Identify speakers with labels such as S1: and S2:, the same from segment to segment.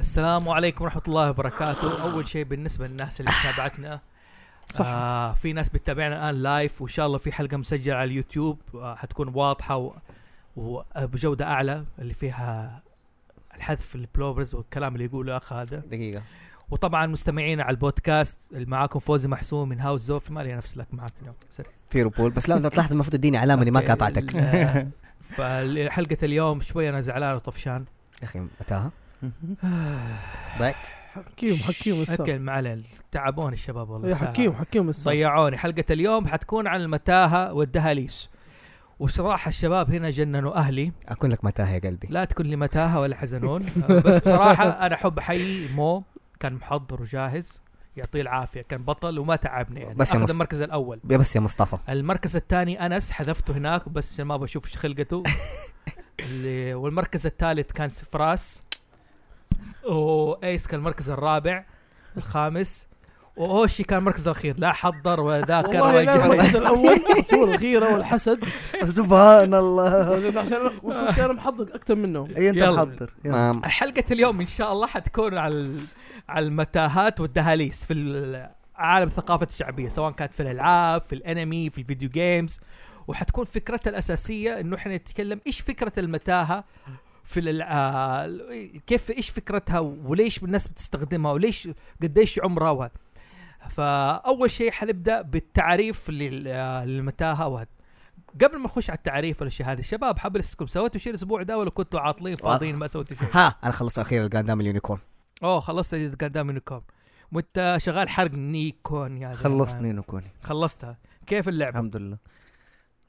S1: السلام عليكم ورحمة الله وبركاته، أول شيء بالنسبة للناس اللي تابعتنا
S2: صح.
S1: آه في ناس بتتابعنا الآن لايف وإن شاء الله في حلقة مسجلة على اليوتيوب آه حتكون واضحة و... وبجودة أعلى اللي فيها الحذف البلوبرز والكلام اللي يقوله أخ هذا،
S3: دقيقه
S1: وطبعا مستمعينا على البودكاست اللي معاكم فوزي محسوم من هاوس زوف ما لي نفس لك معك اليوم سريع
S3: في ربول بس لا لو تلاحظ المفروض تديني علامه اني ما
S1: أوكي،
S3: قاطعتك يا
S1: ال- آه، فحلقة اليوم شوي أنا زعلان وطفشان
S3: اخي متاهه ضعت
S2: حكيم حكيم السلام
S1: اكل ما عليه تعبوني الشباب والله
S2: يا
S1: ساعة.
S2: حكيم حكيم السلام
S1: ضيعوني حلقة اليوم حتكون عن المتاهة والدهاليز وصراحة الشباب هنا جننوا أهلي
S3: اكون لك متاهه يا قلبي
S1: لا تكون لي متاهة ولا حزنون بس بصراحة أنا أحب أحيي مو كان محضر وجاهز يعطيه العافية كان بطل وما تعبني يعني
S3: بس
S1: بس
S3: يا
S1: أخذ
S3: مص-
S1: المركز الأول
S3: يا بس يا مصطفى
S1: المركز الثاني أنس حذفته هناك بس عشان ما بشوف إيش خلقته اللي والمركز الثالث كان فراس وإيس كان المركز الرابع الخامس وأوشي كان المركز الأخير لا حضر ولا ذاكر
S2: والله
S1: ولا
S2: لا
S1: جهز.
S2: المركز الاول بس هو الغيره والحسد
S4: سبحان الله
S2: عشان المشكله انا محضر اكثر منهم
S4: اي انت
S1: يلا.
S4: محضر يلا.
S3: ما
S1: حلقة اليوم إن شاء الله حتكون على ال- على المتاهات والدهاليز في ال- عالم الثقافة الشعبية سواء كانت في الألعاب في الأنمي في الفيديو جيمز وحتكون فكرتها الأساسية إنه إحنا نتكلم إيش فكرة المتاهة في الألع- آه، كيف إيش فكرتها وليش الناس بتستخدمها وليش قديش عمرها وه- فأول شيء حنبدأ بالتعريف لل- آه، للمتاهة وه- قبل ما نخش على التعريف والاشياء هذه الشباب حاب اسالكم سويتوا شيء الاسبوع ده ولا كنتوا عاطلين فاضيين ما سويتوا شيء؟
S3: ها انا خلصت اخيرا القدام اليونيكورن
S1: اوه خلصت قدام نيكون وانت شغال حرق نيكون يا زلمة.
S4: خلصني نكوني
S1: خلصتها كيف اللعبه
S4: الحمد لله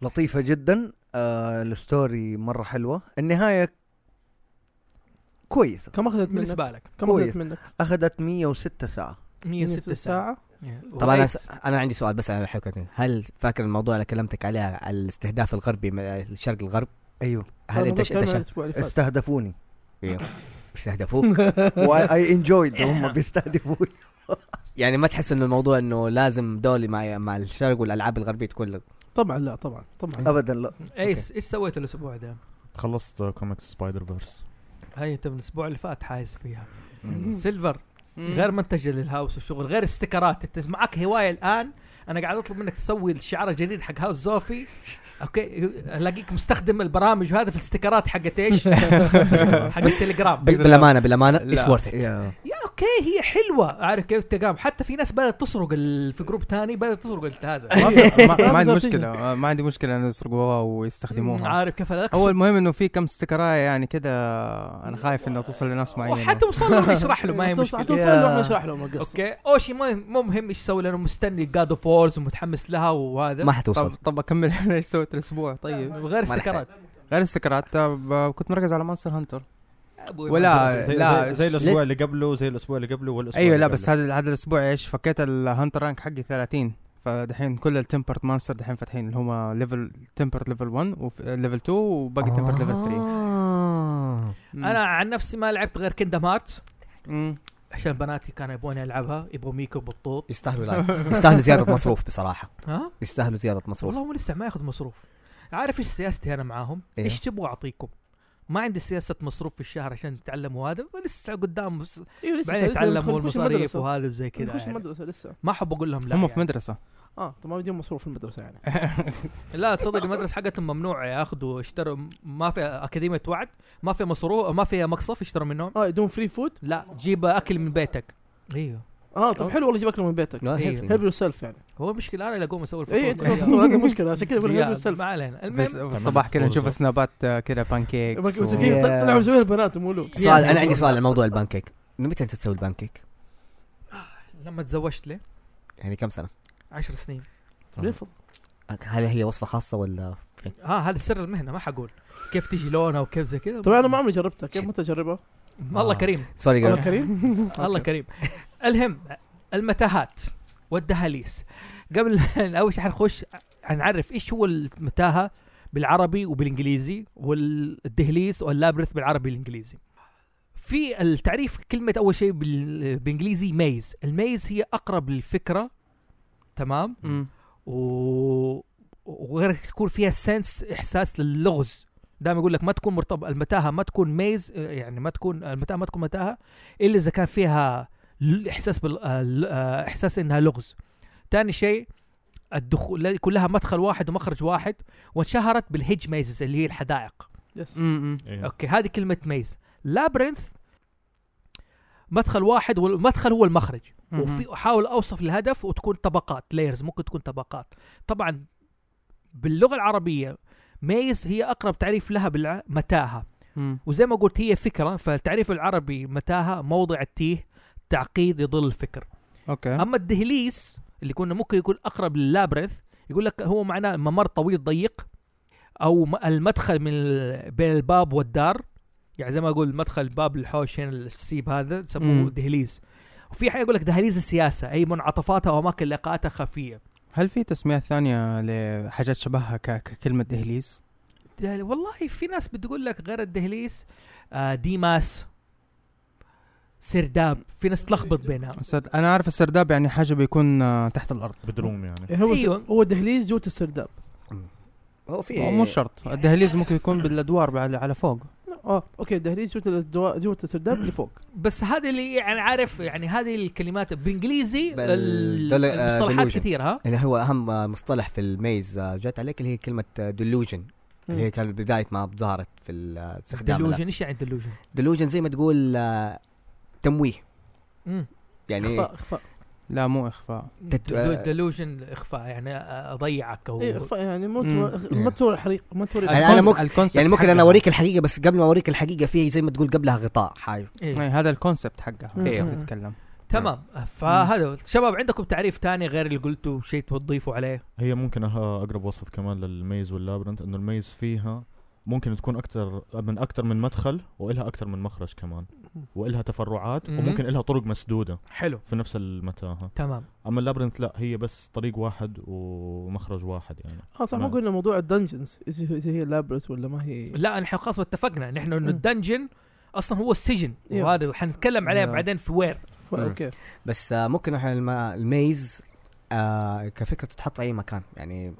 S4: لطيفة جدا آه الستوري مرة حلوة النهاية كويسة
S2: كم اخذت منك؟
S1: بالنسبه لك
S2: كم
S4: كويس.
S2: اخذت منك؟
S4: أخذت 106 ساعة
S1: 106 ساعه
S3: طبعا انا
S1: إيه. وإيش؟
S3: س... انا عندي سؤال بس على الحكايه هل فاكر الموضوع اللي كلمتك عليه على الاستهداف الغربي من الشرق الغرب
S4: أيوه
S3: هل انت انت شا-
S2: الاسبوع اللي فات
S4: استهدفوني
S3: استهدفوك
S4: واي انجويد هم بيستهدفوني
S3: يعني ما تحس انه الموضوع انه لازم دول مع مع الشرق والالعاب الغربيه تكون
S2: طبعا لا طبعا طبعا
S4: أبدا لا
S1: ايس ايش سويت الاسبوع ده؟
S5: خلصت كوميكس سبايدر فيرس
S1: هاي انت من الاسبوع اللي فات حايز فيها
S2: مم.
S1: سيلفر غير منتج للهاوس والشغل غير استكرات انت معك هوايه الان انا قاعد اطلب منك تسوي الشعار الجديد حق هاوس زوفي اوكي الاقيك مستخدم البرامج وهذا في الاستكرات حقت ايش؟ حق التليجرام
S3: بال- بالامانه بالامانه اتس ورث ات
S4: يا.
S1: يا اوكي هي حلوه عارف كيف التليجرام حتى في ناس بدات تسرق ال- في جروب تاني بدات تسرق هذا
S6: إيه، ما ما عندي
S2: بالظبط.
S6: مشكله ما عندي مشكله انه يسرقوها ويستخدموها
S1: عارف كيف هذا
S6: هو المهم انه في كم استكرايه يعني كده انا خايف انه توصل لناس معينه
S1: وحتى وصل له نشرح له ما هي
S2: توصل-
S1: مشكله
S2: توصل
S4: يا.
S2: لهم نشرح لهم القصه
S1: اوكي اوشي ما يهم- مو مهم ايش سوى لانه مستني جاد اوف وورز ومتحمس لها وهذا
S3: ما
S6: طب
S3: حتوصل
S6: طب اكمل انا ايش سويت الاسبوع طيب
S1: غير
S3: ما
S1: استكرات
S6: غير استكرات ب- كنت مركز على مانستر هانتر
S1: أبوي
S6: ولا-
S1: ما
S5: زي,
S6: لا،
S5: زي, زي الاسبوع اللي قبله زي الاسبوع اللي قبله والاسبوع
S6: ايوه
S5: اللي
S6: لا
S5: قبله.
S6: بس هذا هذا الاسبوع ايش فكيت الهانتر رانك حقي 30 فدحين كل التمبرت مانستر دحين فاتحين اللي هم ليفل تمبرت ليفل 1 وليفل 2 وباقي تمبرت ليفل 3
S3: آه.
S1: انا عن نفسي ما لعبت غير كيندم هارت
S6: مم.
S1: عشان بناتي كانوا يبغون يلعبها يبغوا ميكو بالطوط
S3: يستاهلوا لا يستاهلوا زياده مصروف بصراحه
S1: ها
S3: يستاهلوا زياده مصروف
S1: والله هم لسه ما ياخذ مصروف عارف ايش سياستي انا معاهم
S3: إيه.
S1: ايش تبغوا اعطيكم ما عندي سياسه مصروف في الشهر عشان تتعلموا هذا لسه قدام بس-
S2: ايوه لسه
S1: بعدين
S2: لسه
S1: يتعلموا
S2: ندخل- نخش
S1: المصاريف
S2: المدرسه
S1: وهذا وزي كذا
S2: نخش
S1: يعني.
S2: المدرسه لسه
S1: ما احب اقول لهم لا
S6: هم
S1: يعني.
S6: في مدرسه
S2: اه طب ما بديهم مصروف في المدرسه يعني
S1: لا تصدق المدرسه حقتهم ممنوع ياخذوا اشتروا ما في اكاديميه وعد ما في مصروف ما في مقصف يشتروا منهم
S2: اه يدون فري فود
S1: لا جيب اكل من بيتك ايوه
S2: اه طب حلو والله جيب اكل من بيتك
S3: لا،
S1: إيه.
S3: هيلثي.
S2: هيلب يور سيلف يعني إيه،
S1: هو المشكله انا اللي اقوم اسوي الفطور
S2: اي انت
S1: كل يوم.
S2: هذه مشكله عشان كذا بقول هيلب
S1: يا،
S2: يور سيلف
S1: ما علينا
S6: بس-
S1: المهم
S6: بس الصباح كذا نشوف سنابات آه، كذا بانكيك
S4: كيك. يا.
S2: طلعوا مسويها البنات مو له
S3: سؤال انا
S1: يعني-
S3: عندي سؤال عن موضوع البانكيك من متى انت تسوي البانكيك؟
S1: لما تزوجت لي
S3: يعني كم سنه؟
S1: عشر سنين
S2: بيفضل
S3: هل هي وصفه خاصه ولا
S1: ها آه، هذا سر المهنه ما حقول كيف تجي لونها وكيف زي كذا
S2: طبعا انا ما عمري جربتها كيف متى اجربها؟
S1: الله كريم
S3: سوري
S2: الله
S3: قبل
S2: كريم
S1: الله كريم المهم المتاهات والدهاليز قبل اول شيء حنخش حنعرف ايش هو المتاهه بالعربي وبالانجليزي والدهليز واللابرث بالعربي والانجليزي في التعريف كلمة أول شيء بال- بالإنجليزي ميز الميز هي أقرب للفكرة تمام
S6: مم.
S1: و... وغير يكون فيها سنس إحساس للغز دائما يقول لك ما تكون مرتبط المتاهه ما تكون ميز آه، يعني ما تكون المتاهه ما تكون متاهه الا اذا كان فيها ل- احساس بال آه، ل- آه، احساس انها لغز ثاني شيء الدخول لا يكون لها مدخل واحد ومخرج واحد وانشهرت بالهيج ميزز اللي هي الحدائق
S2: يس
S6: امم
S5: إيه.
S1: اوكي هذه كلمه ميز لابرنث مدخل واحد والمدخل هو المخرج وفي احاول اوصف الهدف وتكون طبقات لايرز ممكن تكون طبقات طبعا باللغه العربيه ميز هي اقرب تعريف لها بالمتاهه وزي ما قلت هي فكره فالتعريف العربي متاهه موضع التيه تعقيد يضل الفكر
S6: اوكي
S1: اما الدهليس اللي كنا ممكن يكون اقرب للابرنث يقول لك هو معناه ممر طويل ضيق او م- المدخل من ال- بين الباب والدار يعني زي ما اقول مدخل باب الحوش هنا السيب هذا تسموه
S6: مم.
S1: دهليز وفي حاجه يقول لك دهاليز السياسه اي منعطفاتها واماكن لقاءاتها خفيه
S6: هل في تسميات ثانيه لحاجات شبهها ك- ككلمه دهليز؟
S1: ده- والله في ناس بتقول لك غير الدهليز آه، ديماس سرداب في ناس تلخبط بينها
S6: السرد- انا عارف السرداب يعني حاجه بيكون آه، تحت الارض
S5: بدروم
S6: إيه.
S5: يعني
S2: يعني هو
S6: أيوه.
S1: أيوة.
S2: هو دهليز جوة السرداب
S3: هو
S6: أو
S3: في
S6: آه، مو شرط الدهليز ممكن يكون بالادوار بعد- على فوق
S2: اه اوكي دهليز جوة الأسدوا- جوة السرداب لفوق
S1: بس هذه اللي يعني عارف يعني هذه الكلمات بالانجليزي
S3: بال-
S1: ال-
S3: دل- آه،
S1: المصطلحات
S3: delusion.
S1: كثير ها
S3: اللي هو اهم آه، مصطلح في الميز آه، جات عليك اللي هي كلمه ديلوجن اللي هي كانت بدايه ما ظهرت في ال- آه، استخدام
S1: ديلوجن ايش يعني ديلوجن؟
S3: ديلوجن زي ما تقول آه، تمويه يعني
S2: اخفاء اخفاء
S6: لا مو اخفاء
S3: تت- آه،
S1: ديلوجن اخفاء يعني آه، اضيعك او
S2: اي اخفاء يعني مو
S6: مم.
S2: تو- ما تصور حريق ما تصور
S3: يعني أنا
S6: الكونس-
S3: ممكن-
S6: الكونسبت
S3: يعني ممكن انا
S6: حقها.
S3: اوريك الحقيقه بس قبل ما اوريك الحقيقه في زي ما تقول قبلها غطاء حايف
S1: إيه.
S6: إيه، هذا الكونسبت حقها
S2: إيه.
S6: تتكلم
S1: تمام
S3: آه.
S1: فهذا شباب عندكم تعريف تاني غير اللي قلته شيء تضيفوا عليه
S5: هي ممكن أها اقرب وصف كمان للميز واللابرنت انه الميز فيها ممكن تكون اكثر من اكثر من مدخل والها اكثر من مخرج كمان والها تفرعات
S1: مم.
S5: وممكن الها طرق مسدوده
S1: حلو
S5: في نفس المتاهه
S1: تمام
S5: اما اللابرنت لا هي بس طريق واحد ومخرج واحد يعني
S2: اه صح ما
S5: تمام.
S2: قلنا موضوع الدنجنز اذا إذا هي لابرس ولا ما هي
S1: لا نحن خلاص اتفقنا نحن
S2: مم.
S1: انه الدنجن اصلا هو السجن
S2: إيوه.
S1: وهذا حنتكلم عليه
S6: إيوه.
S1: بعدين في وير
S2: ف- اوكي
S3: بس آه، ممكن إحنا الم- الميز آه، كفكره تتحط في اي مكان يعني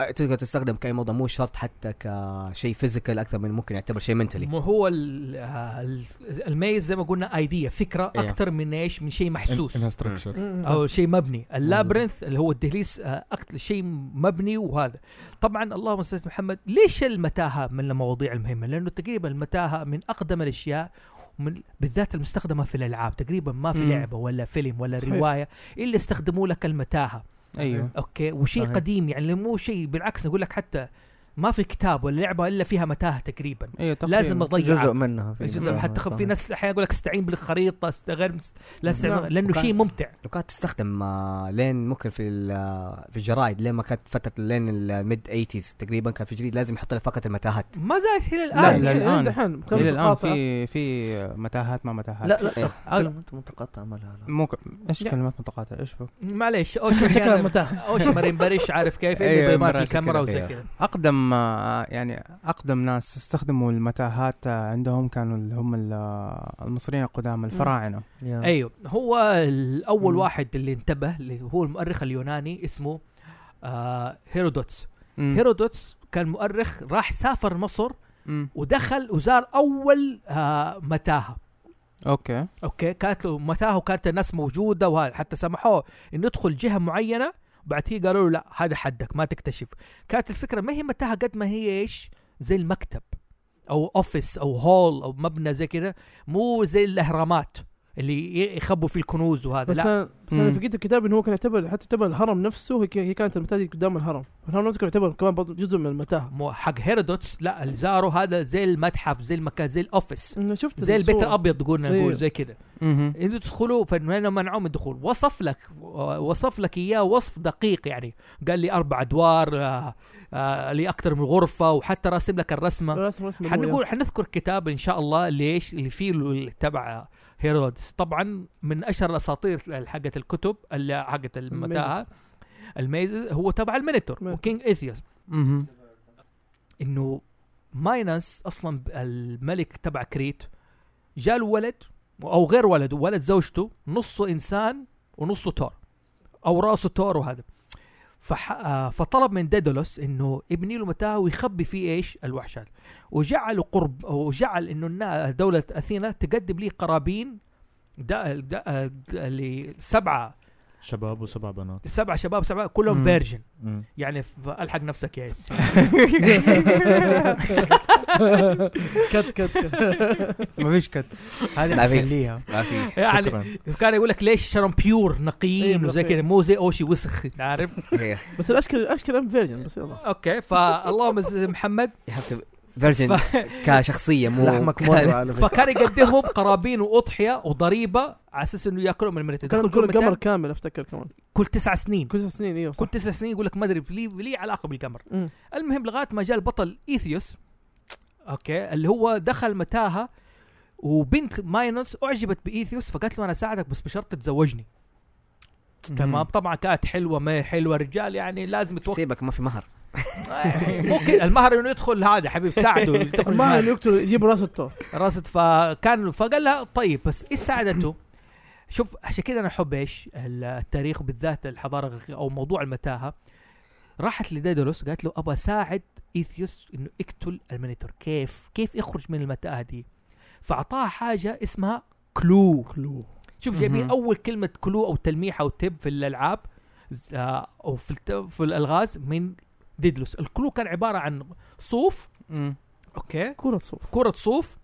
S3: آه، تقدر تستخدم كاي موضوع مو شرط حتى كشيء فيزيكال اكثر من ممكن يعتبر شيء منتلي
S1: مو هو ال- آه، ال- الميز زي ما قلنا ايديا فكره
S3: إيوه.
S1: اكثر من ايش من شيء محسوس
S5: انها ستراكشر
S1: او
S2: نعم.
S1: شيء مبني اللابرنث اللي هو الدهليس آه، اكثر شيء مبني وهذا طبعا اللهم صل على محمد ليش المتاهه من المواضيع المهمه لانه تقريبا المتاهه من اقدم الاشياء ومن بالذات المستخدمه في الالعاب تقريبا ما في
S6: مم.
S1: لعبه ولا فيلم ولا
S2: صحيح.
S1: روايه الا استخدموا لك المتاهه
S6: ايوه
S1: اوكي وشيء
S6: صحيح.
S1: قديم يعني مو شيء بالعكس نقول لك حتى ما في كتاب ولا لعبه الا فيها متاهه تقريبا
S6: ايوه تقريباً.
S1: لازم
S4: جزء
S1: اضيعك
S4: منها في
S1: جزء
S4: منها
S1: حتى خ- في
S4: صحيح.
S1: ناس احيانا يقول لك استعين بالخريطه استغير لا
S2: نعم.
S1: تستعين لانه
S3: وكان-
S1: شيء ممتع
S3: لو كانت تستخدم آه، لين ممكن في ال- آه، في الجرايد لين ما كانت فتره لين الميد 80s تقريبا كان في جريد لازم يحط لك فقره المتاهات
S1: ما زالت الى الان
S6: لا،
S2: لا
S6: إلى
S2: الان
S6: الآن.
S2: دحين كم
S6: الى الان
S2: متقاطعة؟
S6: في في متاهات ما متاهات
S4: لا لا
S6: أو-
S4: كلمات متقاطعه إيه. ما لها علاقة.
S6: ممكن ايش
S1: لا.
S6: كلمات متقاطعه ايش بك؟
S1: معليش اوش
S2: شكلها
S1: يعني
S2: متاهه
S1: اوش مريم بريش عارف كيف
S6: أيوة،
S1: اللي يبغى
S6: مرة
S1: في الكاميرا
S3: كده
S1: وزي
S3: فيها.
S1: كذا
S6: اقدم آه، يعني اقدم ناس استخدموا المتاهات آه، عندهم كانوا اللي هم ال- آه، المصريين القدامى الفراعنه
S4: يا.
S1: ايوه هو الاول
S6: آه. مم.
S1: واحد اللي انتبه اللي هو المؤرخ اليوناني اسمه آه هيرودوتس
S6: مم.
S1: هيرودوتس كان مؤرخ راح سافر مصر
S6: مم.
S1: ودخل وزار اول آه متاهه
S6: اوكي
S1: اوكي كانت له متاهه وكانت الناس موجوده وهذا حتى سمحوه انه يدخل جهه معينه بعد هي قالوا له لا هذا حدك ما تكتشف كانت الفكره ما هي متاهه قد ما هي ايش زي المكتب او اوفيس او هول او مبنى زي كذا مو زي الاهرامات اللي ي- يخبوا فيه الكنوز وهذا
S2: بس
S1: لا
S2: انا بس انا
S6: مم.
S2: في الكتاب انه هو كان يعتبر حتى يعتبر الهرم نفسه هي ك- هي كانت المتاهه دي قدام الهرم الهرم نفسه كان يعتبر كمان برضه جزء من المتاهه
S1: مو حق هيرودوتس لا اللي زاره هذا زي المتحف زي المكان زي الاوفيس
S2: انه شفت
S1: زي البيت
S2: الصورة.
S1: الابيض قلنا
S2: إيه.
S1: نقول زي كذا
S6: مهم.
S1: اذا تدخلوا فانه منعوه من الدخول وصف لك وصف لك اياه وصف دقيق يعني قال لي اربع ادوار آه، آه، لي اكثر من غرفه وحتى راسم لك الرسمه
S2: رسم رسم الأبوية.
S1: حنقول حنذكر كتاب ان شاء الله ليش اللي فيه ال- تبع هيرودس طبعا من اشهر الاساطير حقت الكتب ال- حقت المتاهه الميزز هو تبع المينيتور
S2: مينيتور.
S1: وكينج ايثيوس
S6: مهم.
S1: انه ماينس اصلا ب- الملك تبع كريت جاله ولد او غير ولد ولد زوجته نصه انسان ونصه تور او راسه تور وهذا فح... آه، فطلب من ديدلوس انه يبني له متاهه ويخبي فيه ايش الوحشات وجعل قرب وجعل انه النا- دوله اثينا تقدم لي قرابين دا... دا... آه، دا... لسبعه
S5: شباب وسبع بنات
S1: سبعه شباب سبعه كلهم
S6: مم.
S1: فيرجن
S5: مم.
S1: يعني ف- الحق نفسك يا اس
S2: كت كت كت
S6: ما فيش كت
S3: ما
S6: هذه
S3: في.
S6: خليها
S3: ما في
S5: شكرا
S1: يعني كان يقول لك ليش شرم بيور نقي
S2: إيه،
S1: وزي
S2: نقي.
S1: كذا مو زي اوشي وسخ عارف
S3: هي
S2: بس الاشكال الاشكال ام فيرجن بس يلا
S1: اوكي فاللهم ز- محمد
S3: فيرجن كشخصيه مو
S4: لحمك مره على فكره
S1: فكان يقدمهم قرابين واضحيه وضريبه على اساس انه ياكلهم من الميت
S2: كان
S1: يدخل
S2: نقول
S1: كل ميتان
S2: القمر كامل افتكر كمان
S1: كل تسع سنين
S2: كل سنين ايوه صح
S1: كل تسع سنين يقول لك ما ادري لي لي علاقه بالقمر
S2: مم.
S1: المهم لغايه ما جاء البطل ايثيوس اوكي اللي هو دخل متاهه وبنت ماينوس اعجبت بايثيوس فقالت له انا اساعدك بس بشرط تتزوجني تمام طبعا كانت حلوه ما هي حلوه رجال يعني لازم يتوقع
S3: سيبك ما في مهر
S1: ممكن المهر انه يدخل هذا حبيب ساعده تخرج
S2: ما
S1: معاه.
S2: اللي يقتل يجيب راس التور
S1: رصد فكان فقال لها طيب بس ايش ساعدته؟ شوف عشان كذا انا احب ايش؟ التاريخ بالذات الحضاره الغربية او موضوع المتاهه راحت لديدلوس قالت له ابغى اساعد ايثيوس انه يقتل المينيتور كيف؟ كيف يخرج من المتاهه دي؟ فاعطاها حاجه اسمها كلو كلو شوف جايبين
S6: مهم.
S1: اول كلمه كلو او تلميح او تب في الالعاب ز- آه، او في الت- في الالغاز من ديدلوس، الكلو كان عباره عن صوف اوكي
S2: كرة صوف
S1: كرة صوف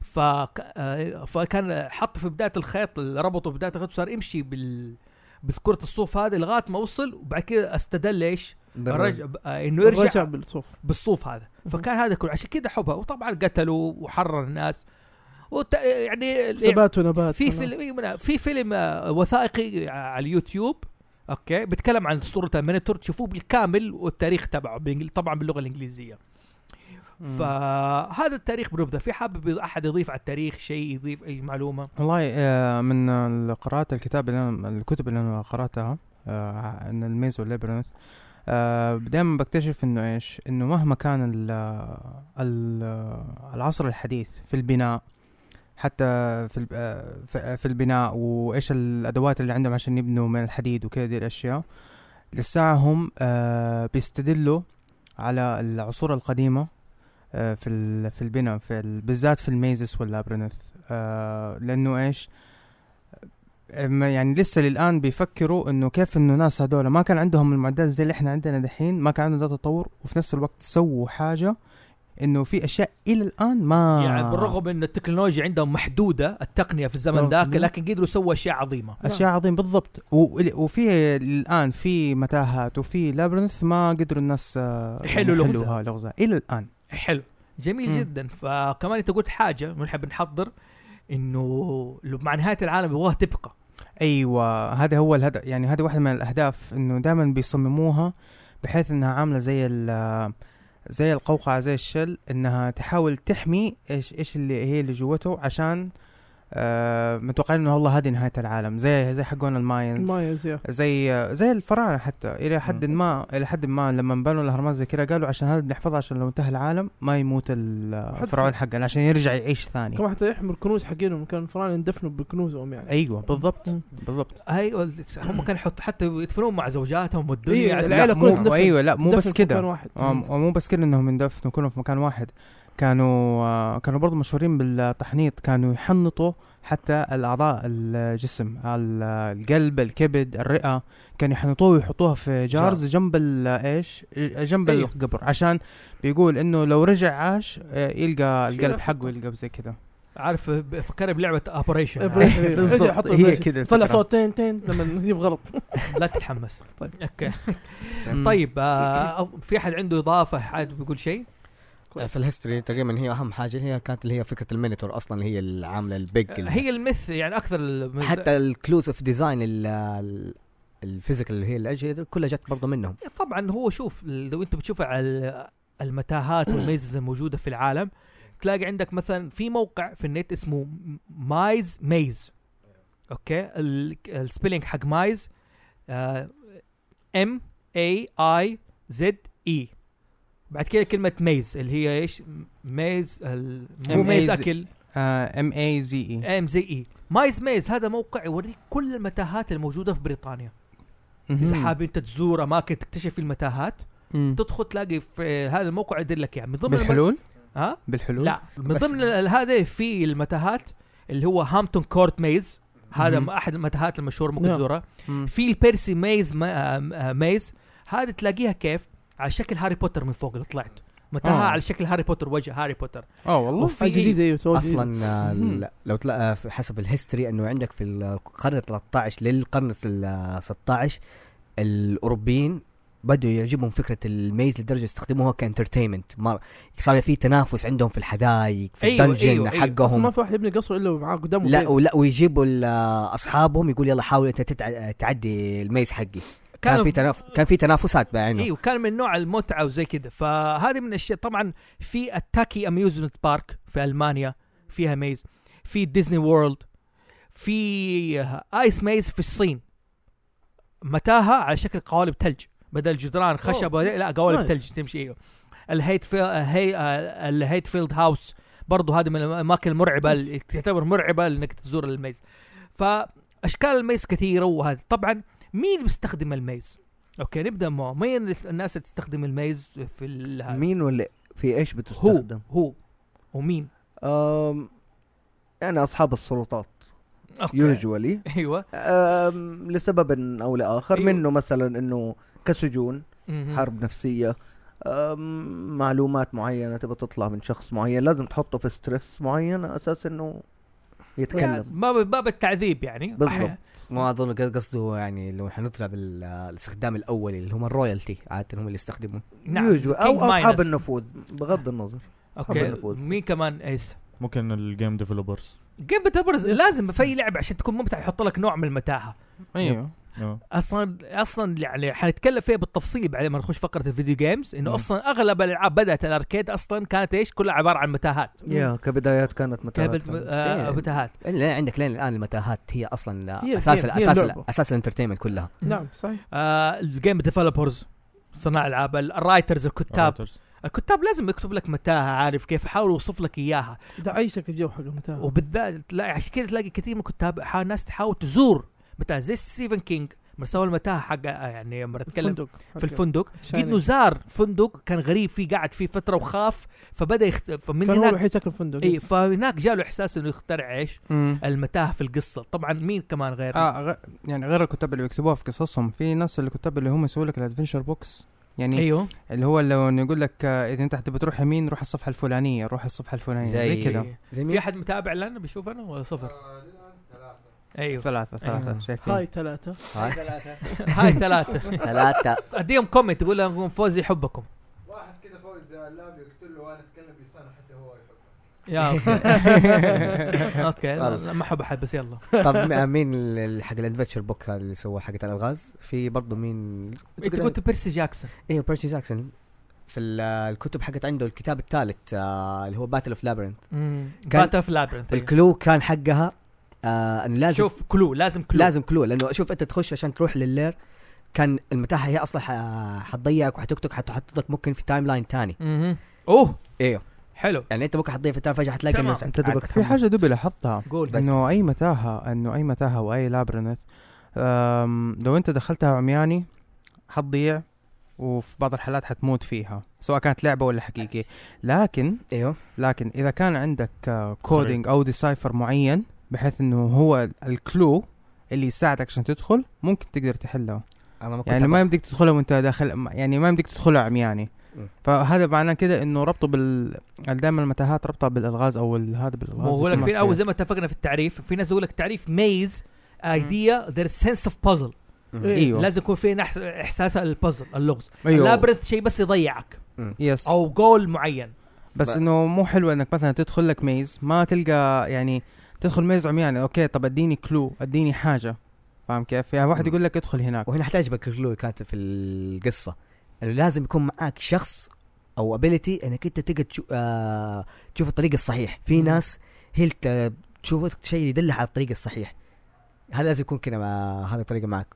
S1: فك... آه، فكان حط في بداية الخيط اللي ربطه في بداية الخيط صار امشي بال بكرة الصوف هذه لغاية ما وصل وبعد كده استدل ايش؟ الرج... ب- آه، انه يرجع
S2: رجع بالصوف
S1: بالصوف هذا فكان هذا كله عشان كده حبها وطبعا قتلوا وحرر الناس وت... يعني
S2: سبات ونبات
S1: في
S2: ونبات.
S1: فيلم إيه، في فيلم آه، وثائقي على اليوتيوب اوكي بيتكلم عن اسطوره المينيتور تشوفوه بالكامل والتاريخ تبعه بالإنجل- طبعا باللغه الانجليزيه فهذا التاريخ بنبدا في حابب احد يضيف على التاريخ شيء يضيف اي معلومه
S6: والله آه، من آه، قراءة الكتاب اللي أنا الكتب اللي أنا قرأتها آه، عن الميز والليبرنت دائما بكتشف انه ايش انه مهما كان ال آه، ال آه، العصر الحديث في البناء حتى في ال- آه، في- في البناء وايش الادوات اللي عندهم عشان يبنوا من الحديد وكذا دي الاشياء لساعة هم آه، بيستدلوا على العصور القديمة آه، في ال- في البناء في ال- بالذات في الميزس واللابرنث آه، لانه ايش أما يعني لسه للان بيفكروا انه كيف انه الناس هذول ما كان عندهم المعدات زي اللي احنا عندنا دحين ما كان عندهم ده تطور وفي نفس الوقت سووا حاجه انه في اشياء الى الان
S2: آه.
S6: ما
S1: يعني بالرغم ان التكنولوجيا عندهم محدوده التقنيه في الزمن
S6: بالرغم
S1: ذاك
S6: منه.
S1: لكن قدروا سووا اشياء عظيمه
S6: اشياء عظيمه بالضبط و- وفي الان في متاهات وفي لابرنث ما قدروا الناس آه،
S1: يحلوا لغزها.
S6: يحلوها لغزها الى الان
S1: حلو جميل
S6: مم.
S1: جدا فكمان انت قلت حاجه بنحب نحضر انه لو مع نهايه العالم يبغاها تبقى
S6: ايوه هذا هو الهدف يعني هذه واحده من الاهداف انه دائما بيصمموها بحيث انها عامله زي ال زي القوقعه زي الشل انها تحاول تحمي ايش ايش اللي هي اللي جوته عشان آه متوقعين انه والله هذه نهايه العالم زي زي حقون الماينز
S2: مميز يا
S6: زي زي الفراعنه حتى الى حد
S5: مم.
S6: ما الى حد ما لما بنوا الاهرامات زي كذا قالوا عشان هذا بنحفظها عشان لو انتهى العالم ما يموت الفرعون حقنا عشان يرجع يعيش ثاني
S2: كمان حتى يحمل كنوز حقينهم كان الفراعنه يندفنوا بكنوزهم يعني
S6: ايوه بالضبط
S2: مم.
S6: بالضبط
S1: ايوه هم كانوا يحط حتى يدفنون مع زوجاتهم
S2: إيه،
S1: والدنيا
S2: العيلة
S6: لا
S2: كلها
S6: مو
S2: تدفن-
S6: ايوه لا مو
S2: تدفن
S6: بس
S2: في مكان
S6: كده
S2: واحد
S6: آه، مو بس كده انهم يندفنوا كلهم في مكان واحد كانوا آه، كانوا برضه مشهورين بالتحنيط كانوا يحنطوا حتى الاعضاء الجسم ال- القلب الكبد الرئه كانوا يحنطوه ويحطوها في جارز جنب ال- ايش جنب
S1: أيوة.
S6: القبر عشان بيقول انه لو رجع عاش آه، يلقى
S2: شيء
S6: القلب
S2: راح
S6: حقه يلقى زي كده
S1: عارف فكرني بلعبه
S2: إيه،
S1: اوبريشن
S2: بالضبط
S6: بالضبط، هي كده
S2: طلع
S6: الفكرة.
S2: صوت تين تين لما نجيب غلط
S1: لا تتحمس
S2: طيب.
S1: اوكي طيب آه، في احد عنده اضافه حد بيقول شيء
S3: في الهيستوري تقريبا هي اهم حاجه هي كانت اللي هي فكره المينيتور اصلا هي العامله البيج اللي-
S1: آه، هي المث يعني اكثر الم-
S3: حتى الكلوز اوف ديزاين ال- ال- الفيزيكال اللي هي الاجهزه دي كلها جت برضه منهم
S1: طبعا هو شوف لو انت بتشوف على المتاهات والميزز الموجوده في العالم تلاقي عندك مثلا في موقع في النت اسمه مايز ميز اوكي السبيلينج حق مايز آه، ام اي اي زد اي E. بعد كده كلمه ميز اللي هي ايش ميز ال- مو
S6: M
S1: ميز
S6: A Z- E.
S1: اكل
S6: ام اي زي اي
S1: E. ام زي اي مايز ميز هذا موقع يوريك كل المتاهات الموجوده في بريطانيا اذا حابب انت تزور اماكن تكتشف في المتاهات تدخل تلاقي في هذا الموقع يدل لك يعني من ضمن الم-
S6: بالحلول
S1: ها
S6: بالحلول
S1: لا من
S6: بس-
S1: ضمن ال- هذا في المتاهات اللي هو هامبتون كورت ميز هذا
S6: مهم.
S1: احد المتاهات المشهوره ممكن
S2: نعم.
S1: تزورها
S6: مم.
S1: في البيرسي ميز ما- آه، آه، ميز هذه تلاقيها كيف على شكل هاري بوتر من فوق اللي طلعت متاهه
S6: آه.
S1: على شكل هاري بوتر وجه هاري بوتر
S6: اه والله
S1: وفي
S2: جديد ايوه سوى جديد.
S3: اصلا آه،
S6: مهم.
S3: لا- لو تلاقى في- حسب الهيستوري انه عندك في القرن 13 للقرن ال 16 الاوروبيين بدوا يعجبهم فكره الميز لدرجه استخدموها كانترتينمنت مر- صار في تنافس عندهم في الحدايق في
S1: أيوة،
S3: الدنجن
S1: أيوة، أيوة.
S2: اصلا ما
S3: حقهم
S2: في واحد يبني قصر الا معاه قدامه
S3: لا
S2: بيز.
S3: ولا ويجيبوا ال- اصحابهم يقول يلا حاول انت تتع- تعدي الميز حقي كان
S1: كانوا-
S3: في تناف... كان في تنافسات بعينه
S2: إيه.
S1: ايوه كان من نوع المتعه وزي كذا فهذه من الاشياء طبعا في التاكي اميوزمنت بارك في المانيا فيها ميز في ديزني وورلد في ايس ميز في الصين متاهه على شكل قوالب ثلج بدل جدران خشب
S2: أوه.
S1: لا قوالب
S2: نايس.
S1: ثلج تمشي ايوه الهيت فيل هي آه، الهيت فيلد هاوس برضه هذه من الاماكن المرعبه اللي تعتبر مرعبه انك تزور الميز فاشكال الميز كثيره وهذا طبعا مين بيستخدم الميز؟ اوكي نبدا معه مين الناس اللي تستخدم الميز في ال- هذا؟
S4: مين ولا في ايش
S1: هو
S4: بتستخدم؟
S1: هو ومين؟
S4: أم، يعني اصحاب السلطات
S1: أوكي.
S4: يوجوالي
S1: ايوه
S4: أم، لسبب او لاخر
S1: أيوة.
S4: منه مثلا انه كسجون
S1: مهم.
S4: حرب نفسيه أم، معلومات معينه تبى تطلع من شخص معين لازم تحطه في ستريس معين على اساس انه
S1: يعني
S4: يتكلم
S1: باب باب التعذيب يعني
S4: بالضبط.
S1: أحيانا.
S3: ما اظن قص- قصده يعني لو حنطلع بالاستخدام الاولي اللي هم الرويالتي عاده هم اللي يستخدموه
S1: نعم
S4: يوجوال او
S1: King
S4: اصحاب
S1: Midas.
S4: النفوذ بغض النظر
S1: اوكي
S4: أصحاب النفوذ.
S1: مين كمان ايس؟
S5: ممكن الجيم ديفلوبرز
S1: جيم ديفلوبرز لازم في اي لعبه عشان تكون ممتع يحط لك نوع من المتاهه
S6: ايوه
S5: آه،
S1: اصلا اصلا يعني حنتكلم فيها بالتفصيل بعد ما نخش فقره الفيديو جيمز انه
S5: مم.
S1: اصلا اغلب الالعاب بدات الاركيد اصلا كانت ايش كلها عباره عن متاهات
S4: يا كبدايات كانت
S1: كابل
S4: متابعة
S1: آه،
S3: إيه.
S1: متاهات
S3: لا عندك لين الان المتاهات هي اصلا
S2: هي-
S3: اساس
S2: هي-
S3: هي
S2: هي
S3: اساس
S2: اللعبة.
S3: اساس الانترتينمنت كلها
S2: نعم صحيح
S1: آه، الجيم ديفلوبرز صناع العاب الرايترز الكتاب الكتاب لازم يكتب لك متاهه عارف كيف يحاول يوصف لك اياها
S2: ده عيشك الجو حق المتاهه
S1: وبالذات تلاقي عشان كذا تلاقي كثير من الكتاب حا- ناس تحاول تزور متاهه زي ستيفن كينج لما سوى المتاهه حق يعني لما نتكلم
S2: فندق.
S1: في
S2: أوكي.
S1: الفندق
S2: شايني.
S1: قد انه زار فندق كان غريب فيه قعد فيه فتره وخاف فبدا يخت... فمن
S2: كان هو
S1: هناك إيه،
S2: الوحيد ساكن في الفندق
S1: اي
S2: يس.
S1: فهناك جاله احساس انه يخترع ايش؟
S6: مم.
S1: المتاهه في القصه، طبعا مين كمان غير؟
S6: اه غ... يعني غير الكتاب اللي بيكتبوها في قصصهم في ناس الكتاب اللي هم يسووا لك الادفنشر بوكس يعني
S1: ايوه
S6: اللي هو لو إنه يقول لك آه، اذا انت حتبي تروح يمين روح الصفحه الفلانيه روح الصفحه
S2: أيوة،
S6: الفلانيه زي,
S3: زي-
S6: كذا
S3: زي
S1: في
S3: مين؟
S1: احد متابع لنا بيشوف انا ولا صفر؟
S7: آه،
S1: ايوه
S6: ثلاثه ثلاثه
S1: أيوة.
S6: شايفين
S2: هاي ثلاثة
S1: هاي ثلاثه
S3: ثلاثة
S1: اديهم كومنت يقول لهم فوزي يحبكم
S7: واحد كذا فوز اللاب يقتل له وانا اتكلم بلسانه حتى هو يحبه
S1: يا اوكي اوكي لا-
S3: طيب.
S1: لا، ما احب احد بس يلا
S3: طب م- مين ال- ال- حق الادفنشر بوك هذا اللي سواه حق الالغاز في برضه مين
S2: إيه،
S1: انت قلت بيرسي جاكسون
S3: ايوه بيرشي جاكسون في ال- الكتب حقت عنده الكتاب الثالث آه اللي هو باتل اوف لابرنت كان-
S1: بات اوف لابرنث
S3: الكلو كان حقها آه انه لازم
S1: شوف كلو لازم كلو
S3: لازم كلو لانه شوف انت تخش عشان تروح للير كان المتاهه هي اصلا ح- حتضيعك وحتقتك حتحطك ممكن في تايم لاين ثاني
S1: مهم. اوه
S3: ايوه
S1: حلو
S3: يعني انت ممكن حتضيع في تايم فجاه حتلاقي
S1: تمام.
S3: انه
S4: انت دبك
S6: في حاجه دوبي لاحظتها
S1: قول
S3: بس.
S6: انه اي متاهه انه اي متاهه واي لابرنت أم، لو انت دخلتها عمياني حتضيع وفي بعض الحالات حتموت فيها سواء كانت لعبه ولا حقيقي لكن
S3: ايوه
S6: لكن اذا كان عندك آه، كودينج او ديسايفر معين بحيث انه هو الكلو اللي يساعدك عشان تدخل ممكن تقدر تحلها
S3: انا ما كنت
S6: يعني
S3: أبغى.
S6: ما يمديك تدخله وانت داخل ما- يعني ما يمديك تدخله عمياني
S3: مم.
S6: فهذا معناه كده انه ربطه بال دائما المتاهات ربطها بالالغاز او ال- هذا بالالغاز
S1: هو لك
S6: يكون
S1: في الاول
S6: مخير.
S1: زي ما اتفقنا في التعريف في ناس يقول لك تعريف ميز ايديا ذير سنس اوف بازل
S3: إيه. إيوه.
S6: ايوه
S1: إيه، لازم يكون في نحس- احساس البازل اللغز
S6: ايوه
S1: اللابرنث شيء بس يضيعك
S6: يس
S1: او جول معين
S6: بس
S3: بقى.
S6: انه مو حلو انك مثلا تدخل لك ميز ما تلقى يعني تدخل ميز عمياني اوكي طب اديني كلو اديني حاجه فاهم كيف؟ يعني واحد
S3: مم.
S6: يقول لك ادخل هناك
S3: وهنا حتعجبك الكلو اللي كانت في القصه انه لازم يكون معاك شخص او ابيلتي انك انت تقدر تشو... آه... تشوف الطريق الصحيح في ناس هي الت... تشوف شيء يدلها على الطريق الصحيح هذا لازم يكون كذا مع... هذا الطريقه معك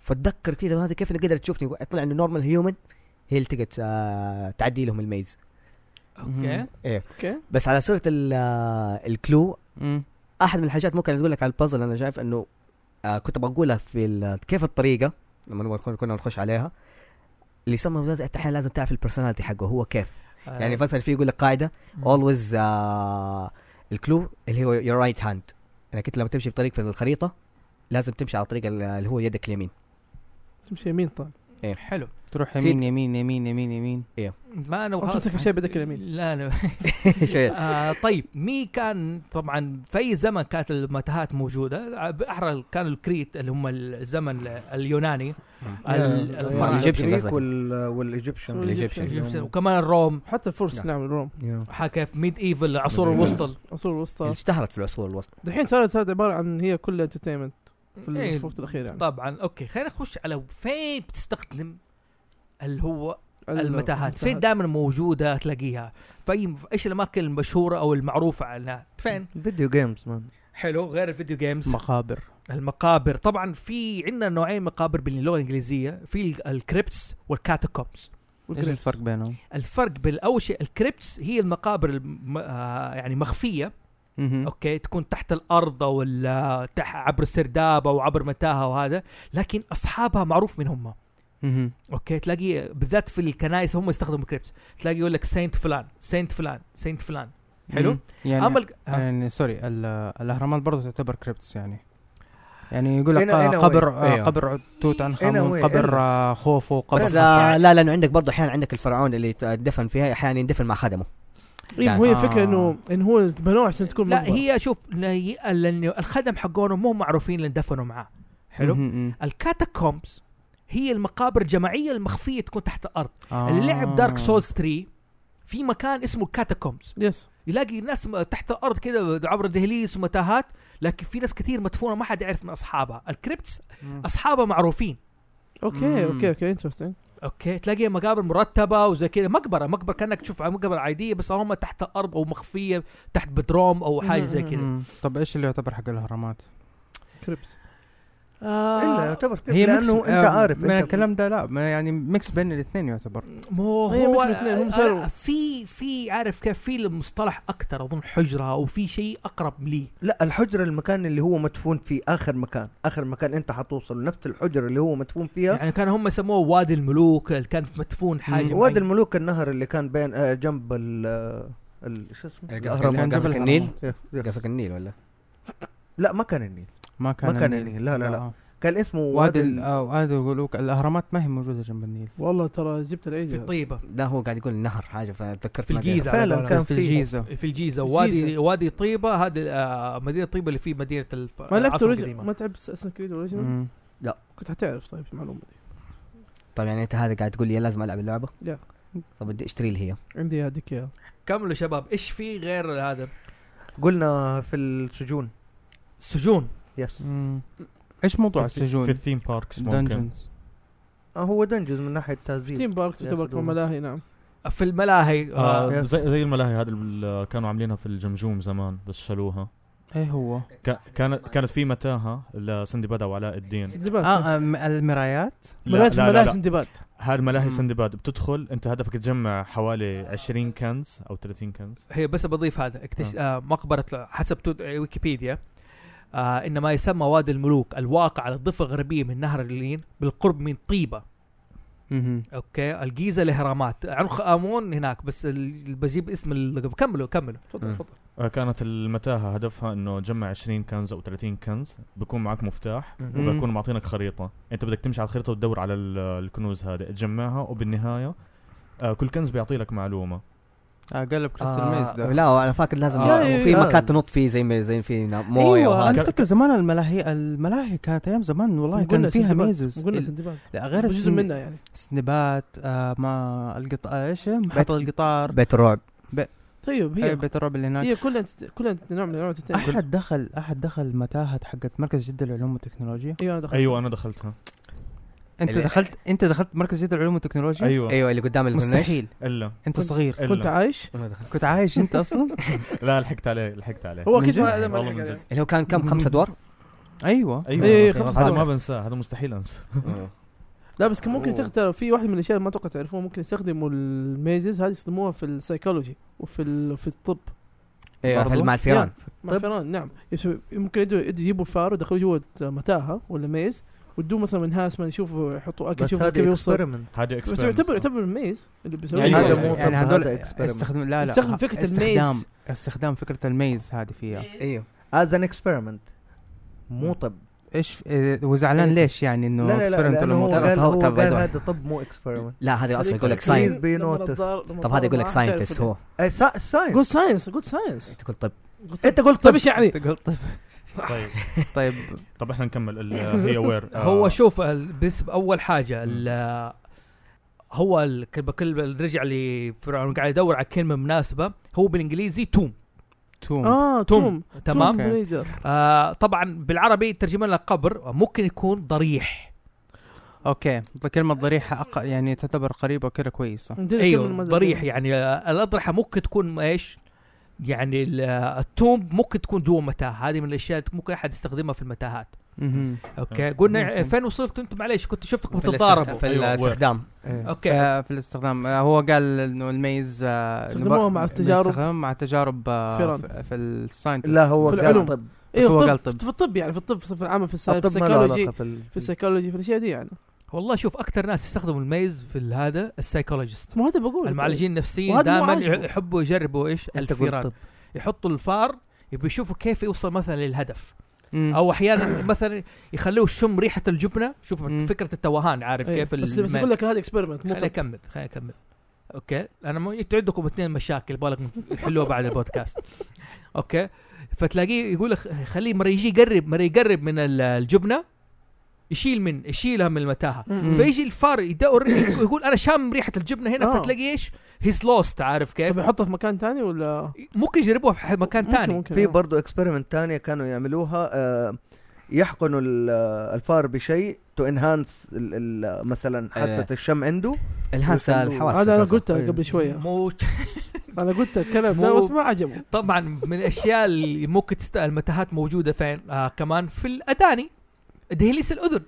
S3: فتذكر كذا هذا كيف انا قدرت تشوفني طلع انه نورمال هيومن هي اللي تقدر آه... تعدي لهم الميز
S1: اوكي
S2: اوكي
S3: بس على سيره ال... آه... الكلو
S6: مم.
S3: احد من الحاجات ممكن اقول لك على البازل انا شايف انه آه كنت بقولها في ال- كيف الطريقه لما نبغى نكون- كنا نخش عليها اللي يسمى ممتاز احيانا لازم تعرف البرسوناليتي حقه هو كيف يعني
S1: آه،
S3: مثلا في يقول لك قاعده اولويز الكلو اللي هو يور رايت هاند انك انت لما تمشي بطريق في الخريطه لازم تمشي على طريق ال- اللي هو يدك اليمين
S2: تمشي يمين طيب. طبعا
S1: حلو
S6: تروح
S3: سيد.
S6: يمين يمين يمين يمين يمين
S1: ما انا
S2: أنت
S1: وخلاص
S2: تفهم شيء بذاك اليمين.
S1: لا انا
S3: شوية.
S1: آه طيب مي كان طبعا في اي زمن كانت المتاهات موجوده باحرى كان الكريت اللي هم الزمن اليوناني ال- آه،
S4: لا،
S1: ال-
S4: يعني
S3: الإيجيبشن
S4: الجريك
S3: قصدك.
S4: وال- والايجيبشن
S3: الإيجيبشن.
S1: وكمان الروم
S2: حتى الفرس نعم الروم
S1: حكى في ميد ايفل العصور الوسطى
S2: عصور
S3: اللي
S2: الوسطى
S3: اشتهرت في العصور الوسطى
S2: دحين صارت صارت عباره عن هي كلها انترتينمنت في ال-
S1: إيه.
S2: في الوقت الاخير يعني
S1: طبعا اوكي خلينا نخش على فين بتستخدم اللي هو
S2: ال-
S1: المتاهات فين دائما موجوده تلاقيها في في ايش الاماكن المشهوره او المعروفه عنها فين
S4: فيديو جيمز مان
S1: حلو غير الفيديو جيمز
S6: مقابر
S1: المقابر طبعا في عندنا نوعين مقابر باللغه الانجليزيه في ال- الكريبتس والكاتاكومز
S6: ايش الفرق بينهم؟
S1: الفرق بالاول شيء الكريبتس هي المقابر الم... آه يعني مخفيه
S6: مهم.
S1: اوكي تكون تحت الارض او ال- تح... عبر السرداب او عبر متاهه وهذا لكن اصحابها معروف من هم
S6: مهم.
S1: اوكي تلاقي بالذات في الكنائس هم يستخدموا كريبتس تلاقي يقول لك سينت فلان سينت فلان سينت فلان حلو آه.
S6: مهم. يعني
S1: اما الك- أه. ها.
S6: يعني سوري ال- الاهرامات برضه تعتبر كريبتس يعني يعني يقول لك
S4: هنا- هنا
S6: آه، قبر
S3: وين؟
S6: آه،
S3: أيوه.
S6: قبر توت عنخ
S4: هنا
S6: امون
S4: وين؟
S6: قبر
S4: هنا.
S6: آه، خوفو قبر
S3: بس
S6: خفرع.
S3: آه، لا لا لانه عندك برضه احيانا عندك الفرعون اللي دفن فيها احيانا يندفن مع خدمه
S2: إيه هو هي
S6: آه.
S2: الفكره انه انه هو بنوع عشان تكون
S1: لا
S2: مقبرة.
S1: هي شوف لا- لأنه الخدم حقونهم مو معروفين اللي اندفنوا معاه حلو
S6: مهم، مهم.
S1: الكاتاكومبس هي المقابر الجماعيه المخفيه تكون تحت الارض
S6: آه.
S1: اللعب دارك سولز 3 في مكان اسمه الكاتاكومبس
S2: يس
S1: يلاقي ناس م- تحت الارض كده عبر دهليز ومتاهات لكن في ناس كثير مدفونه ما حد يعرف من اصحابها الكريبتس
S6: مم.
S1: اصحابها معروفين
S2: اوكي
S6: مم.
S2: اوكي اوكي انترستنج
S1: اوكي تلاقي مقابر مرتبه وزي كذا مقبره مقبره كانك تشوف مقبره عاديه بس هم تحت الارض او مخفيه تحت بدروم او حاجه زي كذا
S6: مم. طب ايش اللي يعتبر حق الاهرامات؟
S2: كريبس
S1: آه.
S4: الا يعتبر كيف
S6: هي ميكس
S4: لانه انت
S6: آه،
S4: طيب، عارف
S6: من
S4: انت
S6: الكلام ده لا ما يعني ميكس بين الاثنين يعتبر
S1: مو
S2: هي
S1: إيه، هو
S2: مش مثلين، هم
S1: أنا-
S2: صاروا-
S1: في في عارف كيف في المصطلح اكثر اظن حجره او في شيء اقرب لي
S4: لا الحجره المكان اللي هو مدفون فيه اخر مكان اخر مكان انت حتوصل نفس الحجره اللي هو مدفون فيها
S1: يعني كانوا هم يسموه وادي الملوك اللي كانت مدفون حاجه
S4: وادي
S1: معينة.
S4: الملوك النهر اللي كان بين آه، جنب ال آه، ال- شو اسمه
S6: كان
S3: قصدك
S6: قبل
S3: قصدك النيل
S4: إيه، إيه.
S3: قصدك النيل ولا
S4: لا ما كان النيل
S6: ما كان
S4: ما كان النيل، لا، لا، لا. كان اسمه
S6: وادي
S4: وادي
S6: ال-
S4: ال-
S6: آه، وادي الملوك الاهرامات ما هي موجوده جنب النيل
S2: والله ترى جبت العيد
S1: في
S2: هذا.
S1: طيبه
S3: لا هو قاعد يقول نهر حاجه فتذكرت
S1: في
S3: ما قال.
S1: الجيزه على
S4: فعلا
S1: قولهم.
S4: كان
S6: في
S4: في
S6: الجيزه
S1: في الجيزه وادي
S2: الجيزة.
S1: وادي طيبه هذه آه مدينه طيبه اللي في مدينه الف...
S2: ما لعبت
S1: العاصمة
S2: أوريجن-
S1: القديمة.
S2: ما تعبت اساسن كريد اوريجنال
S6: مم.
S2: كنت حتعرف طيب المعلومه دي
S3: طب يعني انت هذا قاعد تقول لي لازم العب اللعبه؟
S2: لا.
S3: طب بدي اشتري لي هي
S2: عندي هذيك اياها
S1: كملوا شباب ايش في غير هذا
S4: قلنا في السجون
S1: السجون
S4: يس
S6: مم. ايش موضوع
S5: في
S6: السجون؟
S5: الثيم باركس ممكن
S6: دنجنز
S4: آه، هو دنجز من ناحيه تهذيب
S2: تيم بارك تعتبر
S4: ياخذوها.
S2: كمان ملاهي نعم
S1: في الملاهي آه
S5: آه زي زي الملاهي هذه اللي كانوا عاملينها في الجمجوم زمان بس شالوها
S6: ايه هو؟
S5: كا- كانت كانت في متاهه لسندباد وعلاء الدين
S2: سندباد
S6: اه آم، المرايات
S5: لا
S2: ملاهي
S5: لا لا,
S2: ملاهي
S5: لا.
S2: سندباد
S5: هذه ملاهي
S6: مم.
S5: سندباد بتدخل انت هدفك تجمع حوالي 20 كنز او 30 كنز
S1: هي بس بضيف هذا اكتش... آه مقبره حسب تو- ويكيبيديا آه ان ما يسمى وادي الملوك الواقع على الضفه الغربيه من نهر اللين بالقرب من طيبه
S6: مهم.
S1: اوكي الجيزه الاهرامات عنخ امون هناك بس ال- بجيب اسم ال... كملوا كملوا
S2: تفضل
S3: مم.
S2: تفضل
S5: آه، كانت المتاهه هدفها انه تجمع 20 كنز او 30 كنز بكون معك مفتاح
S6: مم.
S5: وبكون معطينك خريطه انت بدك تمشي على الخريطه وتدور على ال- الكنوز هذه تجمعها وبالنهايه آه، كل كنز بيعطي لك معلومه
S6: آه قلب كريستال ميز
S3: آه
S6: ده
S3: لا انا فاكر لازم
S6: آه،
S3: آه في
S4: إيه، آه.
S3: مكان تنط فيه زي ما زي في نا- مويه
S6: ايوه انا
S3: وهذا
S6: افتكر زمان الملاهي الملاهي كانت ايام زمان والله كان
S2: قلنا
S6: فيها
S2: سندباد.
S6: ميزز
S2: قلنا
S6: ال-
S2: سندباد
S6: لا غير
S2: غير جزء
S6: السن-
S2: منها يعني
S6: سندباد آه ما القطار ايش محطة القطار
S3: بيت الرعب
S2: طيب
S6: هي
S2: هي
S6: بيت الرعب اللي هناك
S2: هي كلها انت- كلها انت- نوع من انواع التنتين
S6: احد دخل احد دخل متاهه حقت مركز جده للعلوم والتكنولوجيا
S2: ايوه انا دخلت
S5: ايوه انا دخلتها
S6: انت
S3: اللي-
S6: دخلت انت دخلت مركز جده للعلوم والتكنولوجيا
S5: ايوه
S3: ايوه اللي قدام الكورنيش.
S6: مستحيل
S5: الا
S6: انت صغير
S2: كنت
S5: الا
S2: عايش
S6: كنت عايش انت اصلا
S5: لا لحقت عليه لحقت عليه إيه،
S2: هو
S6: من
S2: اكيد
S6: جد؟
S2: ما ما
S5: والله
S2: لحق
S5: من
S2: عليه.
S5: جد.
S3: اللي هو كان كم خمس ادوار؟
S6: ايوه
S5: ايوه
S2: إيه،
S5: أوكي،
S2: خمس
S5: هذا ما
S2: دقائق.
S5: بنساه هذا مستحيل انسى
S1: آه.
S2: لا بس كان ممكن
S3: أوه.
S2: تختار في واحد من الاشياء اللي ما اتوقع تعرفوها ممكن يستخدموا الميزز هذه يستخدموها في السايكولوجي وفي ال- في الطب
S3: ايوه في
S6: برضو.
S3: مع الفيران
S2: مع
S4: طب.
S2: فيران نعم يس- ممكن يدوا- يدوا- يجيبوا فار ويدخلوه جوه متاهه ولا ميز وتدوم مثلا انهاسمنت يشوفوا يحطوا اكل
S4: بس
S2: يشوفوا
S4: هذا
S2: كيف يوصل
S4: اكسبيرمنت
S5: هذا
S2: بس يعتبر
S5: experiment.
S2: يعتبر الميز اللي بيسويه
S6: يعني
S4: هذا
S6: هذا
S4: مو
S6: مو يعني
S4: طب،
S6: هذول
S4: هذا experiment.
S6: استخدم لا لا
S2: استخدم فكرة
S6: استخدام
S2: الميز.
S6: استخدام فكرة الميز هذه فيها
S4: إيه.
S3: ايوه
S4: از ان اكسبيرمنت مو طب
S6: ايش إيه، وزعلان ليش يعني
S4: لا
S6: انه
S4: لا لا
S6: experiment ولا
S4: لانه
S6: مو
S4: هو
S3: طب،
S6: طب؟
S4: قال
S3: طب،
S4: هو
S3: طب،
S4: قال
S3: طب.
S4: هذا طب مو اكسبيرمنت
S3: لا هذا اصلا يقول لك
S4: Please
S3: ساينس
S4: be noticed.
S3: طب هذا يقول لك ساينتست هو طيب،
S4: اي ساينس
S2: قول ساينس قول ساينس
S3: تقول طب
S4: انت قلت
S2: طب ايش يعني؟
S6: أنت قلت طيب
S5: طيب
S6: طيب
S5: طب احنا نكمل ال- هي آه، وير
S1: هو شوف ال- بس اول حاجه ال- هو ال- كل بكل رجع لفرعون قاعد يدور على كلمه مناسبه هو بالانجليزي توم
S6: توم
S2: اه توم
S1: توم. تمام
S6: أوكي.
S2: بريدر
S1: آه طبعا بالعربي ترجمه لها قبر ممكن يكون ضريح
S6: اوكي كلمة ضريحة أق... يعني تعتبر قريبة كده كويسة
S1: ايوه ضريح يعني آه الاضرحه ممكن تكون ايش يعني ال- آه، التوم ممكن تكون جوا متاهه هذه من الاشياء اللي ممكن احد يستخدمها في المتاهات
S6: مهم.
S1: اوكي قلنا
S6: ممكن.
S1: فين وصلت انت معليش كنت شفتك
S3: في
S1: بتتضاربوا
S3: الاستخ- في
S5: أيوة.
S3: الاستخدام
S2: إيه.
S1: أوكي.
S6: ف- في الاستخدام آه، هو قال انه الميز آه، إنه
S2: استخدموها
S6: ب-
S2: مع التجارب.
S6: استخدموها مع تجارب
S2: فيران.
S6: في الساينس
S4: لا هو
S2: في
S4: قال
S2: العلوم.
S4: طب
S2: ايوه
S6: هو
S2: في
S6: قال
S2: الطب
S6: طب.
S2: في الطب يعني في الطب في العام في الساينس في
S4: الطب ما له
S2: السيكولوجي
S4: علاقه في ال-
S2: في السيكولوجي في الاشياء دي يعني
S1: والله شوف اكثر ناس يستخدموا الميز في ال- هذا السايكولوجيست
S2: ما هو هذا بقول
S1: المعالجين النفسيين
S2: طيب. وهذا مو
S1: دائما
S2: عاجبه.
S1: يحبوا يجربوا ايش
S4: انت قلت
S1: الفيران
S4: طب
S1: يحطوا الفار يبي يشوفوا كيف يوصل مثلا للهدف
S6: مم.
S1: او احيانا مثلا يخلوه يشم ريحه الجبنه شوف
S6: مم.
S1: فكره التوهان عارف
S2: أيوة.
S1: كيف يعني
S2: بس
S1: الم-
S2: بس اقول لك هذا اكسبيرمنت مو
S1: خليني
S2: طب.
S1: اكمل خليني اكمل اوكي انا مو انتوا عندكم اثنين مشاكل بالك تحلوها بعد البودكاست اوكي فتلاقيه يقول لك خليه مرة يجي يقرب مرة يقرب من ال- الجبنه يشيل من يشيلها من المتاهه
S2: مم.
S1: فيجي الفار يدور يقول انا شام ريحه الجبنه هنا
S2: آه.
S1: فتلاقي ايش هيز لوست عارف كيف
S2: طب يحطه في مكان ثاني ولا
S1: ممكن يجربوها في مكان ثاني
S2: ممكن
S4: في
S2: في
S4: برضه اكسبيرمنت تانية كانوا يعملوها آه، يحقنوا ال- آه، الفار بشيء تو انهانس
S1: إيه.
S4: مثلا حاسه الشم عنده
S3: الهاس
S4: يخلوه-
S3: الحواس
S2: هذا انا
S3: الحواس.
S2: قلتها
S4: أيوة.
S2: قبل شويه
S1: مو
S2: انا قلت الكلام ده
S1: مو-
S2: بس ما عجبه
S1: طبعا من الاشياء اللي ممكن تستاهل متاهات موجوده فين آه كمان في الاداني دهليس الاذن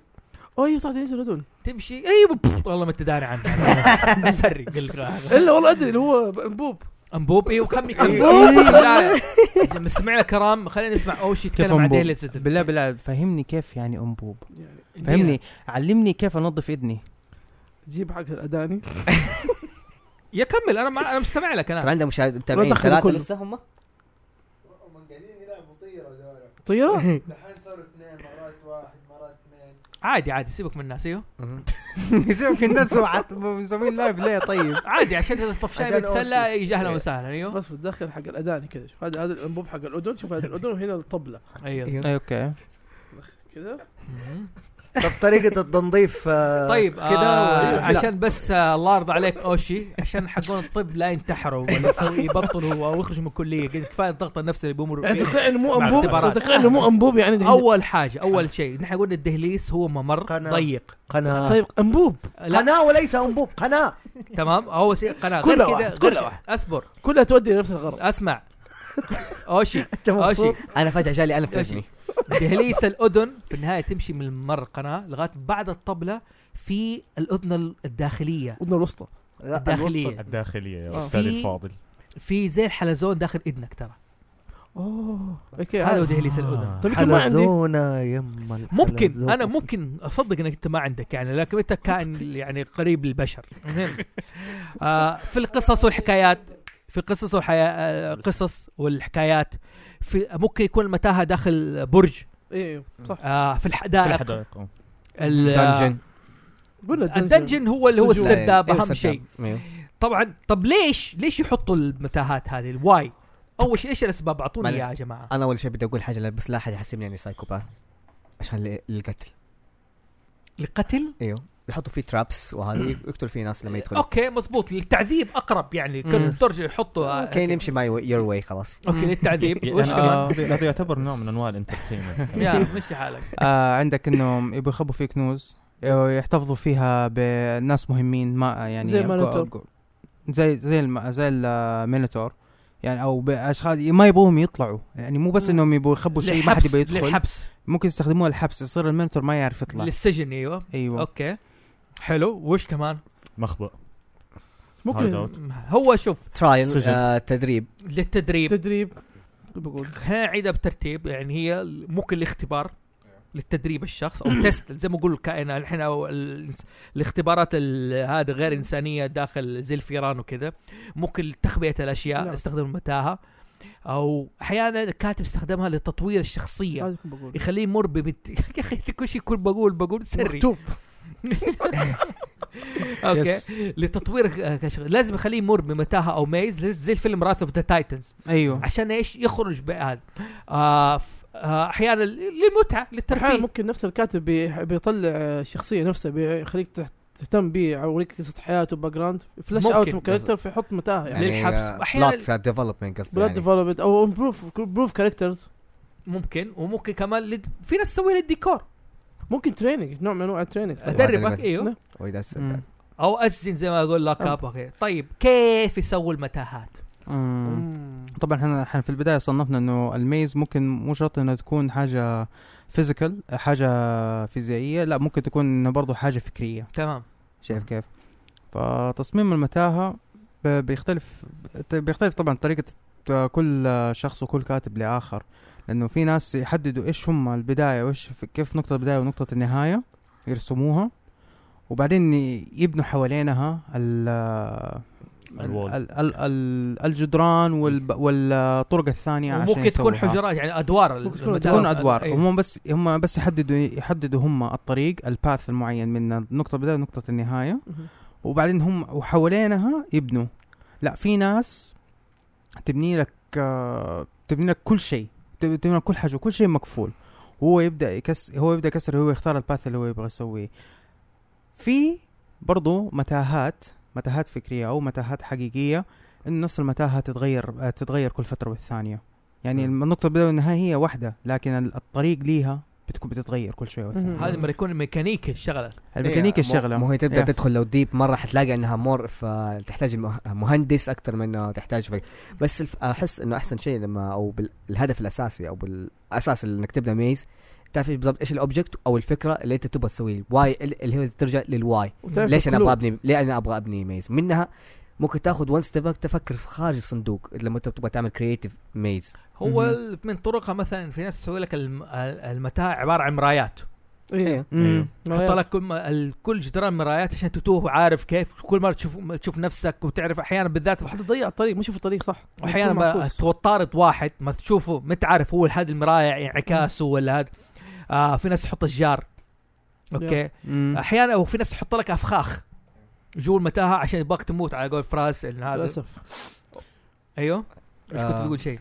S2: اوه ايوه صح تنسى الأذن.
S1: تمشي ايوه بف- والله ما تداري عنها مسري قلت
S2: الا والله ادري اللي هو انبوب
S1: انبوب ايوه خمي كمي
S2: أنبوب.
S1: مستمعينا الكرام خلينا نسمع اول شيء
S6: كيف
S1: يتكلم عن
S6: أنبوب؟
S1: دهلية الأذن.
S6: بالله بالله فهمني كيف يعني انبوب
S2: يعني
S6: فهمني علمني كيف انظف اذني
S2: تجيب حق الاداني
S1: يا كمل انا مع... انا مستمع لك
S3: طبعا
S4: طيب.
S1: انا
S3: عندنا مشاهد متابعين
S2: دخل
S3: ثلاثه
S2: كله.
S3: لسه هم
S7: هم قاعدين يلعبوا طيرة دايرة
S2: طياره
S7: دحين صاروا اثنين مرات واحد مرات اثنين
S1: عادي عادي سيبك من الناس ايوه
S6: يمكن الناس وعت- مسوين لايف ليه طيب
S1: عادي عشان إذا الطفشان
S4: عشان
S1: يتسلى
S4: أوكي.
S1: يجي اهلا وسهلا ايوه
S2: بس بتدخل حق الاداني كذا شوف هذا هذا الانبوب حق الاذن شوف هذا الاذن وهنا الطبله
S4: أيوه.
S1: ايوه
S6: أي، اوكي
S2: كذا
S1: مهم.
S4: طب طريقه التنظيف آه،
S1: طيب
S4: كده
S1: آه
S4: ولا- لا.
S1: عشان بس آه الله يرضى عليك اوشي عشان حقون الطب لا ينتحروا ولا يسوي- يبطلوا ويخرجوا من الكليه قد كفايه الضغط النفسي اللي بيمروا إيه.
S2: يعني
S1: فيه
S2: تتوقع انه مو
S1: مع
S2: انبوب
S1: اختبارات.
S2: تتوقع انه مو انبوب يعني دحين؟
S1: اول حاجه اول شيء نحن قلنا الدهليس هو ممر
S4: أه. قناة.
S1: ضيق
S4: قناه
S2: طيب انبوب
S1: آه، لا
S4: قناه وليس انبوب قناه
S1: تمام هو شيء قناه
S2: كلها
S1: غير كده
S2: واحد،
S1: غير
S2: كلها
S1: كده. اصبر
S2: كلها تودي لنفس الغرض
S1: اسمع اوشي
S4: انت
S1: اوشي
S4: مبسوط؟
S3: انا فجاه جالي الم في
S1: أشي.
S3: اذني
S1: دهليس الاذن في النهايه تمشي من ممر القناه لغايه بعد الطبله في الاذن الداخليه
S2: ودنا الوسطى
S4: لا،
S1: الداخليه
S5: الداخلية يا
S2: آه.
S5: أستاذي
S1: في-
S5: الفاضل
S1: في زي الحلزون داخل اذنك ترى
S2: اوه اوكي
S1: هذا هو
S2: هذا
S1: دهليس الاذن
S5: آه،
S2: طيب يمكن ما عندي
S4: حلزونة يما الحلزون.
S1: ممكن انا ممكن اصدق انك انت ما عندك يعني لكن انت كائن يعني قريب للبشر مهم. آه في القصص والحكايات في القصص والحياة قصص والحكايات في ممكن يكون المتاهه داخل برج
S2: ايوه صح
S1: آه في
S5: في
S1: الحدائق
S5: الحدائق آه.
S1: ال-
S3: دنجن
S2: قول
S1: الدنجن هو اللي هو
S2: سجون.
S6: إيه،
S1: السرداب
S3: أيوة،
S1: اهم
S3: سرداب.
S1: شيء
S3: أيوة.
S1: طبعا طب ليش ليش يحطوا المتاهات هذه الواي اول شيء ايش الاسباب اعطوني
S3: معلش.
S1: اياها يا جماعه
S3: انا اول شيء بدي اقول حاجه لا- بس لا احد يحسبني اني سايكوباث عشان ل- للقتل
S1: القتل
S3: ايوه بيحطوا فيه ترابس وهذا يقتلوا فيه ناس لما يدخلوا
S1: اوكي مزبوط للتعذيب اقرب يعني
S6: مم.
S1: كل ترجع يحطوا
S3: اوكي نمشي ماي يور واي خلاص
S1: اوكي للتعذيب
S5: يعني
S1: وش كمان؟
S5: آه، هذا يعتبر نوع من أنواع الانترتينمنت
S1: يا مشي حالك
S6: آه عندك انهم يبغوا يخبوا فيك نوز آه، يحتفظوا فيها بناس مهمين ما يعني
S2: زي المينوتور.
S6: جو- زي زي الم... زي المينوتور يعني او باشخاص ما يبغوهم يطلعوا يعني مو بس
S2: مم.
S6: انهم يبغوا يخبوا شيء ما حد يبغى
S1: للحبس-
S6: يدخل
S1: للحبس
S6: ممكن يستخدموها للحبس يصير المينوتور ما يعرف يطلع
S1: للسجن ايوه
S6: ايوه
S1: اوكي حلو وش كمان
S5: مخبأ
S2: ممكن
S5: Hideout.
S1: هو شوف
S3: ترايل
S5: سجن.
S3: آه تدريب
S1: للتدريب
S2: تدريب بقول
S1: هنا عيدها بترتيب يعني هي ممكن الاختبار للتدريب الشخص او تيست زي ما اقول الكائن الحين او ال- الاختبارات ال- هذه غير انسانيه داخل زي الفيران وكذا ممكن تخبئه الاشياء
S2: نعم.
S1: استخدم المتاهه او احيانا الكاتب استخدمها لتطوير الشخصيه
S2: هذا كنت بقول
S1: يخليه مر ببنت يا اخي كل شيء كل بقول بقول سري
S2: مكتوب
S1: اوكي
S6: يس.
S1: لتطوير آه، كشغل. لازم اخليه يمر بمتاهه او ميز زي الفيلم راث اوف ذا تايتنز
S6: ايوه
S1: عشان ايش يخرج بهذا آه ف- آه، احيانا للمتعه
S2: احيانا
S1: للترفيه
S2: ممكن نفس الكاتب بي- بيطلع الشخصيه نفسها بيخليك تحت- تهتم بيه يوريك قصه حياته باك جراوند فلاش
S1: ممكن.
S2: اوت من كاركتر فيحط متاهه يعني
S1: للحبس.
S3: آه،
S1: أحياناً-
S3: بلوت ديفلوبمنت قصدي
S2: بلاد
S3: يعني.
S2: ديفلوبمنت او امبروف امبروف كاركترز
S1: ممكن وممكن كمان لد... في ناس تسويها للديكور
S2: ممكن تريننج نوع من انواع التريننج
S1: ادربك
S3: أدربك.
S2: نعم.
S1: ايوه
S3: وي that's it.
S6: مم.
S1: او ازن زي ما اقول لك اب اوكي طيب كيف يسووا المتاهات؟
S6: مم. طبعا احنا إحنا في البدايه صنفنا انه الميز ممكن مو شرط انها تكون حاجه فيزيكال حاجه فيزيائيه لا ممكن تكون انها برضه حاجه فكريه
S1: تمام
S6: شايف كيف فتصميم المتاهه ب- بيختلف بيختلف طبعا طريقه كل شخص وكل كاتب لاخر لانه في ناس يحددوا ايش هم البدايه وايش كيف نقطه البدايه ونقطه النهايه يرسموها وبعدين ي- يبنوا حوالينها ال
S5: الوال.
S6: ال- ال- ال- ال- الجدران والب- والطرق الثانيه عشان
S1: وممكن تكون
S6: يسووها.
S1: حجرات يعني ادوار
S2: ممكن تكون
S1: المتاهات.
S6: تكون ادوار
S1: أيوة.
S6: هم بس هم بس يحددوا يحددوا هم الطريق الباث المعين من نقطه البدايه لنقطه النهايه وبعدين هم وحوالينها يبنوا لا في ناس تبني لك آه، تبني لك كل شيء تب- تبني لك كل حاجه كل شيء مكفول هو يبدا يكس هو يبدا يكسر هو يختار الباث اللي هو يبغى يسويه في برضو متاهات متاهات فكريه او متاهات حقيقيه ان نفس المتاهه تتغير آه، تتغير كل فتره والثانيه يعني
S5: مم.
S6: النقطه البدايه والنهايه هي واحده لكن ال- الطريق ليها بتكون بتتغير كل شويه والثانيه
S2: مم.
S1: هذا لما يكون الميكانيكي الشغله
S6: الميكانيكا
S3: إيه، مو-
S6: الشغله
S3: مو هي تبدا
S6: Yeah.
S3: تدخل لو ديب مره حتلاقي انها مور فتحتاج مه- مهندس اكثر من إنه تحتاج فك... بس الف... احس انه احسن شيء لما او بال... الهدف الاساسي او بالاساس اللي انك تبدا ميز تعرف إيش بالضبط ايش الاوبجكت او الفكره اللي انت تبغى تسويه الواي اللي هي ترجع للواي ليش انا ابغى ابني ليه انا ابغى ابني ميز منها ممكن تاخذ وان ستيب تفكر في خارج الصندوق لما انت تبغى تعمل كرييتيف ميز
S1: هو
S6: مهم.
S1: ال- من طرقها مثلا في ناس تسوي لك الم- ال- المتاهه عباره عن مرايات إيه.
S2: ايه
S5: أيوه.
S6: مم.
S1: يحط لك كل ما- ال- كل جدران مرايات عشان تتوه وعارف كيف كل مره تشوف تشوف نفسك وتعرف احيانا بالذات
S2: حتى تضيع الطريق مش في الطريق صح
S1: واحيانا
S2: يكون
S1: ما
S2: معكوس.
S1: توطارد واحد ما تشوفه ما تعرف هو هذا المراية انعكاسه ولا هذا آه في ناس تحط الجار اوكي
S6: مم.
S1: احيانا وفي ناس تحط لك افخاخ جوا المتاهه عشان يبغاك تموت على قول فراس إن هذا
S2: للاسف
S1: ايوه ايش كنت
S3: آه.
S1: بتقول شيء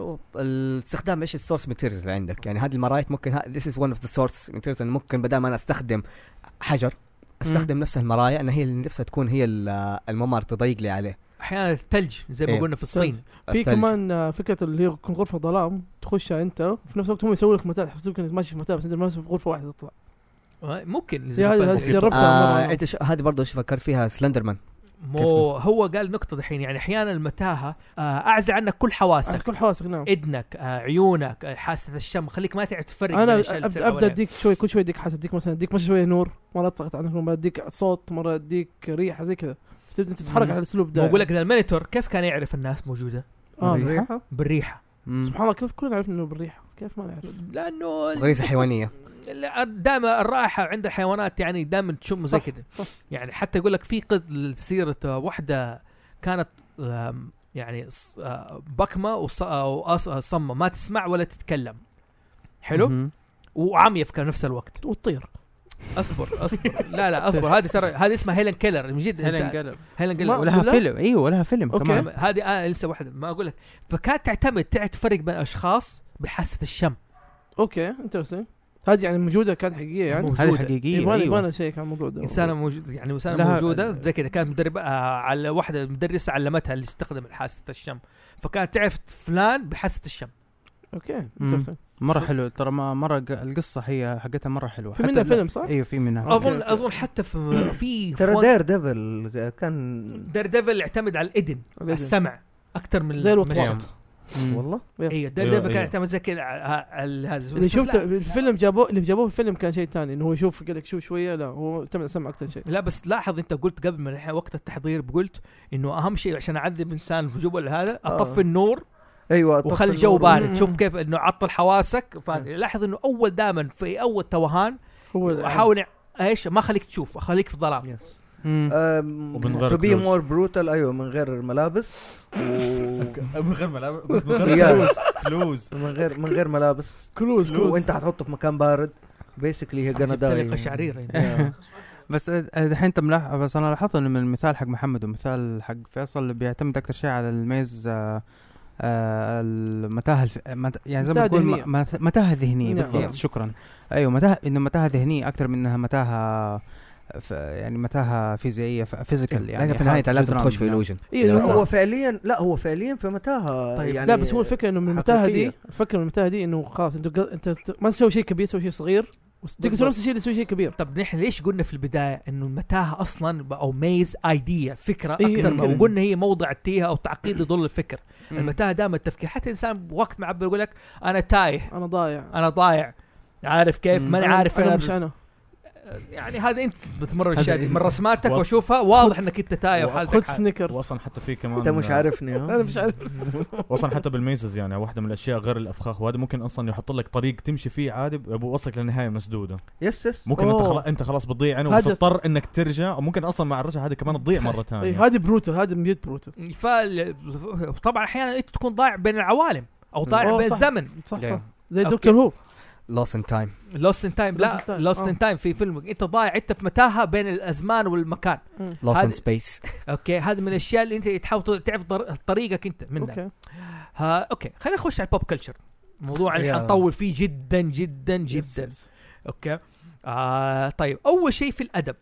S3: هو الاستخدام ايش السورس ماتيريالز اللي عندك يعني هذه المرايات ممكن ذيس از ون اوف ذا سورس ماتيريالز ممكن بدل ما انا استخدم حجر استخدم نفس المرايا ان هي اللي نفسها تكون هي ال- الممر تضيق لي عليه
S1: احيانا الثلج زي ما
S3: إيه.
S1: قلنا في الصين
S2: ثلج. في
S3: الثلج.
S2: كمان آه، فكره اللي هي تكون غرفه ظلام تخشها انت وفي نفس الوقت هم يسووا لك متاع يحسبوك انك ماشي في متاع بس انت ماشي في غرفه واحده تطلع
S1: آه، ممكن
S2: زي هذه هذه
S1: زي-
S2: جربتها
S3: آه
S2: مرة.
S3: انت ش- هذه برضه ايش فكرت فيها سلندر مان
S1: مو هو قال نقطه دحين يعني احيانا المتاهه آه اعزل عنك كل حواسك
S2: آه، كل حواسك نعم
S1: اذنك آه عيونك آه حاسه الشم خليك ما تعرف تفرق بين
S2: انا
S1: الأشياء اللي بتصير
S2: ابدا ابدا
S1: حواليك.
S2: اديك شوي كل شوي اديك حاسه اديك مثلا اديك مش شويه نور مره اطلقت عنك مره اديك صوت مره اديك ريحه زي كذا فتبدا تتحرك
S6: مم.
S2: على الاسلوب ده
S1: بقول لك إن المونيتور كيف كان يعرف الناس موجوده
S2: آه،
S6: الريحة؟
S1: بالريحه
S6: مم.
S2: سبحان الله كيف كلنا عرفنا انه بالريحه كيف ما نعرف
S1: لانه
S3: غريزه حيوانيه
S1: لا، دائما الرائحه عند الحيوانات يعني دائما تشم زي
S2: صح،
S1: كده
S2: صح.
S1: يعني حتى يقول لك في قد سيره واحده كانت آم، يعني ص- آه، بكمه وص- آه، وأص- آه، صمه ما تسمع ولا تتكلم حلو
S6: مهم.
S1: وعمية في نفس الوقت
S2: وتطير
S1: اصبر اصبر لا لا اصبر هذه ترى هذه اسمها هيلن كيلر من جد
S6: هلا
S1: إنسان.
S6: انقلب
S1: هيلن كيلر
S2: ما-
S6: ولها
S2: بالله؟
S6: فيلم ايوه ولها فيلم
S2: أوكي.
S6: كمان
S1: تمام. هذه آه لسه واحده ما اقول لك فكانت تعتمد تعرف تفرق بين اشخاص بحاسه الشم
S2: اوكي انترستنج هذه يعني موجوده كانت حقيقيه يعني
S1: موجودة.
S6: هذه حقيقيه
S2: يبغى
S6: ايوه
S2: يبغى شيء كان الموضوع ده
S1: انسانه موجود يعني انسانه
S6: لها-
S1: موجوده زي كذا كانت مدربه آه، على واحده مدرسه علمتها اللي تستخدم حاسه الشم فكانت تعرف فلان بحاسه الشم
S2: اوكي انترستنج
S6: مره حلو ترى ما- مره ق- القصه هي حقتها مره حلوه
S2: في
S6: حتى
S2: منها
S6: ال-
S2: طيب، فيلم صح؟
S6: ايوه في منها
S2: أوكي،
S1: اظن
S2: أوكي.
S1: اظن حتى في في
S4: ترى
S1: فوق-
S4: دير ديفل كان
S1: دير ديفل يعتمد على الاذن السمع اكثر من
S2: زي
S1: المشاهد.
S2: الوطواط
S6: مم.
S4: والله
S1: ايوه دير
S5: أيوه،
S1: ديفل كان
S5: أيوه.
S1: يعتمد زي كذا على ه- ال- هذا
S2: اللي
S1: بس
S2: شفته
S1: لا-
S2: الفيلم جابوه اللي جابوه في الفيلم كان شيء ثاني انه هو يشوف قال لك شوف شويه لا هو تم سمع اكثر شيء
S1: لا بس لاحظ انت قلت قبل
S2: آه.
S1: من الحين وقت التحضير قلت انه اهم شيء عشان اعذب انسان في جبل هذا اطفي النور
S4: ايوه أطفي
S1: وخلي الجو
S4: النور.
S1: بارد شوف كيف انه عطل حواسك فلاحظ انه اول دائما في اول توهان
S2: هو الآن.
S1: احاول ايش ما اخليك تشوف اخليك في ظلام
S6: مم.
S5: ومن
S4: أم،
S5: غير
S4: تو بي
S5: كلوز.
S4: مور بروتال ايوه من غير ملابس و-
S5: من غير ملابس قلت من
S4: يا.
S5: غير كلوز كلوز
S4: من غير من غير ملابس
S2: كلوز كلوز
S4: وانت حتحطه في مكان بارد بيسكلي هي
S1: جبت لي
S4: جنى
S1: قشعريرة هنا.
S6: بس الحين انت ملاحظ بس انا لاحظت انه من المثال حق محمد والمثال حق فيصل اللي بيعتمد اكثر شيء على الميز آه، آه، المتاهه الف... مت... يعني زي ما
S2: متاهة
S6: نقول
S2: ذهنية.
S6: م- مث- متاهه ذهنيه
S2: نعم.
S6: بالضبط شكرا ايوه متاهه انه متاهه ذهنيه اكثر من انها متاهه ف... يعني متاهه فيزيائيه ف... فيزيكال يعني
S3: لكن في النهايه
S6: حاجة
S3: انت لازم
S6: جدران
S3: تخش في
S6: يعني.
S3: illusion
S2: إيه،
S3: لو-
S4: هو فعليا لا هو فعليا في متاهه
S1: طيب،
S4: يعني
S2: لا بس هو الفكره انه من المتاهه دي
S4: حقيقية.
S2: الفكره من المتاهه دي انه خلاص انت قل- انت أنت ما تسوي شيء كبير تسوي شيء صغير وس- تقدر تسوي نفس الشيء اللي تسوي شيء كبير
S1: طب نحن ليش قلنا في البدايه انه المتاهه اصلا ب- او ميز ايديا فكره
S2: إيه،
S1: اكثر ما
S2: ممكن.
S1: وقلنا هي موضع التيهه او تعقيد يضل الفكر المتاهه دائما التفكير حتى الانسان بوقت معبر يقول لك انا تايه
S2: انا ضايع
S1: انا ضايع عارف كيف
S6: مم.
S1: ماني عارف
S2: انا
S1: أنا
S2: مش انا
S1: يعني هذا انت بتمر
S5: هذا
S1: الاشياء دي من
S5: إيه.
S1: رسماتك
S5: وص-
S1: واشوفها واضح انك انت تايه
S2: خذ
S1: وحالتك حالة.
S2: سنيكر
S5: واصلا حتى في كمان
S4: انت مش عارفني
S2: انا
S4: ها
S2: مش عارف
S5: واصلا حتى بالميزز يعني واحده من الاشياء غير الافخاخ وهذا ممكن اصلا يحط لك طريق تمشي فيه عادي بيوصلك للنهايه مسدوده
S4: يس يس
S5: ممكن انت
S2: أوه.
S5: خلاص انت خلاص بتضيع عينه
S2: هذا-
S5: وتضطر انك ترجع وممكن اصلا مع الرجعه هذه كمان تضيع مره
S2: إيه،
S5: ثانيه
S2: هذه بروتر هذه ميوت بروتر
S1: فال... طبعا احيانا انت تكون ضايع بين العوالم او ضايع
S2: أوه،
S1: بين
S2: صح.
S1: الزمن
S2: صح
S3: ليه؟
S2: صح زي
S1: أوكي.
S2: دكتور هو
S3: lost in time
S1: لوست ان تايم لا
S2: Lost in Time.
S1: لوست ان تايم في فيلم انت ضايع انت في متاهه بين الازمان والمكان
S3: lost
S1: هذه-
S3: in space
S1: اوكي هذا من الاشياء اللي انت تحاول تعرف طر- طريقك انت منها
S2: اوكي
S1: ها اوكي خلينا نخش على البوب كلتشر موضوع اللي
S5: Yeah.
S1: حنطول فيه جدا جدا جدا اوكي آه طيب اول شيء في الادب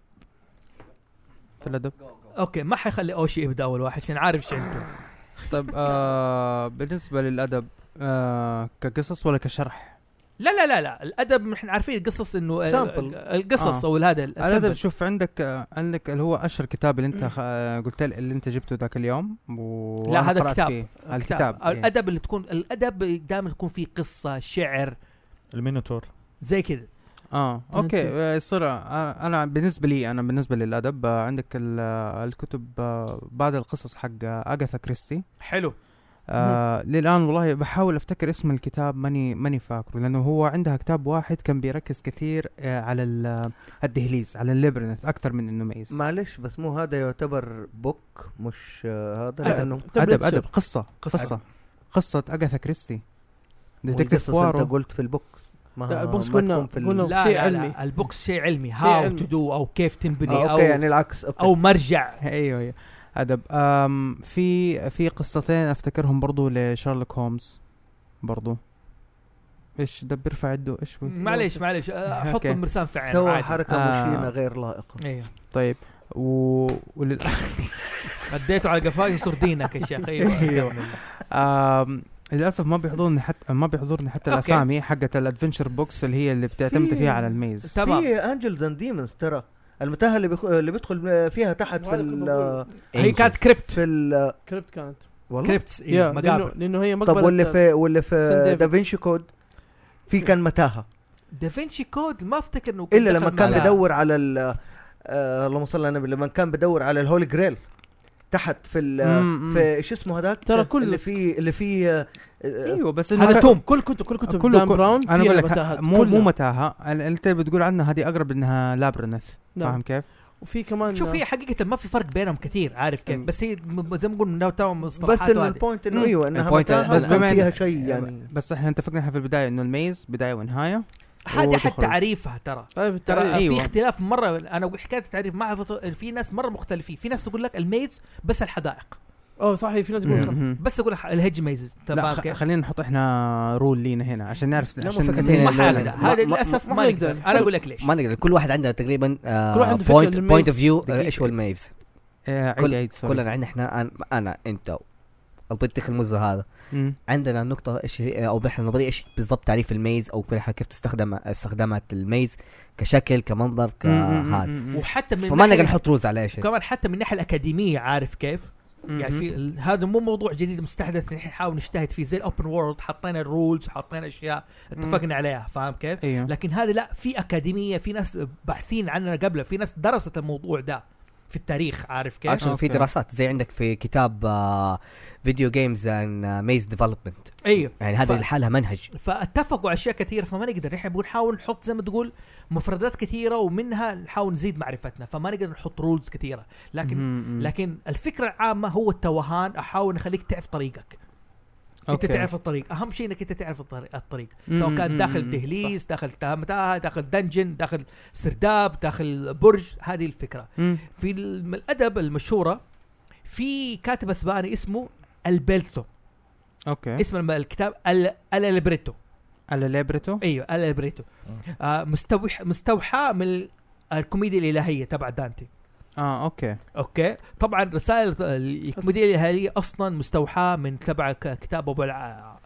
S6: في الادب
S1: اوكي ما حيخلي اوشي يبدا اول واحد عشان عارف شو انت
S6: طيب آه بالنسبه للادب آه كقصص ولا كشرح؟
S1: لا لا لا لا الادب احنا عارفين القصص انه ال-
S4: Sample.
S1: القصص
S6: آه.
S1: او هذا
S6: الادب
S1: السمبل.
S6: شوف عندك آه عندك اللي هو اشهر كتاب اللي انت خ... آه، قلت لي اللي انت جبته ذاك اليوم و...
S1: لا،
S6: وأنا
S1: هذا
S6: قرأت
S1: كتاب.
S6: فيه. الكتاب
S1: أو الادب اللي تكون الادب دائما يكون فيه قصه شعر
S5: المينوتور
S1: زي كذا
S6: اه اوكي آه، يصير آه، انا بالنسبه لي انا بالنسبه للادب آه، عندك ال- آه، الكتب آه، بعض القصص حق آه، اغاثا كريستي
S1: حلو
S6: آه للان والله بحاول افتكر اسم الكتاب ماني ماني فاكره لانه هو عندها كتاب واحد كان بيركز كثير آه على ال- الدهليز على الليبرنث اكثر من انه ميز
S4: معلش بس مو هذا يعتبر بوك مش آه، هذا
S2: أدب.
S4: لانه
S6: ادب
S2: تبلتشر.
S6: ادب قصه
S1: قصة.
S6: قصه قصه اغاثا كريستي
S4: والقصص
S6: ديتكتيف
S4: انت
S6: بوارو
S4: قلت في البوك ما
S2: لا، البوكس
S4: ما
S2: قلنا-
S4: تكون في ال- آه،
S2: قلنا-
S1: لا
S2: شيء
S1: لا
S2: علمي.
S1: لا البوكس شيء علمي
S2: شيء
S1: هاو
S2: علمي.
S1: تو دو او كيف تنبني
S4: آه،
S1: او
S4: اوكي يعني العكس اوكي
S1: او مرجع
S6: ايوه ايوه ادب آم في في قصتين افتكرهم برضو لشارلوك هومز برضو ايش ده بيرفع يده ايش بي-
S1: معليش معليش آه،
S6: أوكي.
S1: حط المرسام في عينه
S4: سوى
S1: عادي.
S4: حركه
S6: آه.
S4: مشينه غير لائقه
S1: ايوه
S6: طيب و... ولل...
S1: اديته على قفاي يصير دينك يا شيخ ايوه
S6: أيوة. آم، للاسف ما بيحضرني حتى ما بيحضرني حتى
S1: أوكي.
S6: الاسامي حقت الادفنشر بوكس اللي هي اللي بتعتمد
S4: في-
S6: فيها على الميز
S1: تمام.
S4: في انجلز اند ديمونز ترى المتاهه اللي بيخ... اللي بيدخل فيها تحت في
S2: وهذا كنت
S4: ال
S2: بقول.
S1: هي كانت كريبت
S4: في ال
S2: كريبت كانت
S4: والله
S1: كريبتس
S2: يا
S1: إيه،
S2: لانه
S1: مقابر
S2: لانه هي مقبره
S4: طب واللي في واللي
S2: سان
S4: في
S2: ديفيد.
S4: دافنشي كود في كان متاهه
S1: دافنشي كود ما افتكر انه
S4: الا لما كان
S1: دخل مع-
S4: بدور على ال آه اللهم صل على النبي لما كان بدور على الهولي جريل تحت في ال
S6: مم، مم.
S4: في شو اسمه هذاك
S2: ترى كل-
S4: اللي فيه اللي فيه آه، آه،
S6: ايوه بس
S1: هذا توم
S2: كل كتب كل كتب
S6: كله-
S2: دان
S6: كله-
S2: براون
S6: انا
S2: فيها
S6: بقول لك
S2: متاهات،
S6: ه- مو مو
S2: كلها.
S6: متاهه ال- انت بتقول عنها هذه اقرب انها لابرنث
S2: نعم.
S6: فاهم كيف؟
S2: وفي كمان
S1: شوف هي حقيقة ما في فرق بينهم كثير عارف كيف
S6: مم.
S1: بس هي م- زي ما نقول تو
S4: بس
S1: مصطلحات وهذه.
S4: البوينت انه ايوه انها
S6: البوينت-
S4: متاهه بس
S6: بس أيوة. بما إن-
S4: فيها شيء يعني
S6: بس احنا اتفقنا إحنا في البدايه انه الميز بدايه ونهايه
S1: هذا حتى
S6: ودخول.
S1: تعريفها ترى
S2: طيب
S1: ترى إيه؟
S2: التعريف
S3: إيه،
S6: أيوة.
S1: في اختلاف مره انا حكايه التعريف ما اعرف في ناس مره مختلفين في ناس تقول لك الميز بس الحدائق
S2: اوه صح هي آه، في ناس تقول كده.
S6: مهم.
S1: بس تقول لك الهج ميزز
S6: لا
S1: تمام
S6: خ-
S1: كيف؟
S6: خلينا نحط احنا رول لينا هنا عشان نعرف
S3: لا،
S6: عشان
S3: مفكتين.
S1: ما
S3: لا، لا،
S1: حنقدر
S3: لا.
S1: هذا
S3: ما- ما-
S1: للاسف
S2: ما
S1: ما
S2: نقدر.
S1: نقدر انا اقول لك ليش
S3: ما نقدر كل واحد آه، عنده تقريبا
S2: كل واحد عنده فكرة
S3: بوينت
S2: للميز.
S3: بوينت اوف فيو
S6: دقيقة.
S3: ايش هو الميز
S6: آه، عيد
S3: كل-
S6: عيد سوري.
S3: كلنا عندنا احنا أنا- انا انت البطيخ المزه هذا
S6: مم.
S3: عندنا النقطة ايش هي- او احنا نظرية ايش بالضبط تعريف الميز او كل حاجة كيف تستخدم استخدامات الميز كشكل كمنظر
S6: مم، يعني
S3: كهذا
S6: مم، مم.
S1: وحتى من
S3: فما نقدر
S1: الناحية-
S3: نحط رولز على ايش
S1: وكمان حتى من الناحيه الاكاديميه عارف كيف؟ يعني في ال- هذا مو موضوع جديد مستحدث نحن نحاول نجتهد فيه زي الاوبن وورلد حطينا الرولز وحطينا اشياء اتفقنا عليها فاهم كيف؟
S6: ايوه
S1: لكن هذا لا في اكاديميه في ناس باحثين عنها قبله في ناس درست الموضوع ده في التاريخ عارف كيف؟
S3: اكشن في
S6: أوكي.
S3: دراسات زي عندك في كتاب آه، فيديو جيمز ان ميز ديفلوبمنت
S1: ايوه
S3: آه، يعني
S1: ف-
S3: هذا لحالها منهج
S1: فاتفقوا على اشياء كثيره فما نقدر احنا بنحاول نحط زي ما تقول مفردات كثيره ومنها نحاول نزيد معرفتنا فما نقدر نحط رولز كثيره لكن
S6: مم، مم.
S1: لكن الفكره العامه هو التوهان احاول اخليك تعرف طريقك انت
S6: أوكي.
S1: تعرف الطريق اهم شيء انك انت تعرف الطريق, الطريق.
S6: مم،
S1: سواء كان
S6: مم،
S1: داخل
S6: مم،
S1: دهليز داخل متاهه داخل دنجن داخل سرداب داخل برج هذه الفكره
S6: مم.
S1: في الم- الادب المشهوره في كاتب اسباني اسمه البيلتو
S6: اوكي
S1: اسم الم- الكتاب ال- الالبريتو
S6: على ليبرتو
S1: ايوه الالبريتو آه مستوح مستوحى من الكوميديا الالهيه تبع دانتي
S6: اه اوكي
S1: اوكي طبعا رسائل الكوميديا الالهيه اصلا مستوحاه من تبع ك- كتاب ابو الع...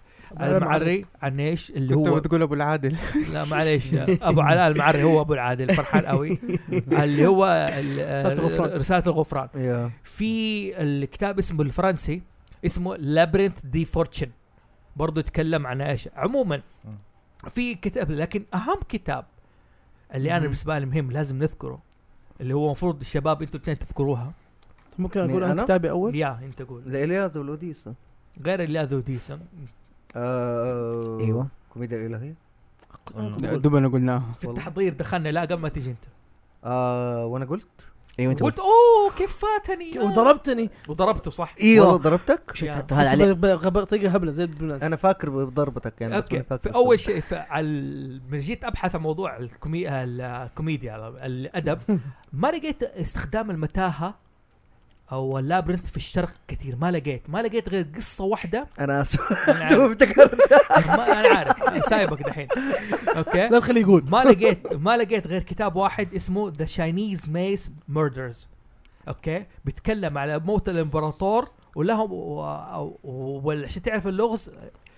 S1: المعري عن ايش اللي
S6: كنت
S1: هو
S6: بتقول ابو العادل
S1: لا معليش ابو علاء المعري هو ابو العادل فرحان قوي اللي هو ال-
S2: رسالة الغفران.
S1: رساله الغفران
S4: يا
S1: في الكتاب اسمه الفرنسي اسمه لابرنث دي فورتشن برضو يتكلم عن ايش عموما في كتاب لكن اهم كتاب اللي انا
S6: مم.
S1: بالنسبه لي مهم لازم نذكره اللي هو المفروض الشباب انتوا الاثنين تذكروها
S2: ممكن
S4: مين
S2: اقول انا
S4: أنا؟
S2: كتابي اول
S1: يا انت قول
S4: الالياذ والوديسة
S1: غير اللي ذو ديسم
S4: آه
S3: ايوه
S4: كوميديا الالهيه
S5: آه،
S6: دوبنا قلناها
S1: في
S4: والله.
S1: التحضير دخلنا لا قبل ما تجي انت
S4: آه وانا قلت
S3: ايوه
S6: أيوة،
S3: انت
S1: قلت اوه كيف فاتني يا.
S2: وضربتني
S1: وضربته صح
S4: والله
S3: ايوه
S4: ضربتك
S1: يا.
S3: شفت
S2: بس
S3: هذا عليه
S2: بغ- بغ- بطريقه هبله زي البنات
S4: انا فاكر بضربتك يعني بس
S1: اوكي
S4: ماني فاكر
S1: في اول شيء ف- على لما جيت ابحث عن موضوع الكومي... الكوميديا الادب ما لقيت استخدام المتاهه او اللابرنث في الشرق كثير ما لقيت ما لقيت غير قصه واحده
S4: انا اسف
S1: انا عارف,
S4: دوب افتكرت.
S1: ما أنا عارف. إيه، سايبك دحين اوكي
S2: لا تخليه يقول
S1: ما لقيت ما لقيت غير كتاب واحد اسمه ذا شاينيز ميز ميردرز اوكي بيتكلم على موت الامبراطور ولهم و- و- وعشان تعرف اللغز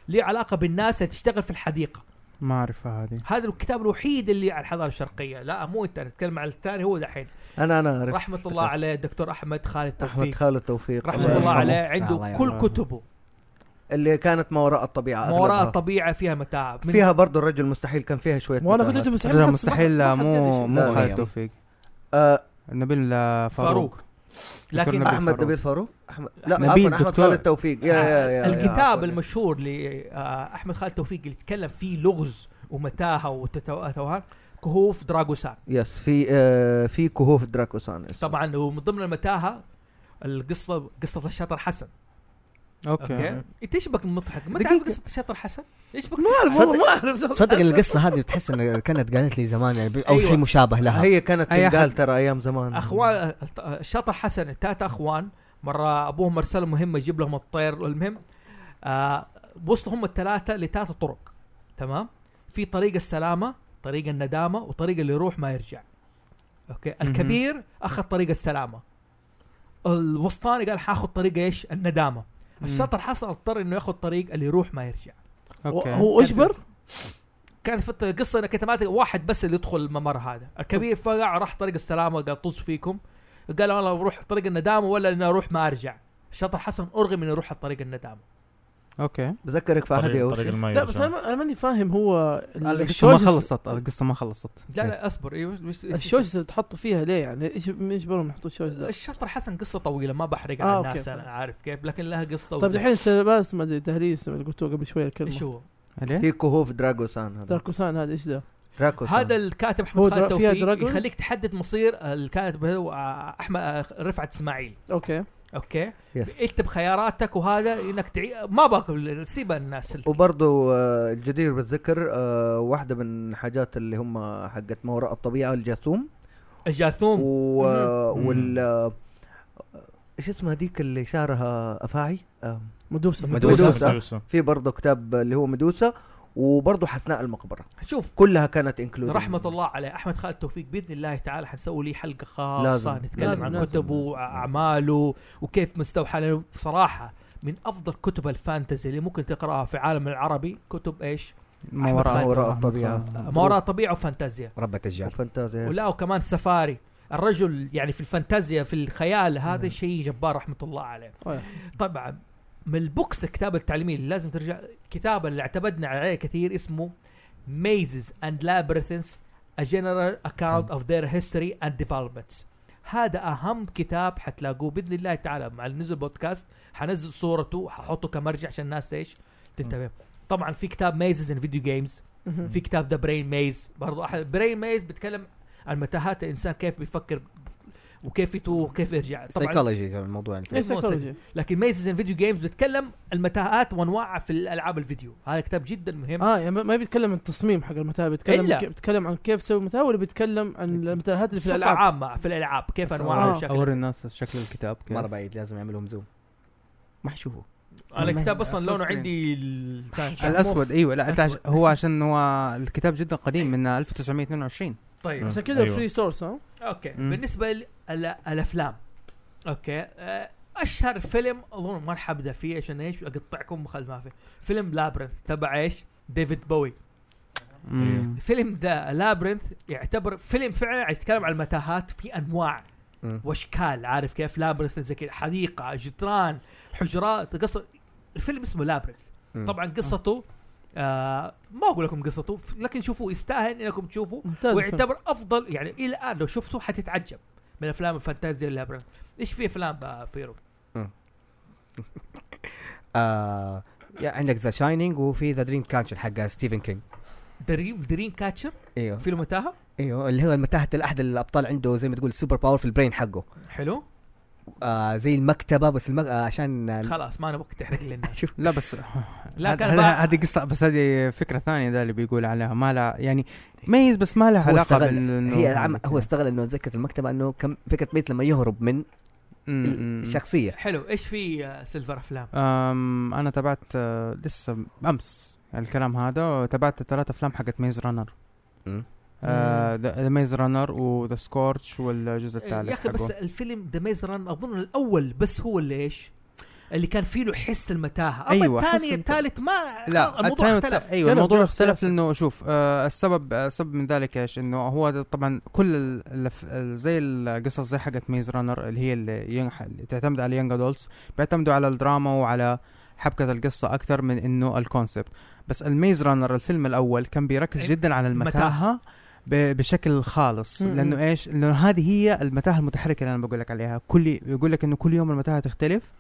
S1: ليه علاقه بالناس اللي تشتغل في الحديقه
S6: ما اعرفها هذه
S1: هذا الكتاب الوحيد اللي على الحضاره الشرقيه لا مو انت نتكلم عن الثاني هو دحين
S4: انا انا عرفت
S1: رحمه الله عليه الدكتور احمد خالد
S4: احمد
S1: توفيق
S4: خالد توفيق
S1: رحمه
S4: الله
S1: الله
S4: يرحمه.
S1: عليه
S3: الله
S1: عنده
S3: يرحمه.
S1: كل كتبه
S4: اللي كانت ما وراء الطبيعه
S1: ما وراء
S4: أغلبها.
S1: الطبيعه فيها متاعب من-
S4: فيها برضه الرجل مستحيل كان فيها شويه
S2: وانا كنت
S4: متاهات.
S2: اجيب
S6: لا مستحيل مو مو
S4: لا،
S6: خالد
S3: لا.
S6: توفيق
S4: آه
S6: نبيل آه، يعني. فاروق
S1: فاروق لكن
S6: دكتور نبيل
S4: احمد
S6: فاروق.
S4: نبيل فاروق احمد لا
S6: نبيل
S4: عفوا احمد
S6: دكتور.
S4: خالد توفيق يا يا يا
S1: الكتاب
S4: المشهور
S1: المشهور لاحمد خالد توفيق اللي يتكلم فيه لغز ومتاهه وتوهان كهوف دراغوسان
S4: يس في آه في كهوف دراكوسان
S1: طبعا ومن ضمن المتاهه القصه قصه الشاطر حسن
S6: اوكي
S1: اوكي انت ايش بك مضحك ما تعرف
S3: دقيقة.
S1: قصه الشاطر حسن ايش بك
S2: ما اعرف والله ما اعرف
S3: تصدق القصه هذه بتحس ان كانت قالت لي زمان يعني او
S1: أيوة.
S3: شيء مشابه لها
S4: هي كانت
S6: أي أحد.
S4: تنقال ترى ايام زمان
S1: اخوان الشاطر حسن التلاتة اخوان مره ابوهم ارسلوا مهمه يجيب لهم الطير المهم آه وصلوا هم الثلاثه لثلاثه طرق تمام في طريق السلامه طريق الندامه وطريق اللي يروح ما يرجع اوكي
S6: مهم.
S1: الكبير اخذ طريق السلامه الوسطاني قال حاخذ طريق ايش الندامه
S6: مم.
S1: الشاطر حسن اضطر انه ياخذ طريق اللي يروح ما يرجع
S6: اوكي
S2: هو اجبر
S1: كانت في القصه انك انت ما تق- واحد بس اللي يدخل الممر هذا الكبير فقع راح طريق السلامه قال طز فيكم قال والله بروح طريق الندامه ولا اني اروح ما ارجع الشاطر حسن ارغم اني اروح على طريق الندامه
S6: اوكي
S4: بذكرك في احد
S5: طريق,
S4: يا
S5: طريق الماء
S2: لا بس انا ما- انا ماني فاهم هو ال-
S6: القصه ما
S2: الشوجس-
S6: خلصت القصه ما خلصت
S1: لا لا اصبر
S2: إيه،
S1: ايوه وش-
S2: الشوجس اللي تحطوا فيها ليه يعني ايش مين يجبرهم يحطوا الشوجس ذا
S1: الشاطر حسن قصه طويله ما بحرق على
S2: آه، أوكي،
S1: الناس
S2: فهمت.
S1: انا عارف كيف لكن لها قصه
S2: طيب
S1: وده.
S2: الحين سيلاباس ما ادري تهليس اللي قلتوه قبل شوي
S1: ايش
S2: الكلمه
S1: هو؟
S6: ليه؟
S4: في كهوف دراكوسان هذا
S2: داركوسان هذا ايش ذا؟
S4: دراكوسان
S1: هذا الكاتب
S2: هو
S1: احمد خالد
S2: درا- فيها
S1: توفيق
S2: دراجونز؟
S1: يخليك تحدد مصير آه، الكاتب هو احمد رفعت اسماعيل
S2: اوكي
S1: اوكي
S4: يس
S1: اكتب خياراتك وهذا انك تعي... ما باكل سيب الناس
S4: وبرضه آه، الجدير بالذكر آه، واحدة من حاجات اللي هم حقت ما وراء الطبيعة الجاثوم
S1: الجاثوم
S4: و...
S1: أمم.
S6: أمم.
S5: مم.
S4: وال آه، ايش اسمها هذيك اللي شعرها افاعي آه،
S2: مدوسه
S4: مدوسة.
S5: مدوسة.
S4: في برضه كتاب اللي هو ميدوسا وبرضه حسناء المقبرة
S1: شوف
S4: كلها كانت انكلود
S1: رحمة الله عليه احمد خالد توفيق باذن الله تعالى حنسوي ليه حلقة خاصة
S4: لازم.
S1: نتكلم
S2: لازم،
S1: عن
S2: لازم،
S1: كتبه
S4: لازم.
S1: واعماله وكيف مستوحى لأنه بصراحة من افضل كتب الفانتزي اللي ممكن تقراها في العالم العربي كتب ايش؟
S6: ما
S1: أحمد
S6: وراء
S1: خالد.
S4: وراء الطبيعة.
S1: ما وراء طبيعة وفانتازيا
S3: ربة الجار
S4: وفانتازيا
S1: ولا وكمان سفاري الرجل يعني في الفانتازيا في الخيال هذا شيء جبار رحمة الله عليه
S2: أيوة.
S1: طبعا من البوكس الكتاب التعليمي اللي لازم ترجع كتاب اللي اعتمدنا عليه كثير اسمه Mazes and Labyrinths A General Account of Their History and Developments هذا اهم كتاب حتلاقوه باذن الله تعالى مع نزل بودكاست حنزل صورته ححطه كمرجع عشان الناس ايش تنتبه طبعا في كتاب ميزز ان فيديو جيمز في كتاب ذا برين ميز برضو احد برين ميز بيتكلم عن متاهات الانسان كيف بيفكر وكيف يتوه وكيف يرجع طبعا
S3: سايكولوجي كان الموضوع يعني.
S1: إيه، مو
S2: psychology.
S1: لكن ميزز ان فيديو جيمز بيتكلم المتاهات وانواعها في الالعاب الفيديو هذا كتاب جدا مهم
S2: اه يعني ما ما بيتكلم عن التصميم حق المتاهه بيتكلم
S1: إلا. إيه.
S2: كي- بيتكلم عن كيف تسوي متاهه ولا بيتكلم عن المتاهات اللي في
S1: بصفة
S2: الالعاب
S1: عامة في الالعاب كيف
S3: بس
S1: انواعها
S2: آه.
S1: وشكلها
S6: اوري الناس شكل الكتاب كيف.
S3: مره بعيد لازم يعملهم زوم ما حيشوفوا
S1: انا
S6: والله
S1: الكتاب اصلا
S6: full
S1: لونه
S6: screen.
S1: عندي ال-
S6: الاسود ايوه لا أنت عش- هو عشان هو الكتاب جدا قديم
S3: أيوة.
S6: من 1922
S1: طيب
S2: عشان كذا
S5: أيوة.
S2: فري سورس ها
S1: اوكي
S6: مم.
S1: بالنسبه للافلام اوكي آه، اشهر فيلم اظن ما راح ابدا فيه عشان ايش اقطعكم خل ما في فيلم لابرنث تبع ايش ديفيد بوي
S6: مم.
S1: فيلم ذا لابرنث يعتبر فيلم فعلا يتكلم عن المتاهات في انواع
S3: مم.
S1: واشكال عارف كيف لابرنث زي كذا حديقه جدران حجرات قصه الفيلم اسمه لابرنث
S3: مم.
S1: طبعا قصته آه ما اقول لكم قصته لكن شوفوا يستاهل انكم تشوفوا
S2: ممتاز الفيلم.
S1: ويعتبر افضل يعني الى الان لو شفته حتتعجب من افلام الفانتازيا اللابرنث ايش في افلام بقى فيرو
S3: آه يا عندك ذا شاينينج وفي ذا دريم كاتشر حق ستيفن كينج
S1: دريم دريم كاتشر
S3: ايوه
S1: في المتاهه
S3: ايوه اللي هو المتاهه احد الابطال عنده زي ما تقول سوبر باور في البرين حقه
S1: حلو
S3: آه زي المكتبه بس المك... آه عشان ال-
S1: خلاص ما نبغاك تحرق للناس
S3: شوف
S6: لا بس
S1: لا
S6: لا
S1: كان
S6: كان
S1: بقى-
S6: هذه قصه بس هذه فكره ثانيه ده اللي بيقول عليها ما لها يعني ميز بس ما لها
S3: هو
S6: علاقه
S3: استغل-
S6: بال
S3: هي عم... هو استغل انه ذكرت المكتبه انه كم فكره ميت لما يهرب من
S6: الشخص
S3: الشخصيه
S1: حلو ايش في آه، سيلفر افلام
S6: أم انا تابعت آه، لسه امس الكلام هذا تابعت ثلاث افلام حقت آه، ميز رانر
S3: مم.
S6: ذا ميز رانر وذا سكورتش والجزء
S1: آه،
S6: الثالث
S1: يا اخي بس
S6: حقه.
S1: الفيلم ذا ميز ران اظن الاول بس هو اللي ايش اللي كان فيه له حس المتاهه اما
S6: أيوة، حس
S1: الثاني
S6: المت-
S1: الثالث ما
S6: لا
S1: الموضوع
S6: الثاني
S1: اختلف
S6: والت- ايوه
S2: كلام
S6: الموضوع
S2: جرس
S6: اختلف
S2: جرس.
S6: لانه شوف آه السبب آه، السبب من ذلك ايش انه هو ده طبعا كل ال- الف- ال- زي القصص زي حقت ميز رانر اللي هي اللي, ينح... اللي تعتمد على يونج ادولتس بيعتمدوا على الدراما وعلى حبكة القصة أكثر من إنه الكونسبت بس الميز رانر الفيلم الأول كان بيركز
S1: إيه،
S6: جدا على
S1: متاهة.
S6: المتاهة ب- بشكل خالص
S2: مم.
S6: لأنه إيش؟ لأنه هذه هي المتاهة المتحركة اللي أنا بقول لك عليها كل يقول لك إنه كل يوم المتاهة تختلف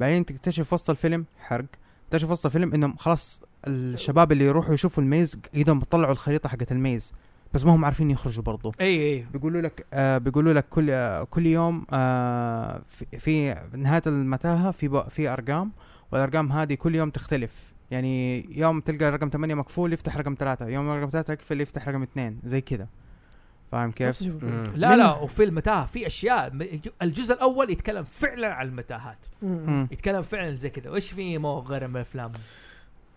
S6: بعدين تكتشف وسط الفيلم حرق تكتشف وسط الفيلم انهم خلاص الشباب اللي يروحوا يشوفوا الميز ايدهم طلعوا الخريطه حقت الميز بس ما هم عارفين يخرجوا برضو
S1: اي اي
S6: بيقولوا لك آه بيقولوا لك كل آه كل يوم آه في, في نهايه المتاهه في بق- في ارقام والارقام هذه كل يوم تختلف يعني يوم تلقى رقم 8 مقفول يفتح رقم 3 يوم رقم 3 يقفل يفتح رقم 2 زي كذا فاهم كيف؟
S2: نفس الشيء.
S1: لا
S6: من-
S1: لا وفي المتاهه في اشياء الجزء الاول يتكلم فعلا عن المتاهات
S6: مم.
S1: يتكلم فعلا زي كذا وايش في مو غير من الافلام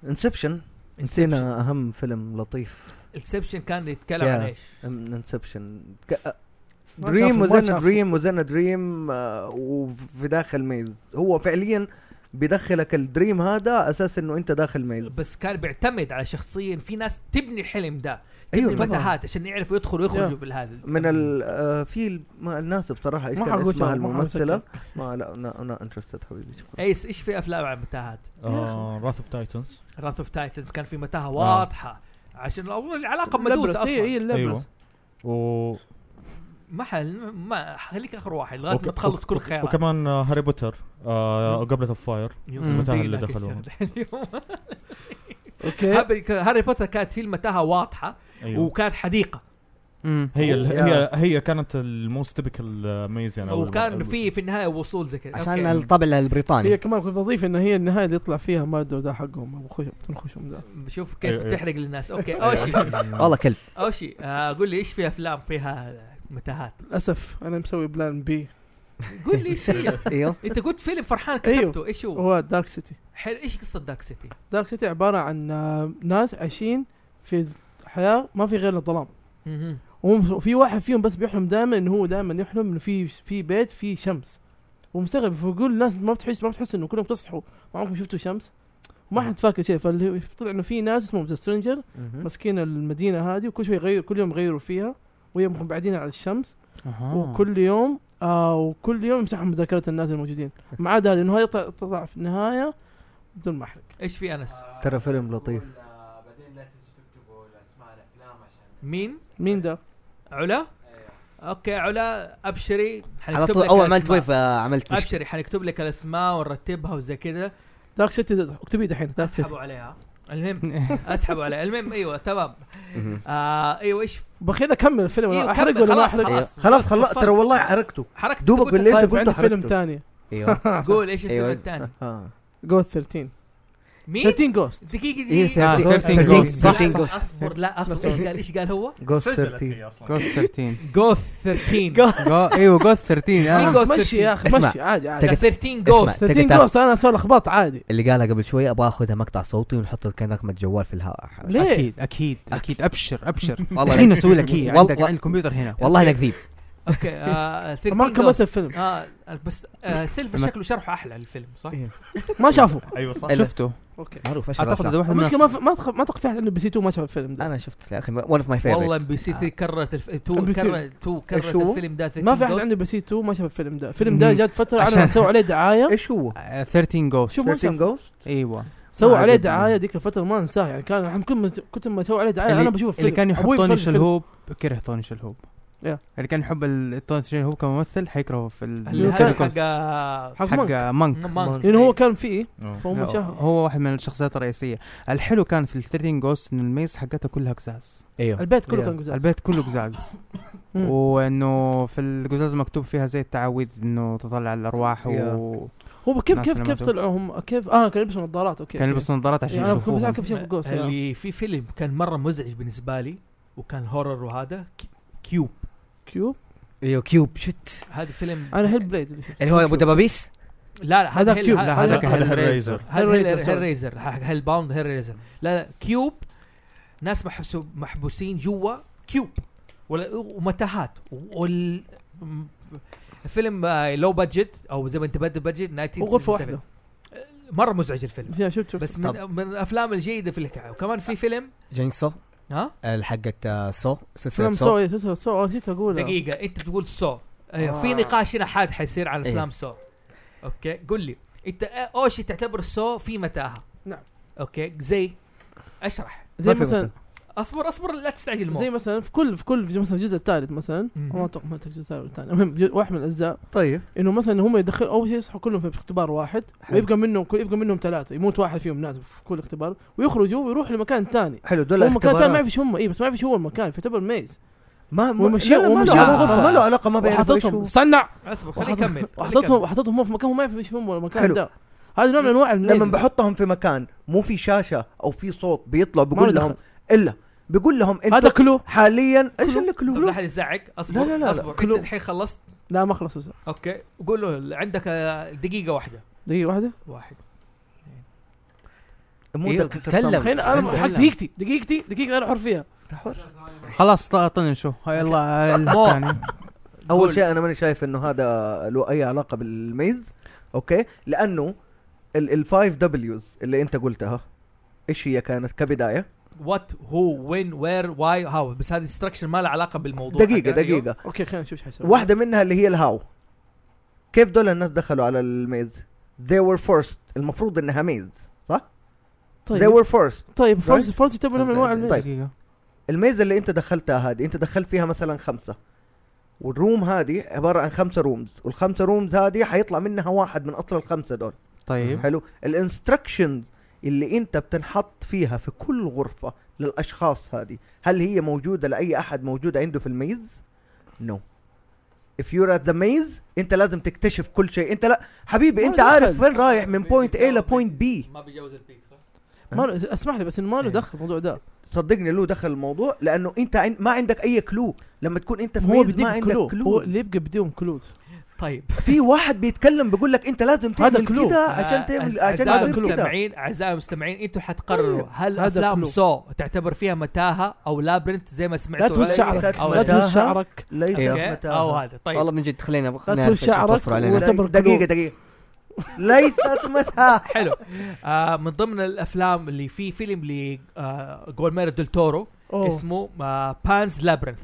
S4: انسبشن نسينا اهم فيلم لطيف
S1: انسبشن كان يتكلم
S4: Yeah.
S1: عن ايش
S4: انسبشن
S2: ما
S4: دريم
S2: شافه- ما
S4: وزن
S2: شافه.
S4: دريم وزن دريم آه، وفي داخل ميز هو فعليا بيدخلك الدريم هذا اساس انه انت داخل ميز
S1: بس كان بيعتمد على شخصيا في ناس تبني الحلم ده تبني
S4: ايوه طبعا
S1: المتاهات عشان يعرفوا يدخلوا ويخرجوا في الهذا
S4: من ال آه، في ال- ما- الناس بصراحه ايش
S2: ما
S4: كان
S2: حقول شيء،
S4: اسمها
S2: ما حقول إيه، شيء.
S4: الممثله ما لا انا انا انترستد حبيبي شكراً.
S1: ايس ايش في افلام عن المتاهات؟
S5: راث اوف تايتنز
S1: راث اوف تايتنز كان في متاهه واضحه عشان اظن العلاقه
S2: لبرس،
S1: مدوسه
S2: هي
S1: اصلا
S2: هي
S6: أيوه.
S5: ايوه
S2: اللبرس
S5: و...
S1: ما حل ما خليك اخر واحد لغايه
S5: وك-
S1: ما تخلص
S5: وك-
S1: كل
S5: وك-
S1: خيارات
S5: وكمان آه، هاري بوتر آه قبلة الفاير المتاهة اللي دخلوها.
S2: اوكي
S1: هاري بوتر كانت في المتاهه واضحه
S5: ايوه
S1: وكانت حديقه
S6: مم.
S5: هي ال-
S4: يا.
S5: هي هي كانت الموست تيبكال ميز يعني أو
S1: وكان
S5: الم-
S1: في في النهايه وصول زي كذا
S3: عشان
S1: أوكي.
S3: الطابع
S2: هي
S6: يعني.
S3: البريطاني
S2: كمان كنت بضيف انه هي النهايه اللي يطلع فيها ماردو ده حقهم ابو خشم بدون خشم ده
S1: شوف كيف
S5: أيوه، أيوه.
S1: بتحرق للناس اوكي اوشي
S3: والله كلب
S1: اوشي آه، قول لي ايش في افلام فيها متاهات
S2: للاسف انا مسوي بلان بي
S1: قول لي ايش هي
S3: ايوه
S1: انت قلت فيلم فرحان
S2: أيوه.
S1: كتبته ايش هو
S2: هو دارك سيتي
S1: حلو ايش قصه داك سيتي
S2: دارك سيتي عباره عن آه، ناس عايشين في حياه ما في غير الظلام
S1: مهم.
S2: وهم- وفي واحد فيهم بس بيحلم دائما انه هو دائما يحلم انه في في بيت فيه شمس ومستغرب فيقول الناس ما بتحس ما بتحس انه كلهم تصحوا ما عمركم شفتوا شمس وما حد فاكر شيء فاللي- فطلع انه في ناس اسمهم ذا سترينجر
S4: مهم.
S2: ماسكين المدينه هذه وكل شوي يغير كل يوم يغيروا فيها ويوم بعدين على الشمس
S6: أها.
S2: وكل يوم آه وكل يوم يمسحوا مذاكره الناس الموجودين ما عدا هذا انه هذا يطلع- طلع في النهايه بدون ما احرق
S1: ايش في انس
S4: ترى فيلم لطيف.
S7: بقول، آه،
S3: طيب.
S7: بعدين لا تنسوا تكتبوا اسماء الافلام عشان
S1: مين
S2: مين ده؟
S1: علا اوكي علا ابشري
S3: على
S6: يعني
S1: حنكتب
S3: طول
S1: لك
S3: اول ما انت
S1: الأسماء.
S3: ويف آه، عملت مشكلة.
S1: ابشري حنكتب لك الاسماء ونرتبها وزي كذا
S2: دارك سيتي اكتبيه دحين دارك سيتي
S1: اسحبوا عليها المهم اسحبوا عليها المهم ايوه تمام
S3: مهم.
S1: آه ايوه ايش
S2: بخيل اكمل الفيلم
S1: إيوه،
S2: أنا احرق
S1: كمل،
S2: ولا ما
S1: خلاص،
S2: احرق
S1: خلاص.
S4: خلاص خلاص
S1: فصل.
S4: ترى والله حركته
S1: حركتك
S4: دوبك
S1: قلت-
S4: اللي انت
S2: طيب
S4: قلته
S2: عندي فيلم
S4: حركته
S2: ثاني
S3: ايوه
S1: قول ايش
S3: أيوه.
S1: الفيلم
S2: يعني.
S1: الثاني
S4: ها.
S2: جوث 13
S1: مين
S2: 13 جوست
S1: دقيقه
S3: إيه،
S1: دقيقه
S3: 13
S6: آه، 13
S3: جوست.
S1: لا،
S3: 13
S1: أصبر-
S3: جوست.
S1: اصبر لا اصبر ايش قال ايش قال هو؟
S4: جوست
S7: سجلت
S4: 13
S7: هي اصلا
S6: جوست 13
S1: جوث 13
S6: جو ايوه جوست
S3: إيه.
S6: 13
S1: مين
S6: انا
S1: قال؟ Ghost
S2: مشي يا اخي
S3: اسمع.
S2: مشي عادي عادي
S3: تقف-
S1: 13
S3: اسمع،
S1: جوست
S2: 13
S3: تقطع.
S2: جوست انا اسوي لخبط عادي
S3: اللي قالها قبل شوي ابغى اخذها مقطع صوتي ونحط كان رقم الجوال في الهواء
S2: ليه؟
S6: اكيد اكيد اكيد ابشر ابشر
S3: والله
S6: الحين اسوي لك هي
S3: والله-
S6: عندك عند الكمبيوتر هنا
S3: والله انا كذيب
S1: اوكي آه، 13
S2: ما كملت
S1: Ghost.
S2: الفيلم
S1: اه بس آه سيلفر شكله شرحه احلى للفيلم صح؟
S2: ما شافه
S7: ايوه صح
S3: إلا-
S6: شفته
S2: اوكي
S3: معروف اشهر
S6: اعتقد هذا
S3: أفلام.
S6: واحد من
S2: المشكله ما ف... ما تخ... ما تقف فيها انه بي سي 2 ما شاف الفيلم ده
S3: انا شفت يا اخي ون اوف ماي
S1: والله ام
S3: فيفرت
S1: بي سي
S2: آه.
S1: 3 كررت الف... تو
S2: NBC.
S1: كررت تو كررت
S4: إيش هو؟
S1: الفيلم ده 13
S2: ما في احد
S1: Ghost.
S2: عنده بي سي 2 ما شاف الفيلم ده الفيلم ده
S6: مم.
S2: جت فتره
S6: عشان-
S2: على سووا عليه دعايه
S4: ايش هو؟
S6: آه، 13 جوست
S2: شو ما
S4: 13 جوست
S6: ايوه
S2: سووا
S4: ما
S2: عليه
S4: عجبني.
S2: دعايه ذيك الفتره ما انساه يعني كان الحين كل ما كنت ما اسوي عليه دعايه
S6: اللي-
S2: انا بشوف الفيلم
S6: اللي كان يحب
S2: أبوي
S6: طوني
S2: يتفرج الفيلم.
S6: شلهوب كره طوني شلهوب
S2: يا.
S6: اللي كان يحب ال- طوني شلهوب كممثل حيكرهه في ال-
S1: اللي
S2: كان-
S1: هذا حق إيه.
S2: حق مانك
S6: حق مانك
S1: مانك.
S2: لانه هو كان فيه
S5: آه.
S2: فهم شافوا
S6: هو واحد من الشخصيات الرئيسيه الحلو كان في ال 13 جوست ان الميز حقته كلها قزاز
S3: ايوه
S2: البيت كله
S6: يا.
S2: كان قزاز
S6: البيت كله قزاز
S2: مم.
S6: وانه في القزاز مكتوب فيها زي التعاويذ انه تطلع الارواح و...
S2: هو كيف
S6: ناس
S2: كيف
S6: لما
S2: كيف
S6: تشوف.
S2: طلعوا هم كيف اه كانوا يلبسوا نظارات اوكي
S6: كان
S2: أوكي.
S6: يلبس نظارات عشان
S2: يعني انا كنت
S6: يشوفوهم
S2: متأكد كيف شافوا جوست يعني.
S1: اللي في فيلم كان مره مزعج بالنسبه لي وكان هورر وهذا ك- كيوب
S2: كيوب
S3: ايوه كيوب شت
S1: هذا فيلم
S2: انا هيل بليد اللي شفته.
S3: اللي هو ابو
S2: كيوب.
S3: دبابيس
S1: لا لا
S2: هذا
S1: هيل-
S2: كيوب،
S1: هذا-
S2: لا،
S5: هذا
S2: هذا
S5: كان
S1: هذا-
S5: هيل ريزر
S1: هذا
S2: هيل ريزر،
S1: هيل هيل
S2: سوري.
S1: ريزر حق هيل باوند هيل ريزر لا لا كيوب ناس محبسو- محبوسين جوا كيوب ولا- ومتاهات وال م- فيلم آه، لو بادجت او زي ما انت بدي بادجت
S2: وغرفه واحده
S1: 1977 مره مزعج الفيلم
S2: يا شفت شفت
S1: بس
S3: طب.
S1: من, من الافلام الجيده في الحكايه وكمان في فيلم
S3: جين سو
S1: ها
S3: حقت آه، سو سلسله
S2: فيلم
S3: سو
S2: نعم، سو سو سو نسيت اقول
S1: دقيقه انت تقول سو آه.
S2: آه.
S1: في نقاش هنا حاد حيصير عن
S3: إيه.
S1: افلام سو اوكي قل لي انت آه، اول شيء تعتبر سو في متاهه
S2: نعم.
S1: اوكي زي اشرح
S2: زي
S4: ما في
S2: مثلا
S1: اصبر اصبر لا تستعجل الموضوع
S2: زي مثلا في كل في كل في مثلا الجزء الثالث مثلا
S1: مم.
S2: ما اتوقع ما أدري الجزء الثالث والثاني المهم جزء- واحد من الاجزاء
S4: طيب
S2: انه مثلا هم يدخل اول شيء يصحوا كلهم في اختبار واحد ويبقى منهم كل يبقى منهم ثلاثه يموت واحد فيهم نازل في كل اختبار ويخرجوا ويروحوا لمكان ثاني
S4: حلو دول
S2: هو مكان ثاني ما
S4: اختبارات.
S2: يعرف ايش هم اي بس ما يعرف ايش هو المكان فيعتبر ميز
S4: ما ما
S2: ومشي-
S4: لا، لا، ما
S2: ومشي
S4: له
S2: الغرفة.
S4: علاقه ما له علاقه ما بيعرف ايش
S2: وحطتهم
S4: هو
S2: استنى
S1: اصبر خليني اكمل
S2: وحط-
S1: خليني
S2: وحطتهم
S1: أكمل.
S2: وحطتهم هم في مكان هم ما يعرفوا ايش هم المكان
S4: حلو.
S2: ده هذا نوع من انواع الميز
S4: لما بحطهم في مكان مو في شاشه او في صوت بيطلع بقول لهم الا بقول لهم
S2: هذا
S4: انتوا
S2: كلو
S4: حاليا ايش
S2: كلو.
S1: طب
S4: اللي
S1: لا
S4: كلو
S1: احد يزعق اصبر
S4: لا، لا، لا، لا.
S1: اصبر انت
S2: كله.
S1: الحين خلصت
S2: لا ما خلص بس.
S1: اوكي قول له عندك آه، دقيقه واحده
S2: دقيقه واحده
S1: واحد
S4: مو
S1: إيه،
S4: ده كنت
S3: تكلم.
S4: بسمع.
S2: خلينا انا
S1: عندك
S2: حق
S1: لا.
S2: دقيقتي دقيقتي دقيقه انا حر فيها
S6: خلاص ط- طنشوا يلا الثاني
S4: اول
S1: قول.
S4: شيء انا ماني شايف انه هذا له اي علاقه بالميز اوكي لانه الفايف دبليوز اللي انت قلتها ايش هي كانت كبدايه
S1: وات هو وين وير واي هاو بس هذه استراكشر ما لها علاقه بالموضوع
S4: دقيقه
S1: حقنا. أيوه.
S4: دقيقه
S2: اوكي خلينا نشوف ايش حيصير
S4: واحده منها اللي هي الهاو كيف دول الناس دخلوا على الميز they were forced المفروض انها ميز they
S2: طيب
S4: were forced
S2: طيب فرز فرز يعتبر نوع من انواع الميز
S4: طيب.
S6: دقيقة.
S4: الميزه اللي انت دخلتها هذه انت دخلت فيها مثلا خمسه والروم هذه عباره عن خمسه رومز والخمسه رومز هذه حيطلع منها واحد من اصل الخمسه دول
S6: طيب
S4: حلو الانستركشن اللي انت بتنحط فيها في كل غرفه للاشخاص هذه هل هي موجوده لاي احد موجود عنده في الميز نو If you're at the maze انت لازم تكتشف كل شيء انت لا حبيبي
S2: ما
S4: انت
S2: له
S4: عارف
S2: دخل.
S4: وين رايح من بوينت A لبوينت B
S1: ما بيجاوز البيك صح؟
S2: ما له- اسمح لي بس انه ما له
S4: إيه.
S2: دخل الموضوع ده
S4: صدقني له دخل الموضوع لانه انت عن... ما عندك اي كلو لما تكون انت في
S2: هو
S4: ميز ما
S2: بيديك
S4: عندك
S2: كلو
S4: كلو,
S2: هو اللي يبقى بديهم كلوز
S1: طيب
S4: في واحد بيتكلم بيقول لك انت لازم
S2: هذا
S4: تعمل
S2: كلو.
S4: كده عشان تعمل عشان
S1: اعزائي
S4: تصير إيه، كده
S1: المستمعين اعزائي المستمعين انتم حتقرروا هل
S2: هذا
S1: افلام
S2: كلو.
S1: سو تعتبر فيها متاهه او لابرنت زي ما
S2: لا
S1: سمعتوا
S2: تهز شعرك
S1: أو
S2: لا تهز
S4: متاهة.
S2: شعرك
S4: ليس
S1: أوكي؟
S4: متاهة.
S1: او هذا طيب
S3: والله من جد خلينا
S2: لا
S3: خلينا
S2: تهز شعرك
S3: توفر علينا
S2: وت- تعتبر
S4: دقيقة
S2: كلو.
S4: دقيقة ليست متاهة
S1: حلو آه من ضمن الافلام اللي في فيلم ل آه جولمير ديل تورو
S2: اوه
S1: اسمه آه بانز لابرنث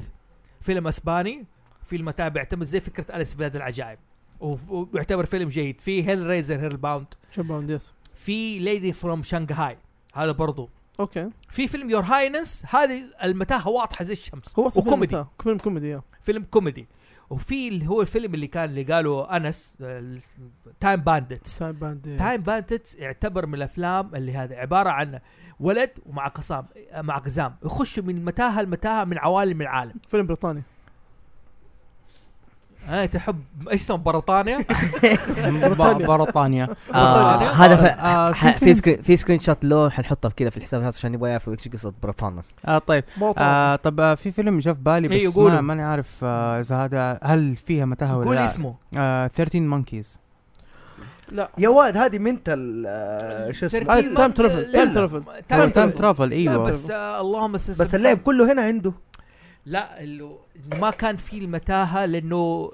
S1: فيلم اسباني فيلم متاع بيعتمد زي فكره اليس في بلاد العجائب وف- ويعتبر فيلم جيد في هيل ريزر هيل باوند
S2: شباب يس
S1: في ليدي فروم شنغهاي هذا برضو
S2: اوكي
S1: في فيلم يور هاينس هذه المتاهه واضحه زي الشمس
S2: هو أصلاً فيلم
S1: وكوميدي.
S2: متاع- فيلم كوميدي اه
S1: فيلم كوميدي وفي اللي هو الفيلم اللي كان اللي قالوا انس تايم باندت
S2: تايم باند
S1: تايم باندت يعتبر من الافلام اللي هذا عباره عن ولد ومع قصام مع قزام يخشوا من متاهه لمتاهه من عوالم العالم
S2: فيلم بريطاني
S1: انا آه، تحب ايش اسمه بريطانيا
S2: بريطانيا.
S6: بريطانيا
S3: آه هذا ف...
S6: آه،
S3: ح- في
S6: فيلم-
S3: سكرين في سكرين شوت له حنحطه كذا في الحساب الناس عشان يبغى يعرفوا ايش قصه بريطانيا
S6: اه طيب آه طب آه في فيلم جاء في بالي
S1: إيه،
S6: بس
S1: قولوا.
S6: ما- ماني عارف آه، اذا هذا هل فيها متاهه ولا
S1: قول
S6: لا
S1: اسمه
S6: آه 13 مونكيز
S2: لا
S4: يا واد هذه منتل آه، شو اسمه
S2: هذا تايم ترافل تايم
S4: لا.
S2: ترافل
S6: تايم
S1: تايم ترافل
S6: ترافل
S1: لا،
S6: ايوه
S1: بس آه اللهم سلسل
S4: بس اللعب كله هنا عنده
S1: لا اللي ما كان في المتاهه لانه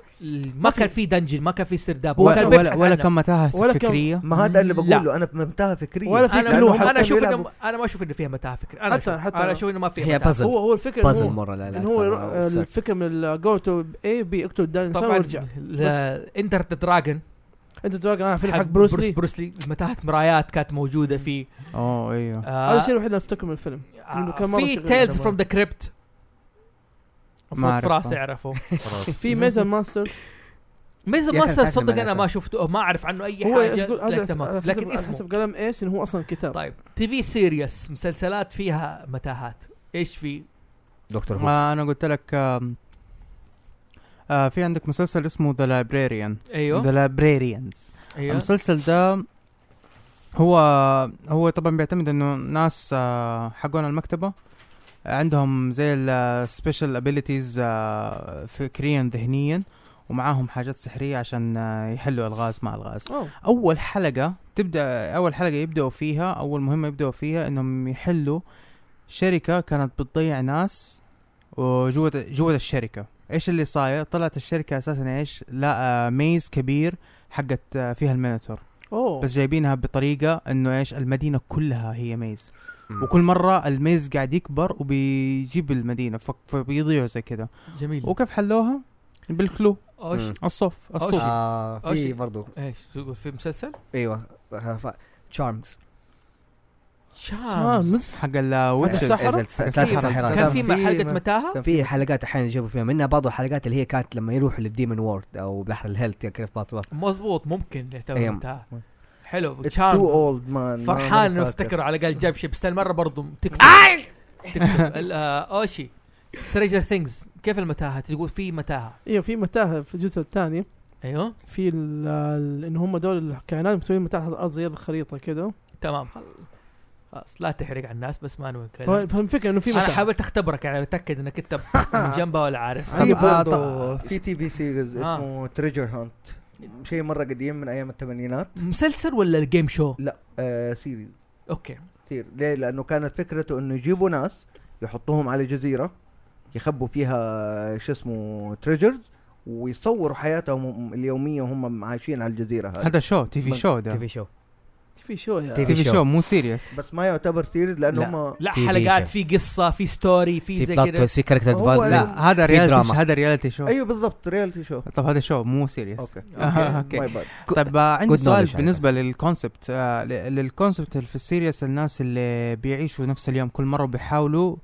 S1: ما كان في دنجن ما كان في سرداب هو
S6: ولا
S1: كان
S6: ولا,
S1: بيبحث
S6: ولا
S1: عنها.
S6: كم متاهه
S2: ولا كم-
S6: فكريه
S4: ما هذا اللي
S1: لا.
S4: بقوله انا منتهى فكريا
S2: ولا في
S1: انا
S2: كلام.
S1: أنا- انا
S4: حتى
S1: اشوف
S4: يلعبوا-
S1: انه انا ما اشوف انه فيها متاهه فكريه انا
S2: حتى-
S1: حتى
S2: حتى
S1: حتى انا
S2: أنا.
S1: اشوف انه ما فيها
S3: هي
S1: متاهه.
S3: بازل
S2: هو هو الفكره إن
S3: بازل
S2: هو-
S3: مره لا لا
S2: ان هو
S3: فاهم.
S2: يروح- الفكره من جو تو اي بي اكتب دان انسان
S1: طبعا
S2: ويرجع
S1: انتر ذا دراجون
S2: انت دراجون انا فيلم حق بروس لي
S1: بروس لي متاهه مرايات كانت موجوده فيه
S6: اوه ايوه
S1: آه،
S2: هذا الشيء الوحيد اللي افتكره من الفيلم لأنه كان مرة
S1: في
S2: شغال
S1: تيلز
S2: زمان.
S1: فروم ذا كريبت
S6: ما
S1: في راسي
S6: أعرفه.
S1: اعرفه
S5: خلاص
S2: في ميزن ماسترز
S1: ميزن
S6: يا أخي
S1: ماستر
S6: أنا فاكر
S1: صدق انا ما
S6: المدرسة.
S1: شفته أو ما اعرف عنه اي
S2: هو
S1: حاجه
S2: يقول هذا
S1: لكن
S2: حسب-
S1: تمام.
S2: حسب-
S1: لكن
S2: على
S1: اسمه
S2: حسب قلم ايش انه هو اصلا كتاب
S1: طيب تي في سيريس مسلسلات فيها متاهات ايش في
S3: دكتور هوكس
S6: آه انا قلت لك آم، آه في عندك مسلسل اسمه ذا لايبريريان
S1: ايوه
S6: ذا لايبريريانز
S1: ايوه
S6: المسلسل ده هو هو طبعا بيعتمد انه ناس آه، حقون المكتبه عندهم زي آه، السبيشال ابيليتيز فكريا ذهنيا آه، ومعاهم حاجات سحريه عشان آه، يحلوا الغاز مع الغاز
S2: أوه.
S6: اول حلقه تبدا اول حلقه يبداوا فيها اول مهمه يبداوا فيها انهم يحلوا شركه كانت بتضيع ناس وجوه جوه الشركه ايش اللي صاير طلعت الشركه اساسا ايش لا آه، ميز كبير حقت آه، فيها الميناتور
S2: اوه
S6: بس جايبينها بطريقه انه ايش المدينه كلها هي ميز وكل مره الميز قاعد يكبر وبيجيب المدينه ف- فبيضيعوا زي كذا
S1: جميل
S6: وكيف حلوها بالكلو
S1: اوش
S3: مم.
S6: الصف الصوف
S1: أوشي.
S3: آه في
S1: أوشي.
S3: برضو
S1: ايش تقول في مسلسل؟
S3: ايوه تشارمز
S2: آه،
S1: شامس
S2: نفس
S6: حق الويتشز
S2: السحرة؟
S1: كان في
S4: كان في
S1: حلقه
S4: م-
S1: متاهه
S3: في حلقات احيانا يجيبوا فيها منها بعض الحلقات اللي هي كانت لما يروحوا للديمن وورد او بحر الهيلت يا يعني كيف باطوار
S1: مظبوط ممكن يعتبر
S4: أيوه.
S3: أيام.
S1: متاهه حلو
S4: تو
S1: تشارم
S4: اولد مان
S1: فرحان انه افتكر على الاقل جاب شيء بس المره برضه تكتب تكتب ال- آه، اوشي ستريجر ثينجز كيف المتاهه تقول في متاهه
S2: ايوه في متاهه في الجزء الثاني
S1: ايوه
S2: في ال- ال- ان هم دول الكائنات مسويين متاهه على الارض زي الخريطه كذا
S1: تمام خلاص لا تحرق على الناس بس ما نقول
S4: طيب.
S1: كلام.
S2: فالفكره انه في
S1: انا
S2: متاهه
S1: حاولت اختبرك يعني اتاكد انك انت من جنبه ولا عارف
S4: في
S6: طب، آه،
S4: برضه
S6: طب-
S4: في تي في سيريز
S1: آه.
S4: اسمه تريجر هانت شيء مره قديم من ايام الثمانينات
S1: مسلسل ولا الجيم شو؟
S4: آه سيريز
S1: اوكي
S4: كثير ليه لانه كانت فكرته انه يجيبوا ناس يحطوهم على جزيره يخبوا فيها شو اسمه تريجرز ويصوروا حياتهم اليوميه وهم عايشين على الجزيره هذه
S6: هذا شو تي في شو ده
S3: تي في شو
S2: في شو يا
S3: تي في
S6: تي في
S3: شو.
S6: شو مو سيريس
S4: بس ما يعتبر سيريز لان
S3: لا.
S4: هم
S1: لا
S3: TV
S1: حلقات
S3: show.
S1: في قصه في ستوري في
S3: في
S1: زي
S3: بلوت
S1: كذا
S3: تويست في كاركتر
S4: هو
S3: ديفلوبمنت
S4: لا.
S6: لا هذا
S3: في
S6: ريالتي
S3: دراما.
S6: هذا ريالتي شو
S4: ايوه بالضبط ريالتي شو
S6: طب هذا شو مو سيريس
S4: اوكي
S6: آه، اوكي
S4: ماي باد
S6: طيب آه، عندي
S3: Good
S6: سؤال
S3: knowledge
S6: بالنسبه للكونسبت آه، ل- للكونسبت اللي في السيريس الناس اللي بيعيشوا نفس اليوم كل مره بيحاولوا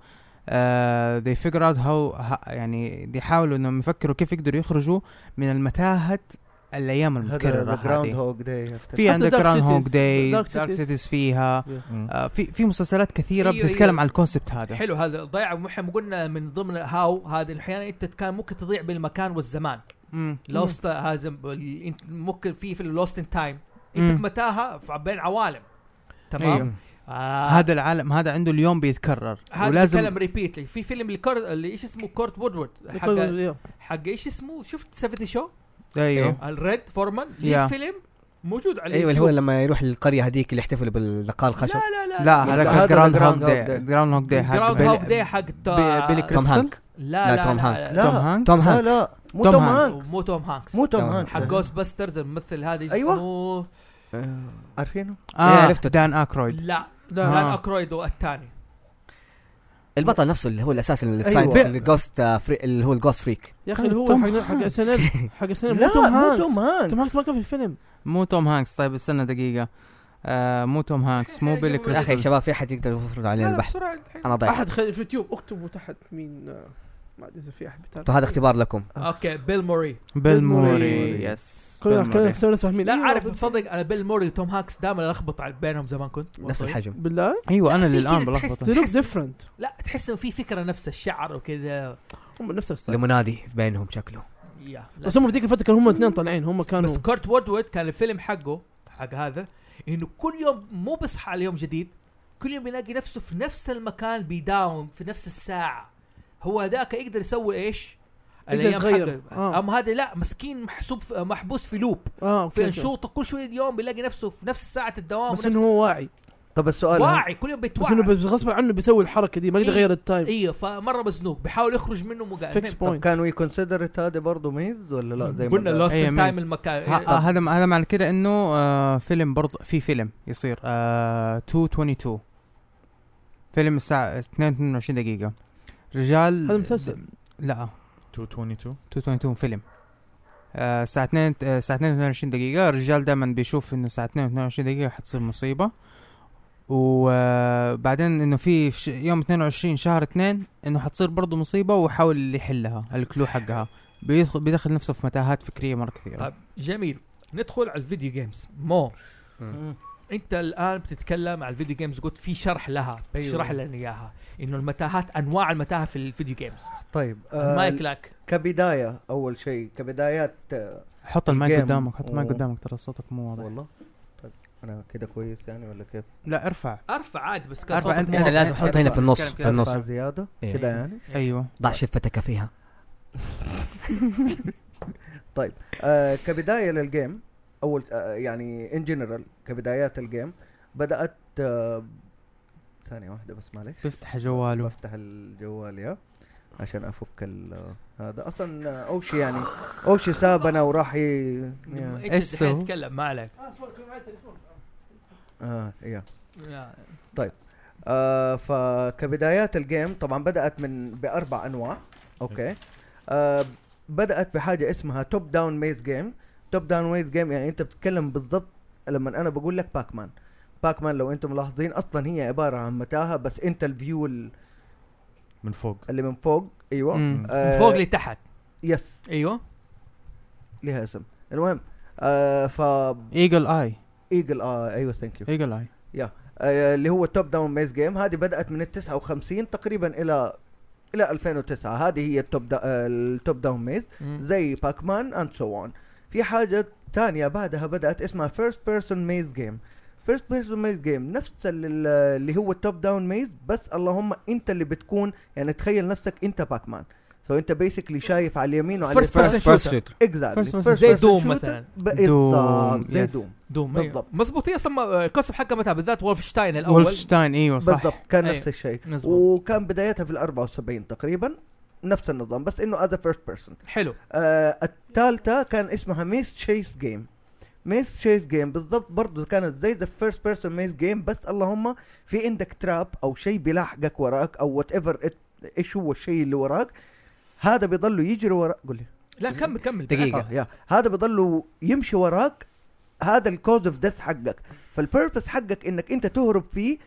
S6: آه they figure out how ه- يعني بيحاولوا انهم يفكروا كيف يقدروا يخرجوا من المتاهه الايام المتكرره
S4: هذا جراوند
S6: هذه
S4: هوك داي
S6: في
S2: حتى
S6: عندك
S2: Dark
S6: ران هوك
S2: Cities.
S6: داي
S2: Dark
S6: دارك
S2: Cities.
S6: سيتيز فيها
S5: مم.
S3: Mm.
S6: آه في في مسلسلات كثيره
S1: أيوة،
S6: بتتكلم
S1: أيوة.
S6: عن الكونسبت هذا
S1: حلو هذا ضيع محم قلنا من ضمن هاو هذه احيانا انت كان ممكن تضيع بالمكان والزمان
S6: مم.
S1: لوست هذا ال- انت ممكن في في اللوست ان تايم
S6: مم.
S1: انت في متاهه ف- بين عوالم تمام
S6: أيوة.
S1: آه
S6: هذا العالم هذا عنده اليوم بيتكرر
S1: هذا الكلام
S6: ولازم
S1: ريبيت في فيلم الكور اللي ايش اسمه كورت وودورد حق
S2: حق
S1: حق ايش اسمه شفت 70 شو أيوة.
S6: ايوه
S1: الريد فورمان
S6: يا. أيوة،
S1: ليه فيلم موجود على
S3: ايوه اللي هو
S1: اليوتيوب.
S3: لما يروح للقريه هذيك اللي يحتفلوا باللقاء الخشب
S1: لا لا لا
S6: لا
S4: لا،
S6: هذاك
S4: هذا
S6: جراوند
S4: The
S6: هوك
S4: Groundhog
S6: داي
S4: Day.
S6: جراوند هوك داي حق
S1: جراوند
S6: بيل-
S1: هوك داي حق تا-
S6: بيلي
S3: توم
S6: كريستل؟
S3: هانك
S1: لا
S3: لا،
S1: لا
S3: توم
S1: لا
S3: هانك.
S6: توم هانكس
S3: توم
S4: لا
S3: هانكس
S4: لا مو
S6: توم
S4: توم هانكس
S6: هانكس.
S1: مو توم هانكس
S4: مو توم
S3: توم
S4: هانكس
S1: حق جوست باسترز الممثل هذا إيش
S4: أيوة.
S1: اسمه؟
S4: عارفينه
S3: إيه،
S6: اه
S3: عرفته.
S6: عرفته دان اكرويد
S1: لا
S2: لا
S1: دان
S6: آه.
S1: اكرويد والثاني
S3: البطل نفسه اللي هو الاساس الساينس اللي جوست آه، اللي هو الجوست فريك
S2: يا اخي اللي هو
S6: توم
S2: حق حق اس ان حق اس ان
S4: لا
S2: مو توم
S4: مو
S2: هانكس
S4: توم هانكس
S2: توم هانكس ما كان في الفيلم
S6: مو توم هانكس طيب استنى دقيقة آه مو توم هانكس مو بيلي
S3: يا اخي يا
S6: كريستال
S3: شباب في احد يقدر يفرض علينا
S2: لا،
S3: البحث
S2: بسرعة الحين.
S3: انا
S1: طيب.
S3: ضايع
S2: احد خلي في اليوتيوب اكتبوا تحت مين آه، ما ادري اذا في احد بيتابع
S3: طيب هذا اختبار لكم
S4: آه.
S1: اوكي بيل موري
S6: بيل موري
S2: موري.
S6: يس بيل
S2: كلنا كلنا
S6: موري.
S2: كسبنا ناس فاهمين
S1: لا
S4: أيوة،
S2: إيه،
S1: عارف
S2: والله.
S1: تصدق انا بيل موري وتوم هاكس دائما الخبط على- بينهم زمان كنت
S3: نفس
S1: وأنا صغير.
S3: الحجم
S2: بالله
S6: ايوه انا
S1: في
S6: للان
S1: كده
S6: بلخبط
S2: they look different
S1: لا تحس انه في فكره نفس الشعر وكذا
S2: هم نفس الستايل
S3: لمنادي بينهم شكله
S1: يا، لا.
S2: بس هم في ذيك الفتره كانوا هم اثنين طالعين هم كانوا
S1: بس كورت وودوود كان الفيلم حقه حق هذا انه كل يوم مو بيصحى على يوم جديد كل يوم يلاقي نفسه في نفس المكان بيداوم في نفس الساعه هو هذاك يقدر يسوي ايش؟
S2: يقدر
S1: الأيام
S2: يغير.
S1: حقه.
S2: آه.
S1: اما هذا لا مسكين محسوب في- محبوس في لوب
S2: اه أوكي،
S1: في
S2: أوكي.
S1: انشوطه كل شويه يوم بيلاقي نفسه في نفس ساعه الدوام
S2: بس
S1: ونفس-
S2: انه هو واعي
S4: طب السؤال هذا-
S1: واعي كل يوم
S2: بس انه
S1: بيتوعى
S2: بس غصب عنه بيسوي الحركه دي ما يقدر
S1: إيه.
S2: يغير التايم
S1: ايوه فمره مزنوق بيحاول يخرج منه مو قادر.
S2: فيكس
S4: طب
S2: بوينت
S4: كان وي كونسيدرت هذا برضه ميز ولا لا زي ما
S1: قلنا
S4: قال؟
S1: لوست
S2: إيه،
S6: أي
S1: تايم
S6: أميز.
S1: المكان
S6: ه- آه، هذا هذا معنى كده انه آه فيلم برضه في فيلم يصير آه 222 فيلم الساعة 22 دقيقة رجال
S2: هذا مسلسل.
S1: إيه،
S6: لا
S5: 222
S6: 222 فيلم آه، الساعة 2 آه، الساعة 22 دقيقة الرجال دائما بيشوف انه الساعة 22 دقيقة حتصير مصيبة وبعدين انه في ش- يوم 22 شهر 2 انه حتصير برضه مصيبة ويحاول اللي يحلها الكلو حقها بيدخل بيدخل نفسه في متاهات فكرية مرة كثيرة
S1: طيب جميل ندخل على الفيديو جيمز مو
S3: مم.
S1: انت الان بتتكلم على الفيديو جيمز قلت في شرح لها
S3: أيوه.
S1: اشرح لنا اياها انه المتاهات انواع المتاهه في الفيديو جيمز
S4: طيب آه،
S1: المايك لك
S4: كبدايه اول شيء كبدايات آه،
S6: حط المايك
S4: الجيم.
S6: قدامك حط المايك
S4: أوه.
S6: قدامك ترى صوتك مو واضح
S4: والله طيب انا كده كويس يعني ولا كيف؟
S6: لا ارفع
S1: ارفع عادي بس
S6: أرفع
S1: صوتك
S6: أنت-
S1: مو
S6: أنت
S3: انا
S1: واضح.
S3: لازم احطه هنا في النص في النص
S4: أربعة زياده
S3: إيه.
S4: كده يعني
S6: ايوه
S3: ضع شفتك فيها
S4: آه كبدايه للجيم اول آه يعني ان جنرال كبدايات الجيم بدات آه ثانيه واحده بس معلش
S6: بيفتح جواله
S4: بفتح الجوال يا عشان افك ال- هذا اصلا آه، اوشي يعني اوشي سابنا وراح ي... يا.
S1: انت
S6: إيش
S1: دحين
S6: سوى؟
S1: تتكلم ما عليك
S4: اه يا
S1: يا.
S4: آه فكبدايات الجيم طبعا بدات من باربع انواع اوكي آه بدات بحاجه اسمها توب داون ميز جيم توب داون ميز جيم يعني انت بتتكلم بالضبط لما انا بقول لك باك مان باك مان لو انتم ملاحظين اصلا هي عباره عن متاهه بس انت الفيو ال-
S5: من فوق
S4: اللي من فوق ايوه
S6: مم.
S1: من فوق لتحت
S4: يس
S1: ايوه
S4: لها اسم المهم آه ف
S6: ايجل اي
S4: ايجل اه ايوه ثانك يو
S6: ايجل اي
S4: آه، اللي هو التوب داون ميز جيم هذه بدات من ال 59 تقريبا الى الى 2009 هذه هي التوب دا آه، التوب داون ميز
S1: مم.
S4: زي باك مان اند سو اون في حاجه ثانيه بعدها بدات اسمها فيرست بيرسون ميز جيم فيرست بيرسون ميز جيم نفس ال- اللي هو التوب داون ميز بس اللهم انت اللي بتكون يعني تخيل نفسك انت باك مان سو انت بيسكلي شايف على اليمين وعلى
S1: First person
S4: اليسار
S1: First shooter.
S4: اكزاكتلي
S6: First person
S1: زي Doom مثلاً.
S4: بالضبط
S6: Doom.
S4: زي
S6: Yes.
S4: دوم
S1: دوم أيوه.
S4: بالضبط.
S1: مضبوط هي اصلا ما- الكونسبت حقها متى بالذات وولفشتاين الاول
S6: وولفشتاين ايوه صح
S4: بالضبط كان
S1: أيوة.
S4: نفس الشيء
S1: مظبوط.
S4: وكان بدايتها في ال 74 تقريبا نفس النظام بس انه از فيرست بيرسون
S1: حلو
S4: الثالثه آه، كان اسمها ميس تشيس جيم ميس تشيس جيم بالضبط برضه كانت زي ذا فيرست بيرسون ميس جيم بس اللهم في عندك تراب او شيء بيلاحقك وراك او وات ايفر ايش هو الشيء اللي وراك هذا بيضلوا يجري وراك قول لي
S1: لا كمل كمل
S3: دقيقة.
S4: آه يا هذا بيضلوا يمشي وراك هذا الكوز اوف ديث حقك فالبيربس حقك انك انت تهرب فيه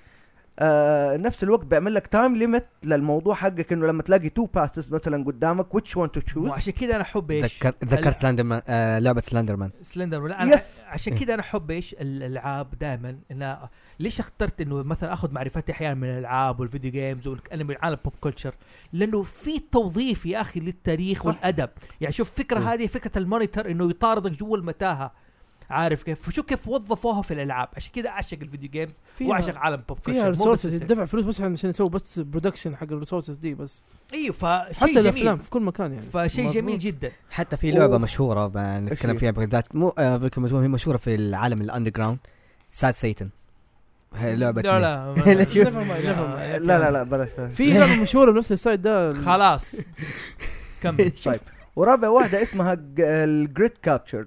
S4: آه نفس الوقت بيعمل لك تايم ليميت للموضوع حقك انه لما تلاقي تو باسز مثلا قدامك ويتش وان تو تشوز
S1: وعشان كذا انا احب ايش؟
S3: ذكر ذكرت سلاندرمان آه لعبه سلاندرمان
S1: سلندر ولا انا
S4: Yes.
S1: عشان كذا انا احب ايش الالعاب دائما انا ليش اخترت انه مثلا اخذ معرفتي احيانا من الالعاب والفيديو جيمز والانمي العالم بوب كلتشر لانه في توظيف يا اخي للتاريخ والادب يعني شوف فكره
S3: مم.
S1: هذه فكره المونيتر انه يطاردك جوا المتاهه عارف كيف شوف كيف وظفوها في الالعاب عشان كذا اعشق الفيديو جيمز واعشق عالم بوب
S2: فيها
S1: كلتشر مو بس
S2: ريسورسز
S1: السينما.
S2: يدفع فلوس بس عشان يسوي بس برودكشن حق الريسورسز دي بس
S1: ايوه فشيء
S2: حتى الافلام
S1: جميل
S2: في كل مكان يعني
S1: فشيء جميل
S2: مظبوط.
S1: جدا
S3: حتى في لعبه
S4: أوه.
S3: مشهوره ب- نتكلم
S4: هي؟
S3: فيها بالذات مو آه، بكل مجموعة، هي مشهوره في العالم الاندر جراوند ساد سيتن هي لعبه
S1: لا
S3: لا
S1: لا
S3: لا، شوف.
S2: Never mind, never mind.
S4: لا لا لا بلاش
S2: في لعبه مشهوره بنفس السايت ده ال-
S1: خلاص كمل
S4: طيب ورابع واحده اسمها الجريد كابتشر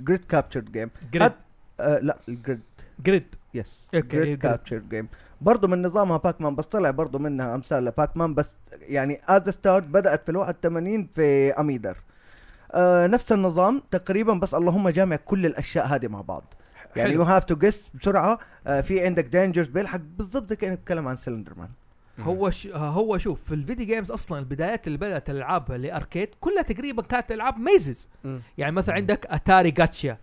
S4: جريد كابتشر جيم
S1: جريد
S4: آه، لا الجريد
S1: جريد
S4: يس
S1: اوكي
S4: جريد
S1: جريد
S4: كابتشر جيم برضه من نظامها باك مان بس طلع برضه منها امثال لباك مان بس يعني از ستارت بدات في ال 81 في اميدر آه نفس النظام تقريبا بس اللهم جامع كل الاشياء هذه مع بعض يعني يو
S1: حلو.
S4: هاف تو جس بسرعه آه في عندك دانجرز بيلحق بالضبط زي كانك بتتكلم عن سلندر مان
S1: هو ش... هو شوف في الفيديو جيمز اصلا البدايات اللي بدات الالعاب اللي اركيد كلها تقريبا كانت العاب ميزز
S4: مم.
S1: يعني مثلا عندك اتاري جاتشا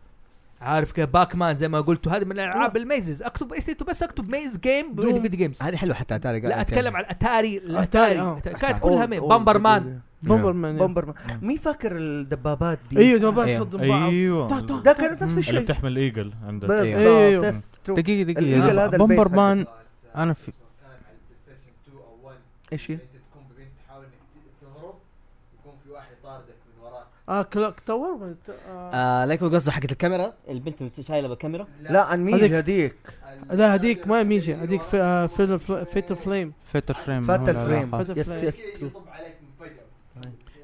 S1: عارف كيف باك مان زي ما قلت هذه من الالعاب الميزز اكتب استيتو بس اكتب ميز جيم
S2: دوم.
S1: بالفيديو جيمز
S3: هذه حلوه حتى اتاري
S1: لا اتكلم عن اتاري
S2: أتاري، آه.
S1: الاتاري كانت كلها ميز بامبر مان
S2: بومبر مان يعني.
S4: بومبر مان مين فاكر الدبابات دي؟
S2: ايوه زمان
S1: أيوة.
S3: أيوه.
S2: تصدم بعض طا- طا-
S5: ايوه
S4: ده كانت نفس
S5: اللي
S4: الشيء
S5: بتحمل الايجل عندك
S4: بالضبط
S2: أيوه.
S4: that's true.
S6: دقيقة
S4: الإيجل
S6: دقيقة
S4: هذا
S6: بومبر
S4: البيت
S6: مان أنا في-
S7: كانت على البلاي ستيشن 2 او 1
S4: ايش هي؟
S7: اللي انت تكون ببنت تحاول انك ت- تهرب يكون في واحد طاردك من وراك
S2: اه كلوك تاور ولا ت- آه.
S3: آه لايك قصده حقت الكاميرا البنت اللي شايله بالكاميرا
S4: لا
S2: هذيك-
S4: انميجا هذيك
S2: لا هذيك ما ميجي هذيك في- آه، فيتر فل- فيتر فليم
S6: فيتر فريم هو
S4: فاتر
S6: اللي
S4: فريم
S6: علاقة.
S2: Fatal
S4: يس
S2: Frame.
S4: يس true.
S7: يطب عليك مفاجاه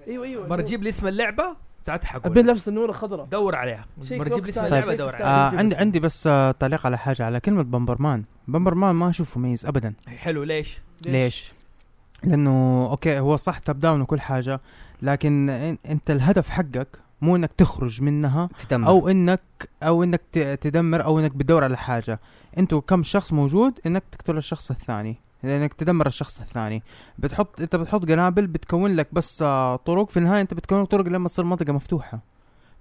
S2: ايوه ايوه
S1: مره تجيب لي اسم اللعبه ساعتها
S2: البين
S1: حقول
S2: لابس النور الخضراء
S1: دور عليها
S2: شيء
S1: مره تجيب لي اسم
S2: وقت
S1: اللعبه
S2: طيب.
S1: دور عليها
S6: آه عندي عندي بس آه تعليق على حاجة على كلمة بومبر مان بومبر مان ما أشوفه مميز أبدا
S1: حلو ليش؟
S6: ليش؟ لأنه أوكي هو صح تاب داون وكل حاجة لكن إن- أنت الهدف حقك مو انك تخرج منها
S3: تتم
S6: او انك او انك ت- تدمر او انك بتدور على حاجه انتوا كم شخص موجود انك تقتل الشخص الثاني لانك تدمر الشخص الثاني بتحط انت بتحط قنابل بتكون لك بس آه، طرق في النهايه انت بتكون طرق لما تصير منطقه مفتوحه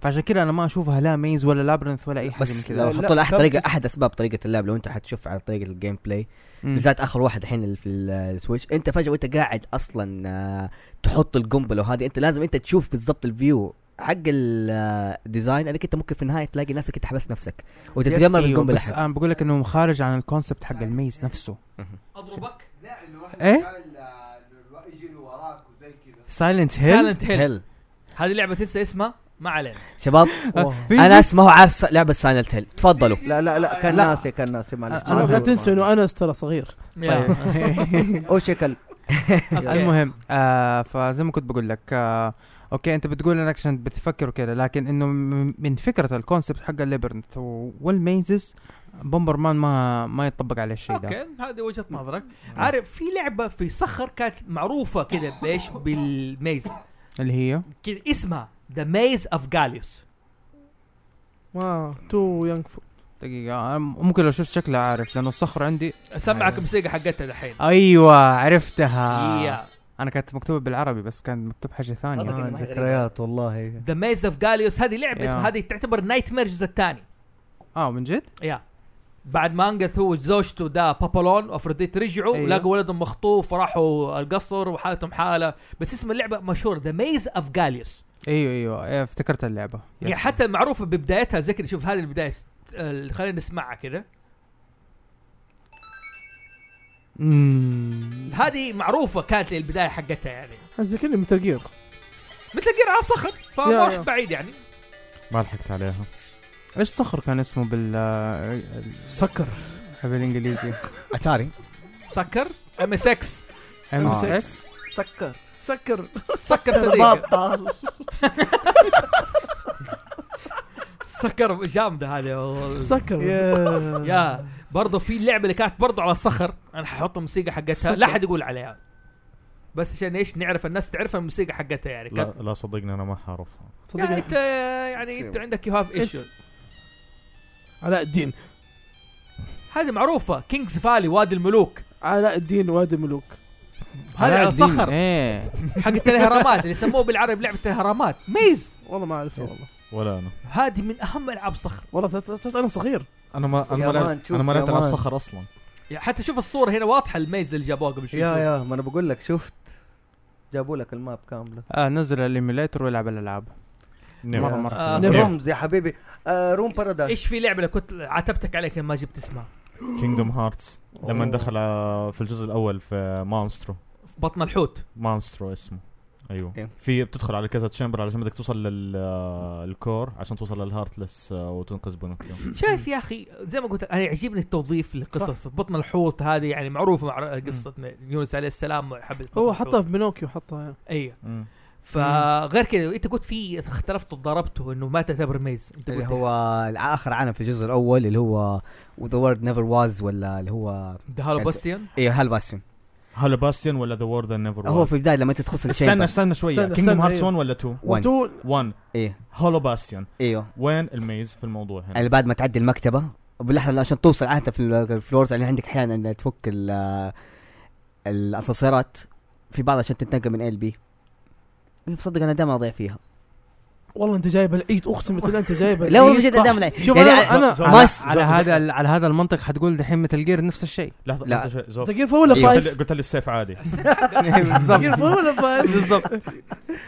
S6: فعشان كده انا ما اشوفها لا ميز ولا لابرنث ولا اي حاجه من
S3: بس
S6: كده
S3: لو
S4: لا،
S3: حطوا له احد
S4: طب-
S3: طريقه احد اسباب طريقه اللعب لو انت حتشوف على طريقه الجيم بلاي
S6: مم.
S3: بالذات اخر واحد الحين اللي في السويتش انت فجاه وانت قاعد اصلا آه، تحط القنبله وهذه انت لازم انت تشوف بالضبط الفيو حق آه، الديزاين انك انت ممكن في النهايه تلاقي نفسك انت حبست نفسك وتتجمع
S6: ايوه
S3: بالقنبله
S6: بس
S3: حق
S6: انا بقول لك انه خارج عن الكونسبت حق الميز نفسه
S1: اضربك
S7: لا انه واحد
S6: إيه؟
S7: يحاول، آه، إنه يجي له وراك وزي كذا
S6: سايلنت هيل
S1: سايلنت هيل
S3: هل
S1: هذه لعبه تنسى اسمها ما علينا
S3: شباب
S6: آه،
S3: انس ما هو عارف س- لعبه سايلنت هيل تفضلوا
S4: لا لا لا كان
S6: لا.
S4: ناسي كان ناسي معلش
S6: أنا
S2: لا تنسوا انه انس ترى صغير
S6: طيب.
S1: يا.
S6: أيوة.
S4: او شكل
S6: المهم آه فزي ما كنت بقول لك آه اوكي انت بتقول انك عشان بتفكر وكذا لكن انه م- من فكره الكونسبت حق الليبرنث والميزز بومبر مان ما ما يطبق عليه الشيء ده
S1: اوكي هذه وجهه نظرك عارف في لعبه في صخر كانت معروفه كذا بايش بالميز
S6: اللي هي
S1: كذا اسمها ذا ميز اوف جاليوس
S2: ما تو يونج فو
S6: دقيقه أنا م- ممكن لو شفت شكلها عارف لانه الصخر عندي
S1: اسمعك الموسيقى حقتها دحين
S6: ايوه عرفتها
S1: يا
S6: انا كانت مكتوبه بالعربي بس كان مكتوب حاجه ثانيه
S3: صدق.
S4: ذكريات والله
S1: ذا ميز اوف جاليوس هذه لعبه
S6: يا.
S1: اسمها هذه تعتبر نايت مير الجزء الثاني
S6: اه من جد
S1: يا بعد ما انقذ هو زوجته ده بابالون وافروديت رجعوا
S6: أيوه.
S1: أيوه. لقوا ولدهم مخطوف وراحوا القصر وحالتهم حاله بس اسم اللعبه مشهور ذا ميز اوف جاليوس
S6: ايوه ايوه إيه، افتكرت اللعبه
S1: أيوة، هي
S6: يس.
S1: يعني حتى معروفه ببدايتها زي كذا شوف هذه البدايه آه، خلينا نسمعها كذا
S6: مم.
S1: هذه معروفه كانت البدايه حقتها يعني
S2: زي كذا مثل جير
S1: مثل جير على صخر
S2: يا-
S1: فما
S2: يا.
S1: رحت بعيد يعني
S5: ما لحقت عليها
S6: ايش صخر كان اسمه بال سكر بالانجليزي
S3: اتاري
S1: سكر ام اس اكس
S6: ام
S5: آه.
S6: اس
S4: سكر
S2: سكر
S1: سكر
S4: شباب
S1: صديق
S4: تعال
S1: سكر جامده هذه
S2: سكر
S1: يا برضه في لعبه اللي كانت برضه على صخر انا ححط الموسيقى حقتها
S2: سكر.
S1: لا حد يقول عليها بس عشان ايش نعرف الناس تعرف الموسيقى حقتها يعني
S5: لا
S1: كانت
S5: لا صدقني انا ما حعرفها
S1: يعني
S2: صدق
S1: انت يعني انت عندك يو هاف ايشو
S2: علاء الدين
S1: هذه معروفه كينجز فالي وادي الملوك
S2: علاء الدين وادي ملوك
S1: هذه على صخر
S6: ايه
S1: حقت الاهرامات اللي سموه بالعربي لعبه الاهرامات ميز
S2: والله ما
S6: إيه.
S2: اعرفه والله
S5: ولا انا
S1: هذه من اهم العاب صخر
S2: والله ت- ت- ت- انا صغير
S5: انا ما انا
S4: يا
S5: ما
S4: مان،
S5: لعبت
S4: شوف
S5: انا ما
S4: يا
S5: لعبت العاب
S4: مان.
S5: صخر اصلا
S1: يعني حتى شوف الصوره هنا واضحه الميز اللي جابوها قبل شوي
S4: يا يا ما انا بقول لك شفت جابوا لك الماب كامله
S6: آه نزل الايميليتر والعب الالعاب
S5: نعم.
S6: مرة- مرة.
S1: آه،
S5: نعم.
S4: رومز يا حبيبي آه، روم بارادايس
S1: ايش في لعبه اللي كنت عاتبتك عليك لما جبت اسمها
S5: كينجدوم هارتس لما
S4: أوه.
S5: دخل آه، في الجزء الاول في مونسترو
S1: في بطن الحوت
S5: مونسترو اسمه
S3: إيه.
S5: ايوه في بتدخل على كذا تشامبر علشان بدك توصل للكور عشان توصل للهارتلس آه، وتنقذ بنوكيو
S1: شايف يا اخي زي ما قلت انا يعجبني التوظيف للقصص بطن الحوت هذه يعني معروفه مع قصه يونس عليه السلام حب
S2: هو حطها في بنوكيو حطها يعني.
S1: اي
S5: مم.
S1: فغير كذا انت قلت في اختلفت وضربته انه ما تعتبر ميز انت
S3: اللي
S1: قلت
S3: إيه، هو الع- اخر عالم في الجزء الاول اللي هو ذا وورد نيفر واز ولا اللي هو
S1: ذا هالو باستيون
S5: إيه،
S3: ايوه هل باسم
S5: هلا باستيان ولا ذا وورد نيفر
S3: هو في البدايه لما انت تدخل
S5: استنى
S3: الشيء
S5: استنى شويه
S2: استنى،
S5: كينجدوم
S2: استنى،
S5: هارتس 1
S2: أيوه.
S5: ولا 2
S3: وان.
S2: وتو
S5: 1
S3: ايه
S5: هولو باستيان
S3: ايوه
S5: وين الميز في الموضوع هنا
S3: اللي بعد يعني ما تعدي المكتبه باللحظه عشان توصل عاده في الفلورز اللي عندك احيانا ان تفك ال- الاسانسيرات في بعض عشان تتنقل من ال بي إيه، بصدق انا دائما اضيع فيها
S2: والله انت جايب العيد اقسم بالله انت جايب العيد
S3: لا والله بجد
S2: صح.
S3: دائما لا.
S2: شوف
S3: يعني
S2: انا انا
S5: ز- ز-
S3: ما س-
S6: على
S5: زو-
S6: هذا ال- على هذا المنطق حتقول دحين مثل جير نفس الشيء
S5: لحظه
S3: لا.
S5: لحظه شوي زوف
S2: تقيف ولا
S6: أيوه،
S3: أيوة.
S5: إيه، قلت لي-
S2: فايف؟
S5: قلت لي السيف عادي
S2: تقيف ولا فايف؟
S6: بالضبط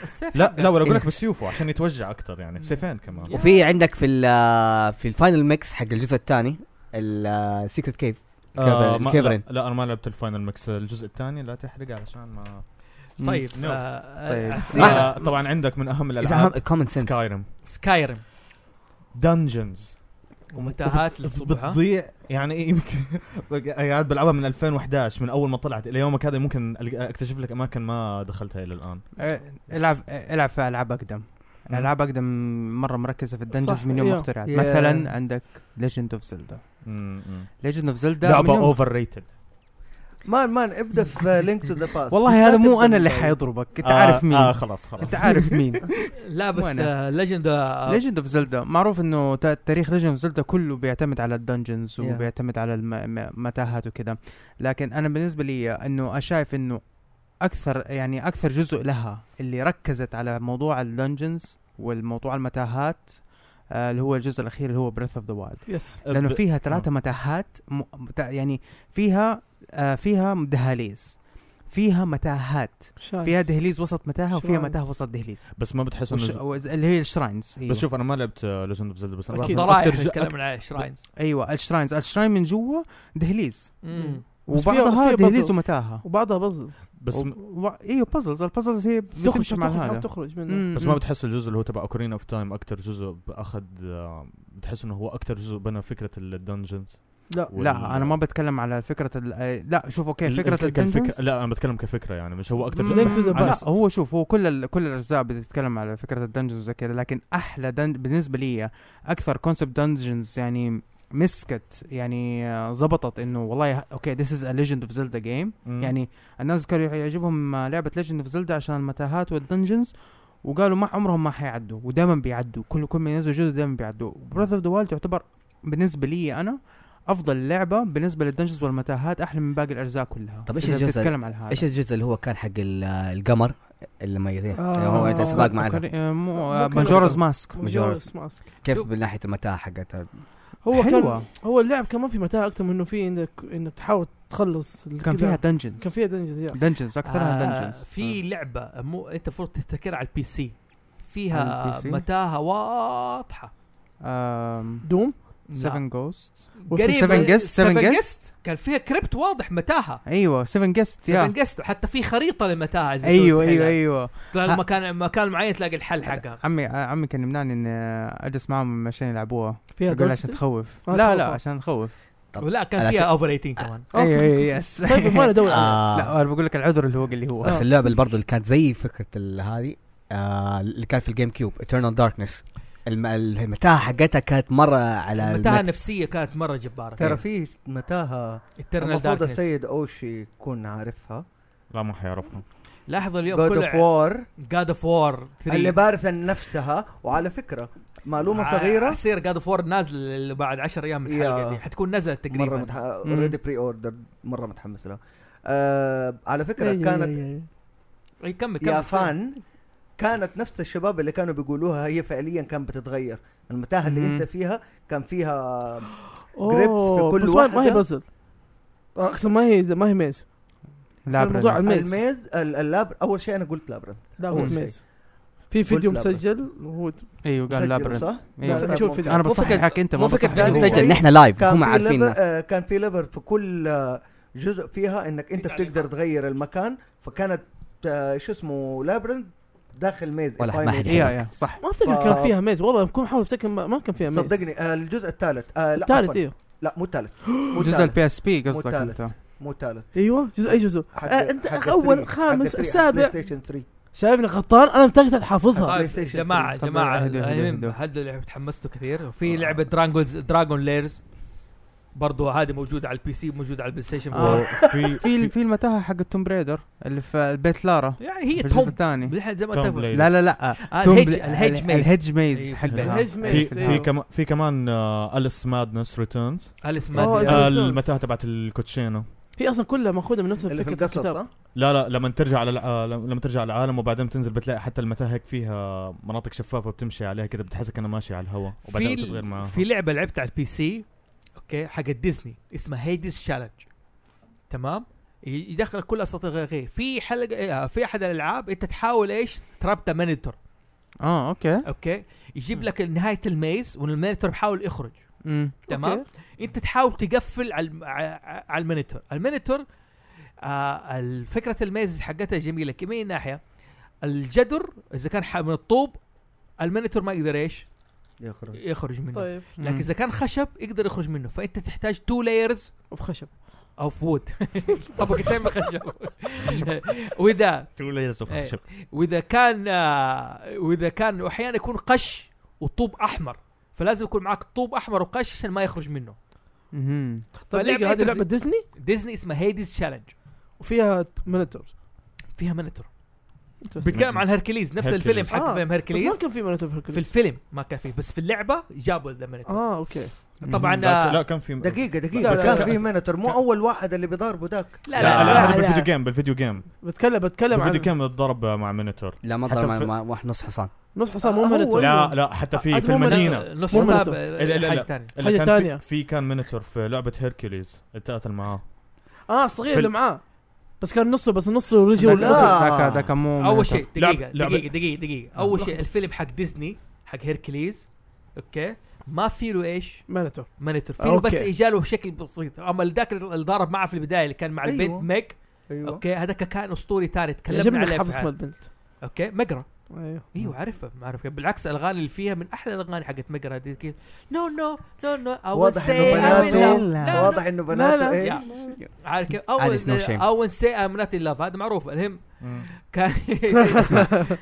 S1: السيف
S5: لا
S1: حقك.
S5: لا ولا اقول
S6: إيه.
S5: لك بسيوفه عشان يتوجع اكثر يعني سيفين كمان
S3: وفي عندك في ال- في الفاينل ميكس حق الجزء الثاني السيكرت كيف
S5: آه، ما-
S3: كيفرين.
S5: لا, لا انا ما لعبت الفاينل ميكس الجزء الثاني لا تحرق علشان ما
S1: طيب
S5: مم.
S6: طيب.
S5: آه، طبعا عندك من اهم الالعاب
S3: كومن سنس
S5: سكايرم
S1: سكايرم
S5: دنجنز
S1: ومتاهات للصبح ها؟
S5: بتضيع يعني يمكن قاعد بلعبها من 2011 من اول ما طلعت الى يومك هذا ممكن ألق- اكتشف لك اماكن ما دخلتها الى الان
S6: إيه، العب العب في العاب اقدم
S5: مم.
S6: العاب اقدم مره مركزه في
S2: صح،
S6: الدنجز من يوم
S2: يا.
S6: ما اخترعت
S4: يا.
S6: مثلا عندك ليجند اوف زلدا
S5: مم، مم.
S6: ليجند اوف زلدا
S5: لعبه اوفر ريتد
S4: مان مان ابدا في آه، لينك تو ذا باست
S6: والله هذا مو انا اللي حيضربك انت عارف مين
S5: اه خلاص خلاص
S6: انت عارف مين
S1: لا بس
S6: وأنا.
S1: ليجند آه،
S6: ليجند اوف زلدا معروف انه تا- تاريخ ليجند اوف زلدا كله بيعتمد على الدنجنز
S4: Yeah.
S6: وبيعتمد على الم- م- متاهات وكذا لكن انا بالنسبه لي انه شايف انه اكثر يعني اكثر جزء لها اللي ركزت على موضوع الدنجنز والموضوع المتاهات آه، اللي هو الجزء الاخير اللي هو بريث اوف ذا وايلد
S2: يس
S6: لانه فيها ثلاثه متاهات م... مت- يعني فيها آه فيها دهاليز فيها متاهات
S2: شايف.
S6: فيها دهليز وسط متاهه وفيها
S2: شرايز.
S6: متاهه وسط دهليز
S5: بس ما بتحس
S6: وش...
S5: انه
S6: وز- اللي هي الشراينز أيوة.
S5: بس شوف انا ما لعبت آه، ليجند اوف زلدا بس انا
S2: أكيد.
S5: بعرف إنه
S1: ضرائح
S5: أكتر ج-
S1: نتكلم عن شراينز
S6: ايوه الشراينز الشراين من جوا دهليز
S2: بس فيها-
S6: وبعضها
S2: فيها
S6: دهليز
S2: puzzle.
S6: ومتاهه
S2: وبعضها بزز
S5: بس
S6: و... و... ايوه بازلز البازلز هي
S2: تخرج
S6: بتمشي مع
S2: تخرج
S6: هذا
S2: تخرج منه
S6: مم،
S5: بس
S6: مم.
S5: ما بتحس الجزء اللي هو تبع اوكرين اوف تايم اكثر جزء اخذ بتحس انه هو اكثر جزء بنى فكره الدنجنز
S2: لا.
S6: لا انا ما بتكلم على فكره ال... آه، لا شوف اوكي فكره الدنجنز
S5: لا انا بتكلم كفكره يعني مش هو اكثر
S2: Link to the
S5: أنا-
S2: past.
S6: لا هو شوف هو كل ال... كل الاجزاء بتتكلم على فكره الدنجنز وزي كذا لكن احلى دنج... بالنسبه لي اكثر كونسبت دنجنز يعني مسكت يعني آه، زبطت انه والله اوكي ذيس از ا ليجند اوف زلدا جيم
S5: مم.
S6: يعني الناس كانوا يعجبهم آه، لعبه ليجند اوف زلدا عشان المتاهات والدنجنز وقالوا ما عمرهم ما حيعدوا ودائما بيعدوا كل كل ما ينزلوا جزء دائما بيعدوا براذر اوف ذا وايلد تعتبر بالنسبه لي انا افضل لعبه بالنسبه للدنجنز والمتاهات احلى من باقي الاجزاء كلها
S3: طب إيش
S6: إذا
S3: الجزء-
S6: بتتكلم على هذا
S3: ايش الجزء اللي هو كان حق ال- القمر اللي ما يغير اللي
S2: آه.
S3: هو أنت سباق معنا
S6: أوكري- آه، مو
S2: ممكن
S6: ماجورز
S2: أوكري-
S6: ماسك
S2: ماجورس ماسك
S3: كيف
S1: شوف.
S3: من ناحيه المتاهه حقتها
S2: هو كان
S6: حلوة.
S2: هو اللعب كمان في متاهه اكثر من انه في انك انك تحاول تخلص ال-
S6: كان
S2: كذا.
S6: فيها دنجنز
S2: كان فيها دنجز يا
S6: دنجنز اكثرها
S1: آه،
S6: دنجنز
S1: في لعبه مو انت المفروض تفتكرها على البي سي
S6: على
S1: فيها
S6: البي سي؟
S1: متاهه واضحه
S2: دوم
S1: لا.
S6: 7 جوست
S1: قريب
S6: 7 جيست 7
S1: 7
S6: جيست
S1: جيست كان فيها كريبت واضح متاهه
S6: ايوه 7 جيست
S1: 7
S6: يا
S1: جيست حتى في خريطه للمتاهه إذا
S3: أيوة،
S6: ايوه
S1: تبغى تحلها.
S6: ايوه ايوه
S1: تلاقي
S6: ها.
S1: مكان مكان معين تلاقي الحل حقها
S6: عمي آه، عمي كان يمنعني ان آه، اجلس معاهم عشان يلعبوها
S2: فيها
S6: يقول
S2: دنجز
S6: عشان تخوف
S2: آه،
S6: لا
S2: تخوف.
S6: لا عشان تخوف
S3: طب
S1: ولا كان
S3: على
S1: فيها
S3: س-
S1: اوفر 18 كمان
S4: إيه،
S2: أوكي.
S6: ايوه ايوه يس
S2: آه، طيب ما ندور عليه.
S3: آه.
S6: لا انا بقول لك العذر اللي هو اللي هو
S3: بس اللعبه اللي برضه اللي كانت زي فكره ال- هذه آه اللي كانت في الجيم كيوب ايترنال داركنس المتاهه حقتها كانت مره على
S1: المتاهه
S3: المت...
S1: النفسيه كانت مره جباره
S4: ترى في متاهه
S1: Eternal
S4: المفروض
S1: Darkness.
S4: السيد اوشي يكون عارفها
S5: لا ما حيعرفها
S1: لاحظ اليوم
S4: جود
S1: كل
S4: اوف وار
S1: جاد اوف وور
S4: اللي بارثه نفسها وعلى فكره
S1: آه.
S4: معلومه صغيره
S1: حصير جاد اوف وور نازل بعد 10 ايام من
S4: يا.
S1: الحلقه دي حتكون نزلت
S4: مره
S1: تقريبا
S4: متح... اوريدي بري اوردر مره متحمس لها آه على فكره
S2: أي- أي-
S4: كانت
S2: أي- أي.
S1: اي كمل كمل
S4: يافان كانت نفس الشباب اللي كانوا بيقولوها هي فعليا كانت بتتغير المتاهه اللي
S6: مم.
S4: انت فيها كان فيها
S2: أوه،
S4: grips في كل
S2: بس ما- ما هي
S4: واحدة.
S2: بزل اقسم ما هي ما هي ميز الموضوع
S6: لعبة
S2: الميز
S4: الميز ال- اللاب اول شيء انا قلت لابرنت
S2: لا
S4: أول
S2: هو
S4: شيء.
S2: ميز في فيديو
S4: قلت لابرنت.
S2: مسجل وهو
S6: ايوه قال
S4: مسجل،
S6: لابرنت
S4: صح؟
S6: أيوة.
S4: لا،
S2: شوف
S4: ممكن.
S2: فيديو.
S6: انا
S2: مو
S6: بصححك انت ما
S3: مو فكره
S6: بصححك
S3: كان
S4: هو.
S3: مسجل نحن لايف
S4: كان
S3: هم
S4: في
S3: عارفين
S4: ليفل
S3: الناس.
S4: آه كان في ليفل في كل آه جزء فيها انك انت بتقدر تغير المكان فكانت آه شو اسمه لابرنت داخل ميز
S3: ولا
S4: if I
S3: ما
S4: may
S3: حد
S4: say.
S6: ايوه ايوه صح
S2: ما افتكر
S4: ف-
S2: كان فيها ميز والله بكون حاول افتكر ما ما كان فيها ميز
S4: آه. صدقني آه الجزء الثالث آه لا
S2: الثالث
S4: عفواً.
S2: ايوه
S4: لا مو الثالث مو
S6: جزء
S4: الثالث
S6: البي اس بي قصدك
S4: والثالث.
S6: انت
S4: مو الثالث
S2: ايوه جزء اي جزء
S4: حق-
S2: آه، انت
S4: حق
S2: اول،
S4: 3 حق
S2: خامس،
S4: 3 حق
S2: سابع.
S4: بلاي ستيشن 3
S2: شايفني غلطان انا متأكد حافظها
S1: طيب
S4: PlayStation
S1: يا جماعه
S6: طب
S1: جماعه
S6: اهدوا، اهدوا،
S1: المهم
S6: اهدوا. آه.
S1: هذا اللي تحمستوا كثير وفي لعبه دراجونز دراجون ليرز برضو هذه موجوده على البي سي موجوده على البلاي ستيشن
S6: آه.
S1: فور.
S5: وفي
S6: في في المتاهه حق توم بريدر اللي في بيت لارا
S1: يعني هي
S6: في الجزء
S1: توم
S6: الثاني
S1: نحن زي ما
S5: توم
S1: اتفقنا
S5: بلايد.
S6: لا لا لا
S1: آه،
S6: توم
S1: الهيج-
S6: بلا-
S1: الهيج
S6: ال-
S1: ميز.
S6: الهيج ميز
S1: أيوة.
S6: حق
S2: الهيج ميز.
S5: في
S2: أيوه.
S5: في كمان في كمان آه، اليس مادنس ريتيرنز
S1: اليس
S2: أوه،
S1: مادنس.
S2: Returns.
S5: المتاهه آه، تبعت الكوتشينو
S2: هي اصلا كلها ماخوذه من نفس
S4: اللي في
S2: فكره
S4: القصص
S2: الكتاب
S4: صح؟
S5: لا لا لما ترجع على الع- آه، لما ترجع على العالم وبعدين تنزل بتلاقي حتى المتاهه هيك فيها مناطق شفافه بتمشي عليها كده بتحسك انها ماشيه على الهواء
S1: في
S5: وبعدين بتتغير معاها
S1: في لعبه لعبتها على البي سي اوكي حق ديزني اسمها هيدز شالنج تمام ي- يدخلك كل اساطير غير غير في حلقه إيه، في احد الالعاب انت تحاول ايش تربطه مانيتور
S6: اه اوكي
S1: اوكي يجيب لك نهايه الميز والمانيتور بحاول يخرج
S6: امم
S1: تمام
S2: أوكي.
S1: انت تحاول تقفل على الم- ع- على المانيتور المانيتور آه ال- فكره الميز حقتها جميله ك- من ناحيه الجدر اذا كان ح- من الطوب المانيتور ما يقدر ايش
S4: يا خرابي.
S1: يخرج منه
S2: طيب
S1: لكن اذا كان خشب يقدر يخرج منه فانت تحتاج تو لايرز
S2: وفي خشب
S1: اوف وود طبقتين من خشب واذا إيه. واذا كان آه، واذا كان واحيانا يكون قش وطوب احمر فلازم يكون معك طوب احمر وقش عشان ما يخرج منه
S6: مهم.
S2: طب
S1: فلعبة
S2: دقيقه طيب، هذه
S1: إيه
S2: لعبه
S1: تز-
S2: ديزني
S1: ديزني اسمها هيديز تشالنج
S2: وفيها مونيتور
S1: فيها مانيتور بيتكلم عن هركليز نفس
S5: هيركليز.
S1: الفيلم حق
S2: آه،
S1: فيلم
S2: بس ما
S1: هركليز
S2: كان في مونيتور في
S1: في
S2: الكتاب
S1: الفيلم ما كان فيه بس في اللعبه جابوا ذا مانيتور
S2: اه اوكي
S1: طبعا
S5: لا لا
S1: آه،
S5: كان في
S4: دقيقة
S2: لا، لا،
S4: دقيقة
S2: لا.
S4: كان في مينتر مو أول واحد اللي بيضاربه ذاك
S1: لا
S5: لا
S1: لا
S5: لا هذا
S2: لا.
S5: بالفيديو جيم بالفيديو جيم
S2: بتكلم بتكلم
S5: بالفيديو
S2: عن
S5: جيم اتضرب مع مينيتور
S3: لا ما
S5: حتى
S3: ضل مع-
S5: في-
S3: مع- مع نص حصان
S2: نص حصان مو
S4: آه، هو
S2: مونيتور
S5: لا لا حتى في
S2: عاد
S5: في
S2: مو مونيتور.
S5: المدينه
S1: لا نص
S2: مو
S1: حساب
S2: مونيتور.
S1: آه،
S5: لا، لا،
S1: حاجه
S5: لا.
S1: ثانيه
S5: اللي
S2: حاجة
S5: كان
S2: تانية.
S5: في, في كان مينيتور في لعبه هيركليز اتقاتل معاه
S2: اه الصغير
S5: في
S2: اللي
S5: ال-
S2: معاه بس كان نصه بس نصه رجي
S4: لا.
S2: والأسد.
S6: ذاك ذاك مو
S1: اول شيء
S5: لعبة-
S1: دقيقه
S5: لعبة-
S1: دقيقه دقيقه دقيقه اول شيء الفيلم حق ديزني حق هيركليز اوكي ما في له ايش
S2: مانيتور
S1: مانيتور في له بس
S2: أوكي.
S1: اجاله شكل بسيط اما ذاك اللي ضارب معه في البدايه اللي كان مع البنت
S4: أيوه.
S1: ميك
S4: أيوه
S1: اوكي هذاك كان اسطوري ثاني تكلمنا
S2: يعجبني
S1: عليه
S2: حافظ
S1: في
S2: اسم
S1: عام.
S2: البنت
S1: اوكي مقرا
S2: ايوه
S1: ايوه عارفها عارفها بالعكس الاغاني اللي فيها من احلى الاغاني حقت مقرا دي كيف نو نو نو نو
S4: واضح إنه بناته-
S1: لا،
S4: واضح انه بناته
S2: لا.
S4: ايه
S1: عارف كيف
S3: عادي، it's no
S1: اول
S3: shame.
S1: اول سي ام نوت ان لاف هذا معروف الهم كان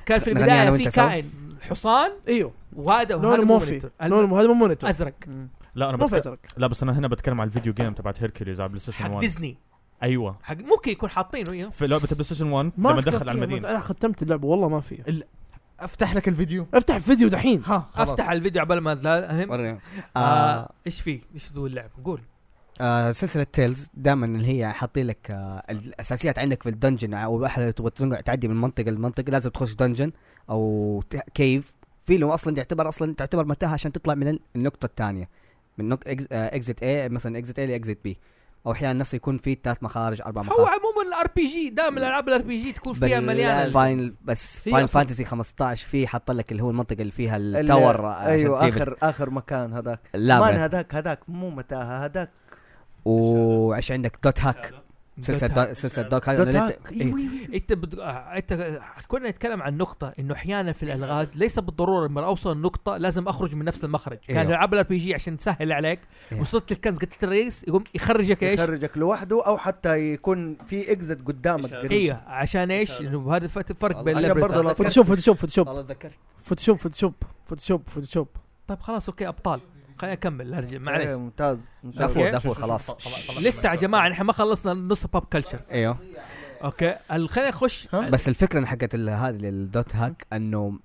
S1: كان في البدايه
S3: نغني أنا
S1: في
S3: وأنت سوا؟
S1: كائن حصان
S2: ايوه
S1: وهذا وهذا
S2: لونه
S1: مو
S2: موفي
S1: مونيتور.
S2: لونه مو- هذا مو مونيتور
S1: ازرق
S5: لا انا
S2: مو في
S5: بتك...
S2: ازرق
S5: لا بس انا هنا بتكلم على الفيديو جيم تبعت هيركليز على بلاي ستيشن
S1: حق
S5: 1
S1: ديزني
S5: ايوه
S1: حق ممكن يكون حاطينه ايوه
S5: في لعبه بلاي ستيشن 1
S2: ما
S5: لما
S2: أفكر
S5: دخل
S2: فيها،
S5: على المدينه
S2: انا ختمت اللعبه والله ما فيها
S8: افتح لك الفيديو
S2: افتح فيديو دحين
S8: ها خلاص.
S1: افتح الفيديو عبال ما لا أهم.
S3: وريني. آه،
S1: آه، ايش فيه؟ ايش ذو اللعب؟ قول
S3: آه، سلسله تيلز دائما اللي هي حاطين لك آه، الاساسيات عندك في الدنجن يعني او احد تبغى تنقع- تعدي من منطقه لمنطقه لازم تخش دنجن او ت- كيف في له اصلا يعتبر اصلا تعتبر متاهه عشان تطلع من ال- النقطه الثانيه من نق... إكز... آه، اكزت اي مثلا اكزت اي لاكزت بي او احيانا نفسه يكون في ثلاث مخارج اربع
S1: هو
S3: مخارج
S1: عموما الار بي جي دائما الالعاب الار بي جي تكون
S3: بس
S1: فيها مليانه
S3: فاينل بس
S2: في
S3: فاينل
S2: أصلاً-
S3: فانتسي 15 في حط لك اللي هو المنطقه اللي فيها
S4: اللي-
S3: التاور آه، عشان
S4: ايوه
S3: تجيب
S4: اخر اخر مكان هذاك مان
S3: اللابرنث
S4: هذاك هذاك مو متاهه هذاك
S3: وايش عندك دوت هاك سلسله
S1: دوت
S3: دوت- سلسله دوت هاك
S4: دوت هاك. ايوه ايوه
S1: انت بد... آه، انت كنا نتكلم عن نقطه انه احيانا في الالغاز ليس بالضروره لما اوصل النقطه لازم اخرج من نفس المخرج
S3: أيوه.
S1: كان العاب الار بي جي عشان تسهل عليك
S3: أيوه.
S1: وصلت للكنز قتلت الرئيس يقوم يخرجك ايش
S4: يخرجك لوحده او حتى يكون في اكزت قدامك قريب.
S1: ايوه عشان ايش انه هذا الفت- الفرق بين
S4: عشان برضه لا
S1: اللعبة-
S4: تفكر
S2: فوتوشوب فوتوشوب فوتوشوب
S3: والله ذكرت
S2: فوتوشوب فوتوشوب فوتوشوب فوتوشوب
S1: طيب خلاص اوكي ابطال خلينا نكمل ارجع
S4: إيه،
S1: معلش
S4: ممتاز ممتاز.
S1: أوكي.
S3: دافور دافور خلاص
S1: لسه يا جماعه نحن ما خلصنا نص باب كلتشر
S3: ايوه
S1: اوكي ال- خلينا نخش
S3: بس الفكره إن حقت ال- هذه الدوت هاك انه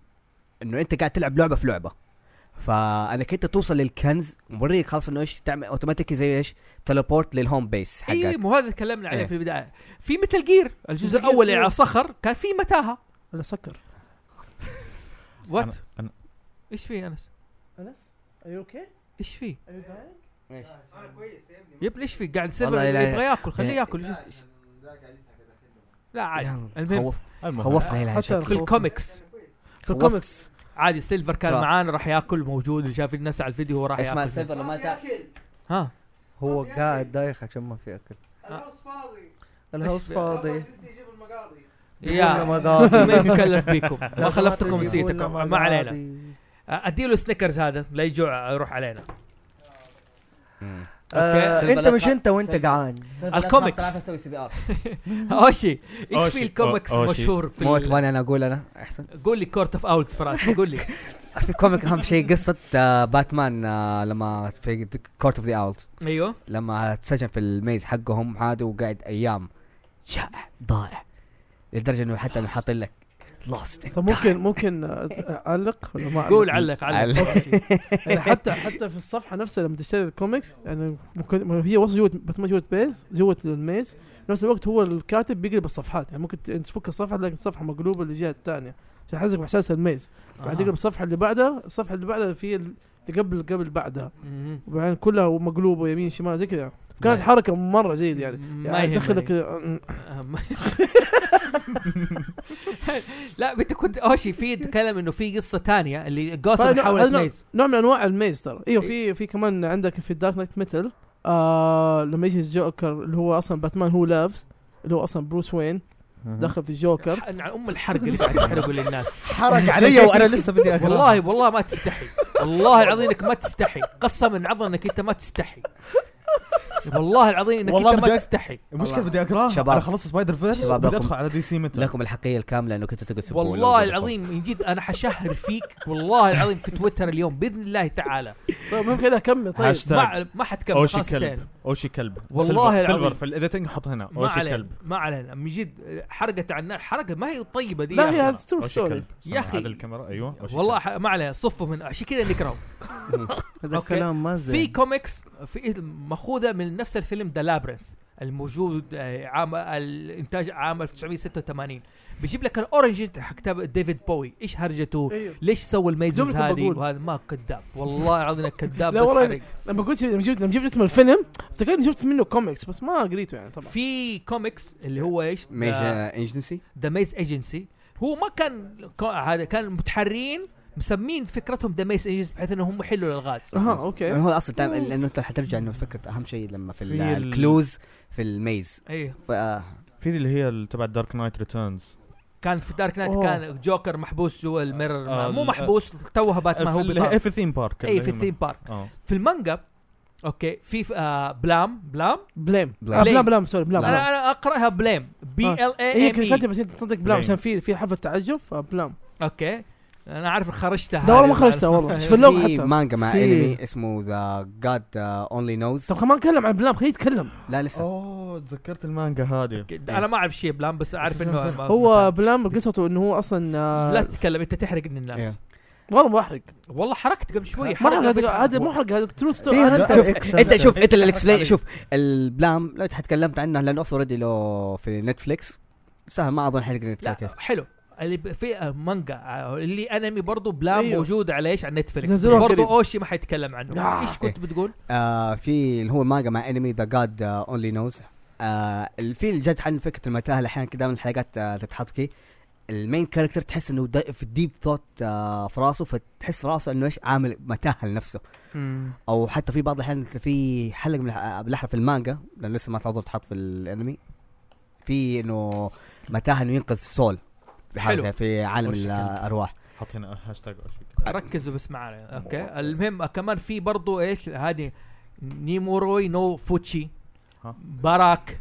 S3: انه انت قاعد تلعب لعبه في لعبه فانك انت توصل للكنز موريك خلاص انه ايش تعمل اوتوماتيكي زي ايش تليبورت للهوم بيس حقك
S1: اي وهذا تكلمنا عليه
S3: إيه.
S1: في البدايه في متل جير الجزء
S2: Metal Gear
S1: الاول اللي
S2: Four.
S1: على صخر كان في متاهه
S2: ولا سكر
S1: وات
S5: أنا- أنا-
S1: ايش في انس
S2: انس اي اوكي
S1: ايش في
S3: إيش؟
S1: يا ابني ايش في قاعد سيرفر
S3: والله لا-
S1: يبغى ياكل خليه
S3: إيه.
S1: ياكل إيش- لا عادي
S3: يلا،
S1: المهم
S3: خوف
S5: المهم
S3: خوفنا يا
S2: حتى
S3: العيال.
S1: في الكوميكس
S2: في الكوميكس
S1: عادي سيلفر كان
S3: ترى.
S1: معانا راح ياكل موجود شاف الناس على الفيديو وراح
S3: اسمع
S1: ياكل
S3: السيرفر لما تا-
S1: ها
S4: هو قاعد دايخ عشان ما في اكل
S7: الهوس فاضي
S4: الهوس فاضي
S7: ديزني يجيب المقاضي
S1: يا
S4: ولا مقاضي.
S1: ما يتكلف بيكم ما
S4: لا
S1: خلفتكم
S4: تجيبوا إلا
S1: نسيتكم ما علينا
S4: مقاضي.
S1: اديله سنيكرز هذا لا يجوع يروح علينا
S3: مم.
S4: آه،
S1: أوكي.
S4: انت مش انت وانت قعان
S1: الكوميكس.
S3: طلعت أسوي CPR.
S1: اوشي ايش
S5: أوشي.
S1: في الكوميكس
S5: أو- أوشي.
S1: مشهور في
S3: موت
S1: ال-
S3: وانا انا اقول انا احسن
S1: قول لي كورت اوف اولز فراس قول لي
S3: في كوميك اهم شيء قصه آه، باتمان آه، لما في كورت اوف ذا اولز
S1: ايوه
S3: لما اتسجن في الميز حقهم عادي وقعد ايام شائع ضائع لدرجه انه حتى انه حاطين لك لوست
S2: طب ممكن ممكن آه، اعلق ولا ما أعلق؟
S1: قول علق علق
S2: يعني حتى حتى في الصفحه نفسها لما تشتري الكوميكس يعني ممكن ما هي وصل جوه بس ما جوه بيز جوه الميز نفس الوقت هو الكاتب بيقلب الصفحات يعني ممكن ت- تفك الصفحه تلاقي الصفحه مقلوبه للجهه الثانيه عشان يحسسك باحساس الميز بعد تقلب الصفحه اللي بعدها الصفحه اللي بعدها في ال- اللي قبل قبل بعدها
S1: مهم.
S2: وبعدين كلها مقلوبه يمين شمال زي كذا كانت حركه مره جيده يعني
S1: نعم. ما
S2: يعني
S1: يهمك
S2: تدخلك
S1: أهم. لا انت كنت اوشي في تكلم انه في قصه ثانيه اللي جوثم
S2: فنوع-
S1: حولت
S2: نوع-
S1: ميز
S2: نوع من انواع الميز ترى ايوه
S1: إيه.
S2: في في كمان عندك في دارك نايت ميتل آه لما يجي الجوكر اللي هو اصلا باتمان هو لابس اللي هو اصلا بروس وين دخل في الجوكر
S1: ح- على ام الحرق اللي قاعد تحرقه للناس
S8: حرق علي وانا لسه بدي اقرا
S1: والله والله ما تستحي والله العظيم انك ما تستحي قسما عظا انك انت ما تستحي والله العظيم انك
S8: والله
S1: انت ما
S8: بدك-
S1: تستحي
S8: المشكله بدي اقراه
S3: شباب.
S8: انا خلصت سبايدر فيرس
S3: شباب،
S8: بدي
S3: لكم-
S8: ادخل على دي سي متى
S3: لكم الحقيقه الكامله انه كنتوا تقصوا
S1: والله العظيم من جد انا حشهر فيك والله العظيم في تويتر اليوم باذن الله تعالى
S2: طيب ممكن اكمل طيب
S5: هاشتاج
S1: ما ما حتكمل
S5: اوشي
S1: خلاص انتهينا.
S5: كلب اوشي كلب
S1: والله
S5: سيلفر-
S1: العظيم.
S5: سيلفر في الايديتنج حط هنا
S1: ما
S5: اوشي
S1: علينا
S5: كلب
S1: ما علينا من جد حرقت عنا حرقه ما هي طيبه دي
S2: لا
S1: يا
S2: هي
S1: أخي.
S2: هذا ستور
S5: اوشي
S2: ستوري
S5: كلب يا
S1: أخي.
S5: اخي هذا الكاميرا ايوه أوشي
S1: والله
S5: كلب.
S1: ح- ما عليه صفه من عشان كذا نكرهه
S9: هذا
S1: أوكي.
S9: كلام ما
S1: في
S9: زين
S1: كوميكس في ماخوذه من نفس الفيلم ذا لابرنث الموجود آه، عام الانتاج عام 1986 بيجيب لك الاورنج حق تاب- ديفيد بوي ايش هرجته
S2: ايوه
S1: ليش سوى الميزز
S2: زملك
S1: هذه
S2: بقول.
S1: وهذا ما كذاب والله العظيم إنك كذاب
S2: لا
S1: بس
S2: والله
S1: حرق.
S2: لما قلت لما جبت لما جبت اسم الفيلم افتكرت إني شفت منه كوميكس بس ما قريته يعني طبعا
S1: في كوميكس اللي هو ايش
S3: ميجا ايجنسي
S1: ذا ميز ايجنسي هو ما كان كو- هذا كان متحرين مسمين فكرتهم ذا ميز ايجنسي بحيث انهم يحلوا الالغاز
S2: اها اوكي
S3: يعني هو اصلا تعمل- لانه انت حترجع انه فكره اهم شيء لما في ال-
S5: في ال-
S3: الكلوز في الميز
S1: ايه
S3: ف- آه،
S5: في اللي هي ال- تبع دارك نايت ريتيرنز
S1: كان في دارك نايت
S2: أوه.
S1: كان جوكر محبوس جوا الميرور
S5: آه،
S1: مو
S5: ال-
S1: محبوس توه باتمان هو
S5: اللي هي
S1: بطار.
S5: في ثيم بارك
S1: اي في الثيم بارك
S5: اه
S1: في المانجا اوكي في آه بلام بلام
S2: بليم
S3: بلام.
S2: آه، بلام بلام سوري بلام
S1: انا
S2: بلام.
S1: انا اقراها بليم بي
S2: آه.
S1: ال اي
S2: هي
S1: ام اي
S2: كتبت بس أنت تصدق بلام
S5: بليم.
S2: عشان في في حرف التعجب فبلام
S1: اوكي انا عارف خرجتها
S2: ده والله ما
S1: آه، هذه.
S2: خرجتها والله شوف اللوم
S3: في
S2: حتى
S3: مانجا مع
S4: في-
S3: انمي اسمه ذا جاد اونلي نوز
S2: طب كمان كلم عن بلام خليه يتكلم
S3: لا لسه
S8: اوه تذكرت المانجا هذه إيه،
S1: انا ما اعرف شيء بلام بس اعرف
S8: بس-
S1: انه
S8: بس-
S1: ما-
S2: هو بلام قصته انه هو اصلا آه،
S1: آه، لا تتكلم انت تحرق من الناس
S5: إيه.
S2: والله ما احرق
S1: والله حركت قبل شوي
S2: ما
S1: حركة
S2: احرق هذا-
S1: بت-
S2: هذا مو حرق هذا ترو ستوري
S4: فيها
S2: هذا-
S4: انت اكشن
S3: انت شوف انت اللي
S8: تحرك
S3: الاكسبلين
S8: عليه.
S3: شوف البلام لو تحكلمت عنه لانه اصلا اوريدي له في نتفليكس سهل ما اظن حنقدر نتكلم كيف
S1: لا حلو اللي ب- في آه، مانجا آه، اللي انمي برضه بلام
S2: أيوه.
S1: موجود على ايش على نتفليكس بس
S2: نزلوها
S1: برضه
S2: قريب.
S1: اوشي ما حيتكلم عنه
S2: آه.
S1: ايش كنت بتقول؟
S3: آه في اللي هو المانجا مع انمي ذا جاد اونلي نوز آه ال- في الجد عن فكره المتاهه اللي احيانا كده من الحلقات آه تتحط فيه المين كاركتر تحس انه دا في الديب ثوت آه في راسه فتحس في راسه انه ايش عامل متاهه لنفسه او حتى في بعض الاحيان في حلقه من الح- بالاحرى في المانجا لان لسه ما تعرض تحط في الانمي في انه متاهه انه ينقذ سول في حلقه
S1: حلو.
S3: في عالم
S5: وش كان؟
S3: الارواح
S5: حط هنا هاشتاج اوشي كلب
S1: ركزوا بس معنا اوكي المهم آه، كمان في برضه ايش هذه نيموروي نو فوتشي
S5: ها.
S1: باراك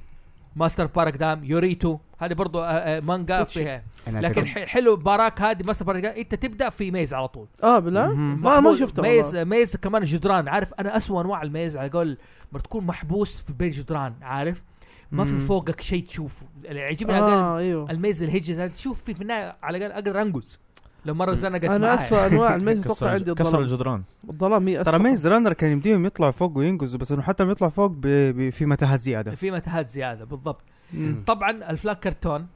S1: ماستر باراك دام يوريتو هذه برضه آه، آه، مانجا
S2: فوتشي.
S1: فيها
S3: أنا
S1: لكن
S3: أعتقد-
S1: ح- حلو باراك هذه ماستر باراك دام انت تبدا في ميز على طول
S2: اه بالله
S6: مهم.
S2: ما ما
S1: محبوس-
S2: شفته
S1: ميز
S2: والله.
S1: ميز كمان جدران عارف انا اسوء انواع الميز على قول ما تكون محبوس في بين جدران عارف ما في
S6: مم.
S1: فوقك شيء تشوفه اللي يعجبني على الأقل
S2: اه ايوه
S1: الميز الهجة هذا تشوف في في النهاية على الاقل اقدر انقز لو مره زنقت
S2: انا
S1: معايا.
S2: اسوء انواع الميز
S5: كسر
S2: اتوقع
S5: الج-
S2: عندي
S5: كسر
S2: الظلام
S5: الجدران
S2: الظلام هي
S6: ترى
S2: أسوأ.
S6: ميز رانر كان يمديهم يطلعوا فوق وينقزوا بس انه حتى لما يطلع فوق ب- ب- في متاهات زياده
S1: في متاهات زياده بالضبط
S6: مم.
S1: طبعا الفلاك كرتون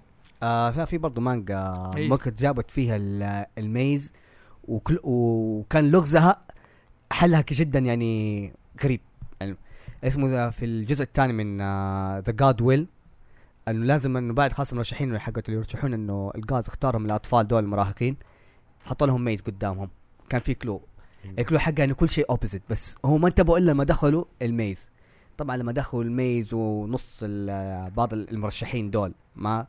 S3: آه لا، في برضه مانجا
S1: إيه.
S3: ممكن جابت فيها ال- الميز وكل وكان لغزها حلها ك- جدا يعني غريب يعني اسمه ذا في الجزء الثاني من آه، ذا جاد ويل انه لازم انه بعد خاصه المرشحين حقت اللي يرشحون انه الغاز اختارهم الاطفال دول المراهقين حطوا لهم ميز قدامهم كان في كلو الكلو حقه انه كل شيء اوبزيت بس هو ما انتبهوا الا لما دخلوا الميز طبعا لما دخلوا الميز ونص ال- بعض المرشحين دول ما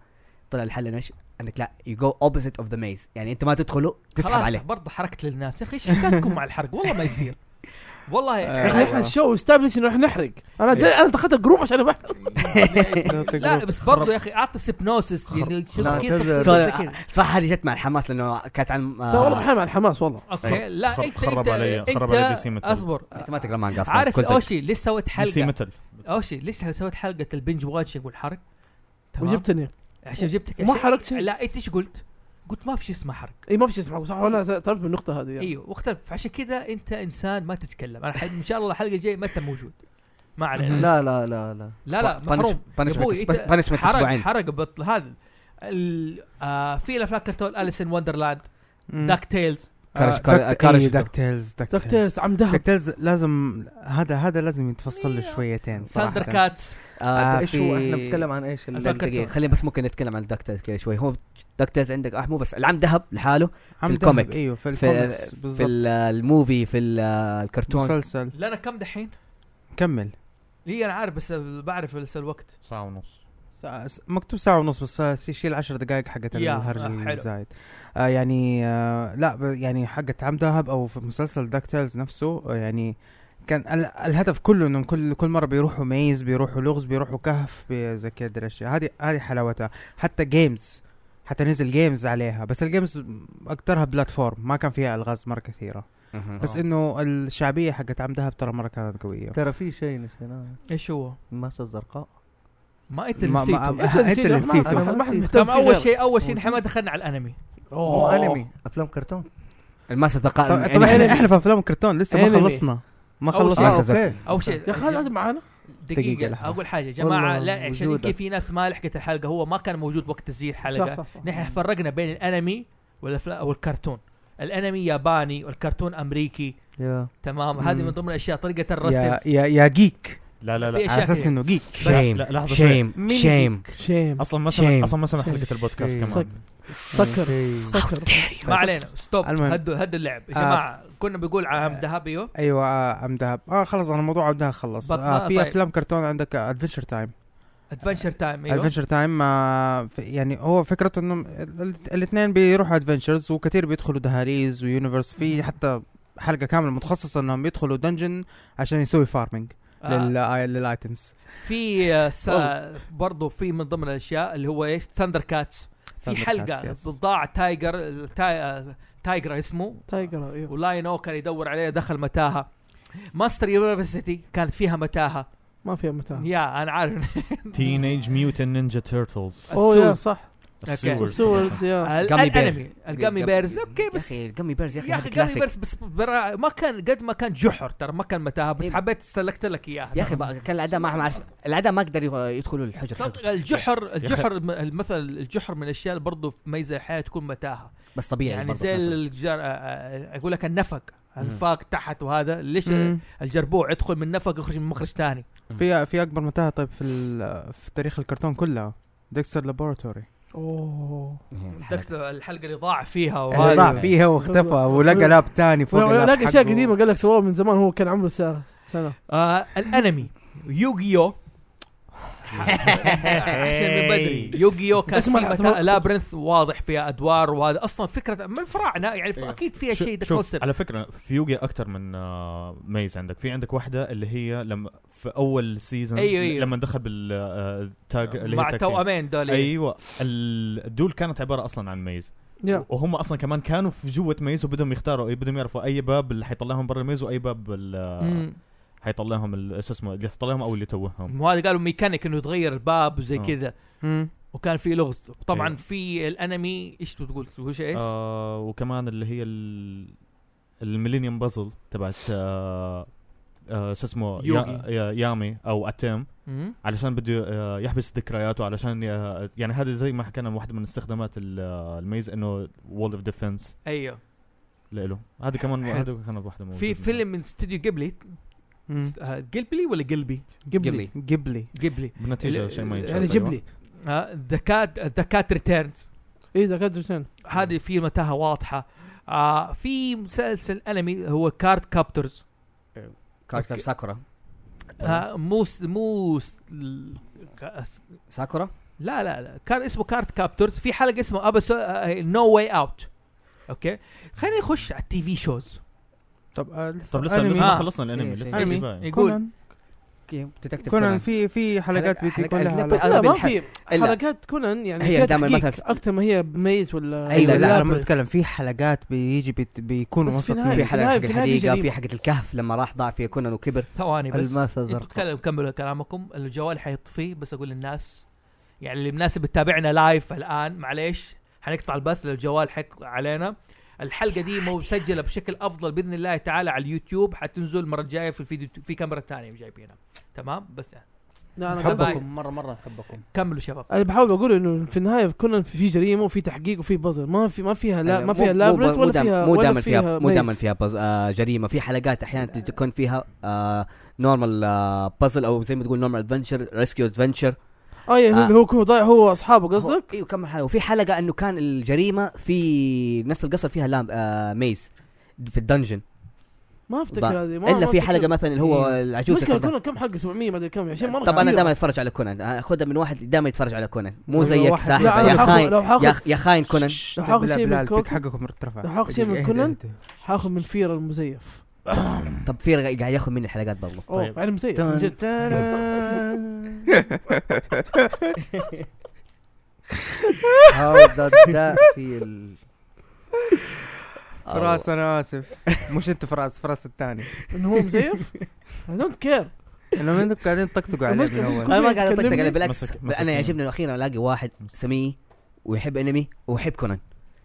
S3: طلع الحل إنه ايش انك لا يو جو اوبزيت اوف ذا ميز يعني انت ما تدخله تسحب
S1: خلاص
S3: عليه
S1: برضه حركت للناس يا اخي ايش حكايتكم مع الحرق والله ما يصير والله
S6: آه.
S2: احنا احنا الشو استابلش انه احنا نحرق انا د-
S1: إيه.
S2: انا دخلت الجروب عشان أبحرق.
S6: آه.
S1: لا بس برضو يا اخي اعطي سبنوسس
S4: لا، تذر.
S3: صح هذه جت مع الحماس لانه كانت عن
S2: لا والله
S3: آه
S2: محامي على الحماس والله
S1: اوكي لا
S5: خرب-
S1: انت
S5: خرب
S1: انت-
S5: علي-
S1: انت
S5: خرب علي DC متل.
S1: اصبر
S3: انت ما تقرا مانجا اصلا
S1: عارف
S3: كل شيء.
S1: اوشي ليش سويت
S5: سي
S1: حلقه
S5: متل
S1: اوشي ليش سويت حلقه البنج واتشنج والحرق تمام
S2: وجبتني
S1: عشان جبتك
S2: وما
S1: عشان-
S2: حرقت شيء.
S1: لا انت ايش قلت؟ قلت ما في شيء اسمه حرق
S2: اي ما في شيء اسمه صح ولا تعرف بالنقطه هذه يعني.
S1: ايوه واختلف عشان كذا انت انسان ما تتكلم انا حد- ان شاء الله الحلقه الجايه ما انت موجود ما علينا
S4: لا لا لا لا
S1: لا لا
S3: بانش-
S1: محروم
S3: بانشمنت
S1: يا أبوي،
S3: اس-
S1: إنت
S3: بانشمنت
S1: حرق
S3: اسبوعين
S1: حرق بطل هذا ال- آه، في الافلام كرتون اليسن وندرلاند داك تيلز
S3: كارج- كار- كارج شفتو.
S6: داك تيلز داك
S2: داك
S6: تيلز
S2: تيست عم دهب
S6: داك تيلز لازم هذا هذا لازم يتفصل له شويتين
S1: ثاندر
S6: صراحه
S1: كات
S3: آه،
S4: ايش
S3: في-
S4: هو احنا بنتكلم عن ايش
S3: لا، دقيقة خلينا بس ممكن نتكلم عن دكتاز كذا شوي هو دكتاز عندك آه مو بس العم ذهب لحاله
S6: عم
S3: في الكوميك.
S6: دهب، ايوه في
S3: في-
S6: الكوميكس
S3: في
S6: بالضبط
S3: ال- الموفي في ال- الكرتون
S6: مسلسل
S1: لنا كم دحين؟
S6: كمل
S1: لي انا عارف بس بعرف بس الوقت
S5: ساعة ونص
S6: ساعة- س- مكتوب ساعة ونص بس آه، شيل 10 دقائق حقت
S1: يا،
S6: الهرج
S1: آه، حلو.
S6: الزايد آه يعني آه لا ب- يعني حقت عم دهب او في مسلسل داك تيلز نفسه آه يعني كان ال- الهدف كله انه كل كل مره بيروحوا ميز بيروحوا لغز بيروحوا كهف بي- زي كده الاشياء هذه هذه حلاوتها حتى جيمز حتى نزل جيمز عليها بس الجيمز اكثرها بلاتفورم ما كان فيها الغاز مره كثيره
S3: مهم.
S6: بس
S1: آه.
S6: انه الشعبيه حقت عم دهب ترى مره كانت قويه
S4: ترى في شيء نسيناه
S1: ايش هو؟
S4: الماسة الزرقاء
S1: ما انت
S6: ما- ما-
S1: نسيته
S6: أنت اللي
S2: نسيته، ما-
S6: نسيته.
S2: أنا ما حد مهتم
S1: تمام
S2: فيه
S1: اول
S2: غيرك.
S1: أيوه. شيء اول شيء نحن ما دخلنا على الانمي
S4: هو
S2: أوه.
S4: انمي افلام كرتون
S3: الماسة
S1: طيب،
S3: دقائق
S6: طبعا طبعا احنا احنا في افلام كرتون لسه
S2: Anime.
S1: يعني
S6: ما خلصنا ما
S1: أول
S6: خلصنا
S1: شيء-
S3: ماسة
S4: اوكي
S1: اول شيء
S2: يا اخي هذا معانا
S6: دقيقة
S1: دقيقة
S6: لحظة.
S1: أول حاجة يا جماعة
S4: والله
S1: لا عشان
S4: وجودك.
S1: يمكن في ناس ما لحقت الحلقة هو ما كان موجود وقت تسجيل
S2: صح
S1: الحلقة
S2: صح صح
S1: نحن فرقنا بين الأنمي والأفلام والكرتون الأنمي ياباني والكرتون أمريكي
S4: يا
S1: تمام
S6: مم.
S1: هذه من ضمن الأشياء طريقة
S6: يا إيه.
S1: الرسم
S6: يا يا جيك
S5: لا لا
S1: في
S5: لا
S1: إشاعة
S6: على اساس
S1: كده.
S6: انه جيك
S3: شيم
S5: لا، لحظة شوي.
S3: شيم شيم
S2: شيم
S5: اصلا ما
S3: شيم.
S5: سمع اصلا ما سمع
S2: شيم.
S5: حلقة البودكاست
S6: شيم.
S5: كمان
S2: سكر سكر
S1: ما علينا ستوب
S6: المهم.
S1: هدوا هدوا اللعب يا
S6: آه.
S1: جماعة كنا بنقول عام ذهبيو
S6: ايوه آه، عم دهب اه خلص انا موضوع عم دهب خلص
S1: بطلها
S6: آه في
S1: طيب.
S6: افلام كرتون عندك آه، ادفنشر تايم
S1: ادفنشر تايم ايوه
S6: ادفنشر تايم يعني هو فكرته انه الاثنين بيروحوا ادفنشرز وكثير بيدخلوا دهاليز ويونيفرس في حتى حلقه كامله متخصصه انهم يدخلوا دنجن عشان يسوي فارمنج
S1: آه،
S6: للايتمز
S1: في آه، سا- برضو في من ضمن الاشياء اللي هو ايش ثندر كاتس في
S6: Thundercats،
S1: حلقه
S6: yes.
S1: ضاع تايجر تاي- تايجر اسمه
S2: تايجر ايوه
S1: ولاينو كان يدور عليه دخل متاهه ماستر يونيفرسيتي كانت فيها متاهه
S2: ما فيها
S6: آه.
S2: متى
S1: يا انا عارف
S5: تينيج ميوتن نينجا تيرتلز
S2: اوه يا
S1: السورس.
S2: صح
S1: السورس.
S2: سورز
S3: آه.
S2: يا
S1: ال-
S3: Gummy bears.
S1: الانمي الجامي بيرز اوكي بس
S3: يا اخي الجامي بيرز يا اخي
S1: يا
S3: هذا
S1: اخي الجامي
S3: كلاسيك
S1: بيرز بس برا- ما كان قد ما كان جحر ترى ما كان متاهه بس
S3: إيه.
S1: حبيت سلكت لك اياها
S3: يا اخي بقى كان العداء ما ما عارف العداء ما قدر يدخلوا الحجر
S1: صدق،
S3: حقه.
S1: الجحر الجحر م- مثلا الجحر من الاشياء اللي برضه في ميزه الحياه تكون متاهه
S3: بس طبيعي
S1: يعني
S3: برضه
S1: زي
S3: في نفس الوقت.
S1: الجر... آه، آه، اقول لك النفق الانفاق تحت وهذا ليش
S6: مم.
S1: الجربوع يدخل من نفق يخرج من مخرج ثاني
S6: في في اكبر متاهه طيب في ال- في تاريخ الكرتون كلها ديكستر لابوراتوري
S2: اوه
S3: إيه،
S1: دخل الحلقه اللي ضاع فيها
S6: اللي
S1: وهذا
S6: ضاع فيها واختفى ولقى لاب تاني فوق
S2: لا-
S6: اللاب
S2: لاقي اشياء
S6: حقه.
S2: قديمه قال لك سووها من زمان هو كان عمره سنه سنه
S1: آه الانمي يوغيو عشان من بدري يوغيو كان
S2: بس ما
S1: في
S2: لعبت-
S1: متا... لابرنث واضح فيها ادوار وهذا اصلا فكره من الفراعنه يعني
S5: أيوه.
S1: اكيد فيها
S5: شو-
S1: شيء ذا
S5: شوف
S1: كونسبت
S5: على فكره في يوغي اكثر من آه، ميز عندك في عندك واحده اللي هي لما في اول سيزون
S1: أيوه، أيوه.
S5: لما دخل بالتاج اللي هي
S1: مع
S5: التاج تيم.
S1: التوأمين دول
S5: ايوه ال- الدول كانت عباره اصلا عن ميز
S2: يا
S5: وهم اصلا كمان كانوا في جوه ميز وبدهم يختاروا إيه، بدهم يعرفوا اي باب اللي حيطلعهم برا الميز واي باب اللي
S1: مم.
S5: حيطلعهم ال- شو اسمه اللي حيطلعهم او اللي توهم
S1: وهذا قالوا ميكانيك انه يتغير الباب وزي
S5: آه.
S1: كذا
S6: مم.
S1: وكان في لغز طبعا
S5: أيوه.
S1: في الانمي ايش تقول تقول شيء ايش؟
S5: آه وكمان اللي هي ال- الميلينيوم بازل تبعت آه آه شو اسمه يا
S1: يوغي.
S5: يا يامي او اتم
S1: مم.
S5: علشان بده آه يحبس ذكرياته علشان ي- يعني هذا زي ما حكينا واحده من استخدامات ال- آه، الميز انه وول اوف ديفنس
S1: ايوه
S5: له هذا كمان
S6: حلو.
S5: هذا كانت واحده موجودة
S1: في
S5: منه.
S1: فيلم من استوديو جيبلي
S6: مم.
S1: آه، جيبلي ولا جلبي؟
S2: قبلي
S6: جيبلي
S1: جيبلي
S5: بالنتيجه شيء ما أيوة.
S2: يعني
S5: ينشاف
S2: جيب لي
S1: ذا كات ذا كات ريتيرنز
S2: ايه ذا كاتب شن
S5: نعم.
S1: هذه في متاهه واضحه آه في مسلسل انمي هو كارد كابترز
S3: كارت كاب ساكورا
S1: آه مو س- مو س- ال- كا- س-
S3: ساكورا
S1: لا لا لا كان اسمه كارد كابترز في حلقه آه، اسمه ابسو نو واي اوت اوكي خلينا نخش على التي في شوز
S6: طب آه،
S5: طب لسه
S6: أنمي.
S5: لسه ما
S1: آه.
S5: خلصنا الانمي
S3: إيه،
S5: لسه
S6: أنمي.
S5: في باقي.
S1: يقول
S6: كونان-
S3: كيف ديتكتيف
S6: كونان
S3: كونان
S6: في في حلقات
S3: حلقة-
S6: بيتي
S3: حلقة-
S6: كلها
S3: لا،
S2: بس
S3: أنا
S2: لا ما
S3: بالحق-
S2: في
S3: إلا-
S2: حلقات كونان يعني
S3: هي
S2: فيها
S3: دائماً
S2: تحقيق
S3: مثل-
S2: اكثر ما هي بميز ولا
S6: ايوه
S3: أيوة،
S6: لا
S3: لا،
S6: انا
S2: بس-
S6: بتكلم في حلقات بيجي بت- بيكون
S2: بس في
S6: وسط
S2: نهاية-
S6: مين.
S3: في حلقه حق
S2: في نهاية
S3: الحديقه
S2: جريمة.
S3: في حقه الكهف لما راح ضاع فيها كونان وكبر
S1: ثواني بس انتوا
S4: الماسة الزرقاء
S1: تكلم كملوا كلامكم الجوال حيطفي بس اقول للناس يعني اللي الناس اللي بتتابعنا لايف الان معليش حنقطع البث للجوال حق علينا الحلقه دي مسجله بشكل افضل باذن الله تعالى على اليوتيوب حتنزل المره الجايه في الفيديو في كاميرا ثانيه جايبينها تمام بس يعني.
S2: لا انا
S1: حبكم.
S2: قصدي-
S6: مره مره احبكم
S1: كملوا شباب
S2: انا بحاول اقول انه في النهايه كونان في جريمه وفي تحقيق وفي بازل ما في ما فيها لا
S3: أيوة،
S2: ما
S3: مو-
S2: فيها
S3: مو-
S2: لابرس
S3: مو
S2: ولا
S3: دام-
S2: فيها
S3: مو
S2: ولا
S3: دائما فيها مو
S2: ميز.
S3: دائما فيها بز... آه جريمه في حلقات احيانا تكون فيها آه نورمال آه بازل او زي ما تقول نورمال ادفنشر ريسكيو ادفنشر
S2: اه يعني
S3: آه.
S2: اللي هو هو ضايع هو اصحابه قصدك
S3: ايوه كم حلقه وفي حلقه انه كان الجريمه في نفس القصر فيها لام آه ميز في الدنجن
S2: ما افتكر هذه ما
S3: الا
S2: ما إيه.
S3: في
S2: أفتكر.
S3: حلقه مثلا اللي هو العجوز
S2: مشكله
S3: طب
S2: كونان كم حلقه 700 ما ادري كم عشان مره
S3: انا
S2: كبيرة.
S3: دائما اتفرج على كونان اخذها من واحد دائما يتفرج على كونان مو
S6: لو
S3: زيك
S6: واحد-
S3: ساحب
S2: لا
S3: يا
S2: انا حاخذ
S3: خاين
S2: لو
S3: يا
S2: حاخذ
S3: يا خاين كونان
S2: لو حاخذ شيء من كوكو-
S6: حقكم ارتفع
S2: لو حاخذ شيء من
S6: اهدى-
S2: كونان.
S6: اهدى.
S2: حاخذ من فير المزيف
S3: طب في رق- قاعد ياخذ مني الحلقات برضه
S2: اوه
S5: طيب.
S2: يعني مزيف من جد
S4: هاو ذا في ال...
S6: فراس انا اسف مش انت فراس فراس الثاني
S2: انه هو مزيف اي دونت كير
S6: انه انتم قاعدين تطقطقوا عليه من
S2: المشكلة
S6: اول
S3: انا ما قاعد اطقطق عليه
S2: تكلمني.
S3: بالعكس
S5: مسك- مسك
S3: انا
S5: منه.
S3: يعجبني انه اخيرا الاقي واحد سمي ويحب انمي ويحب كونان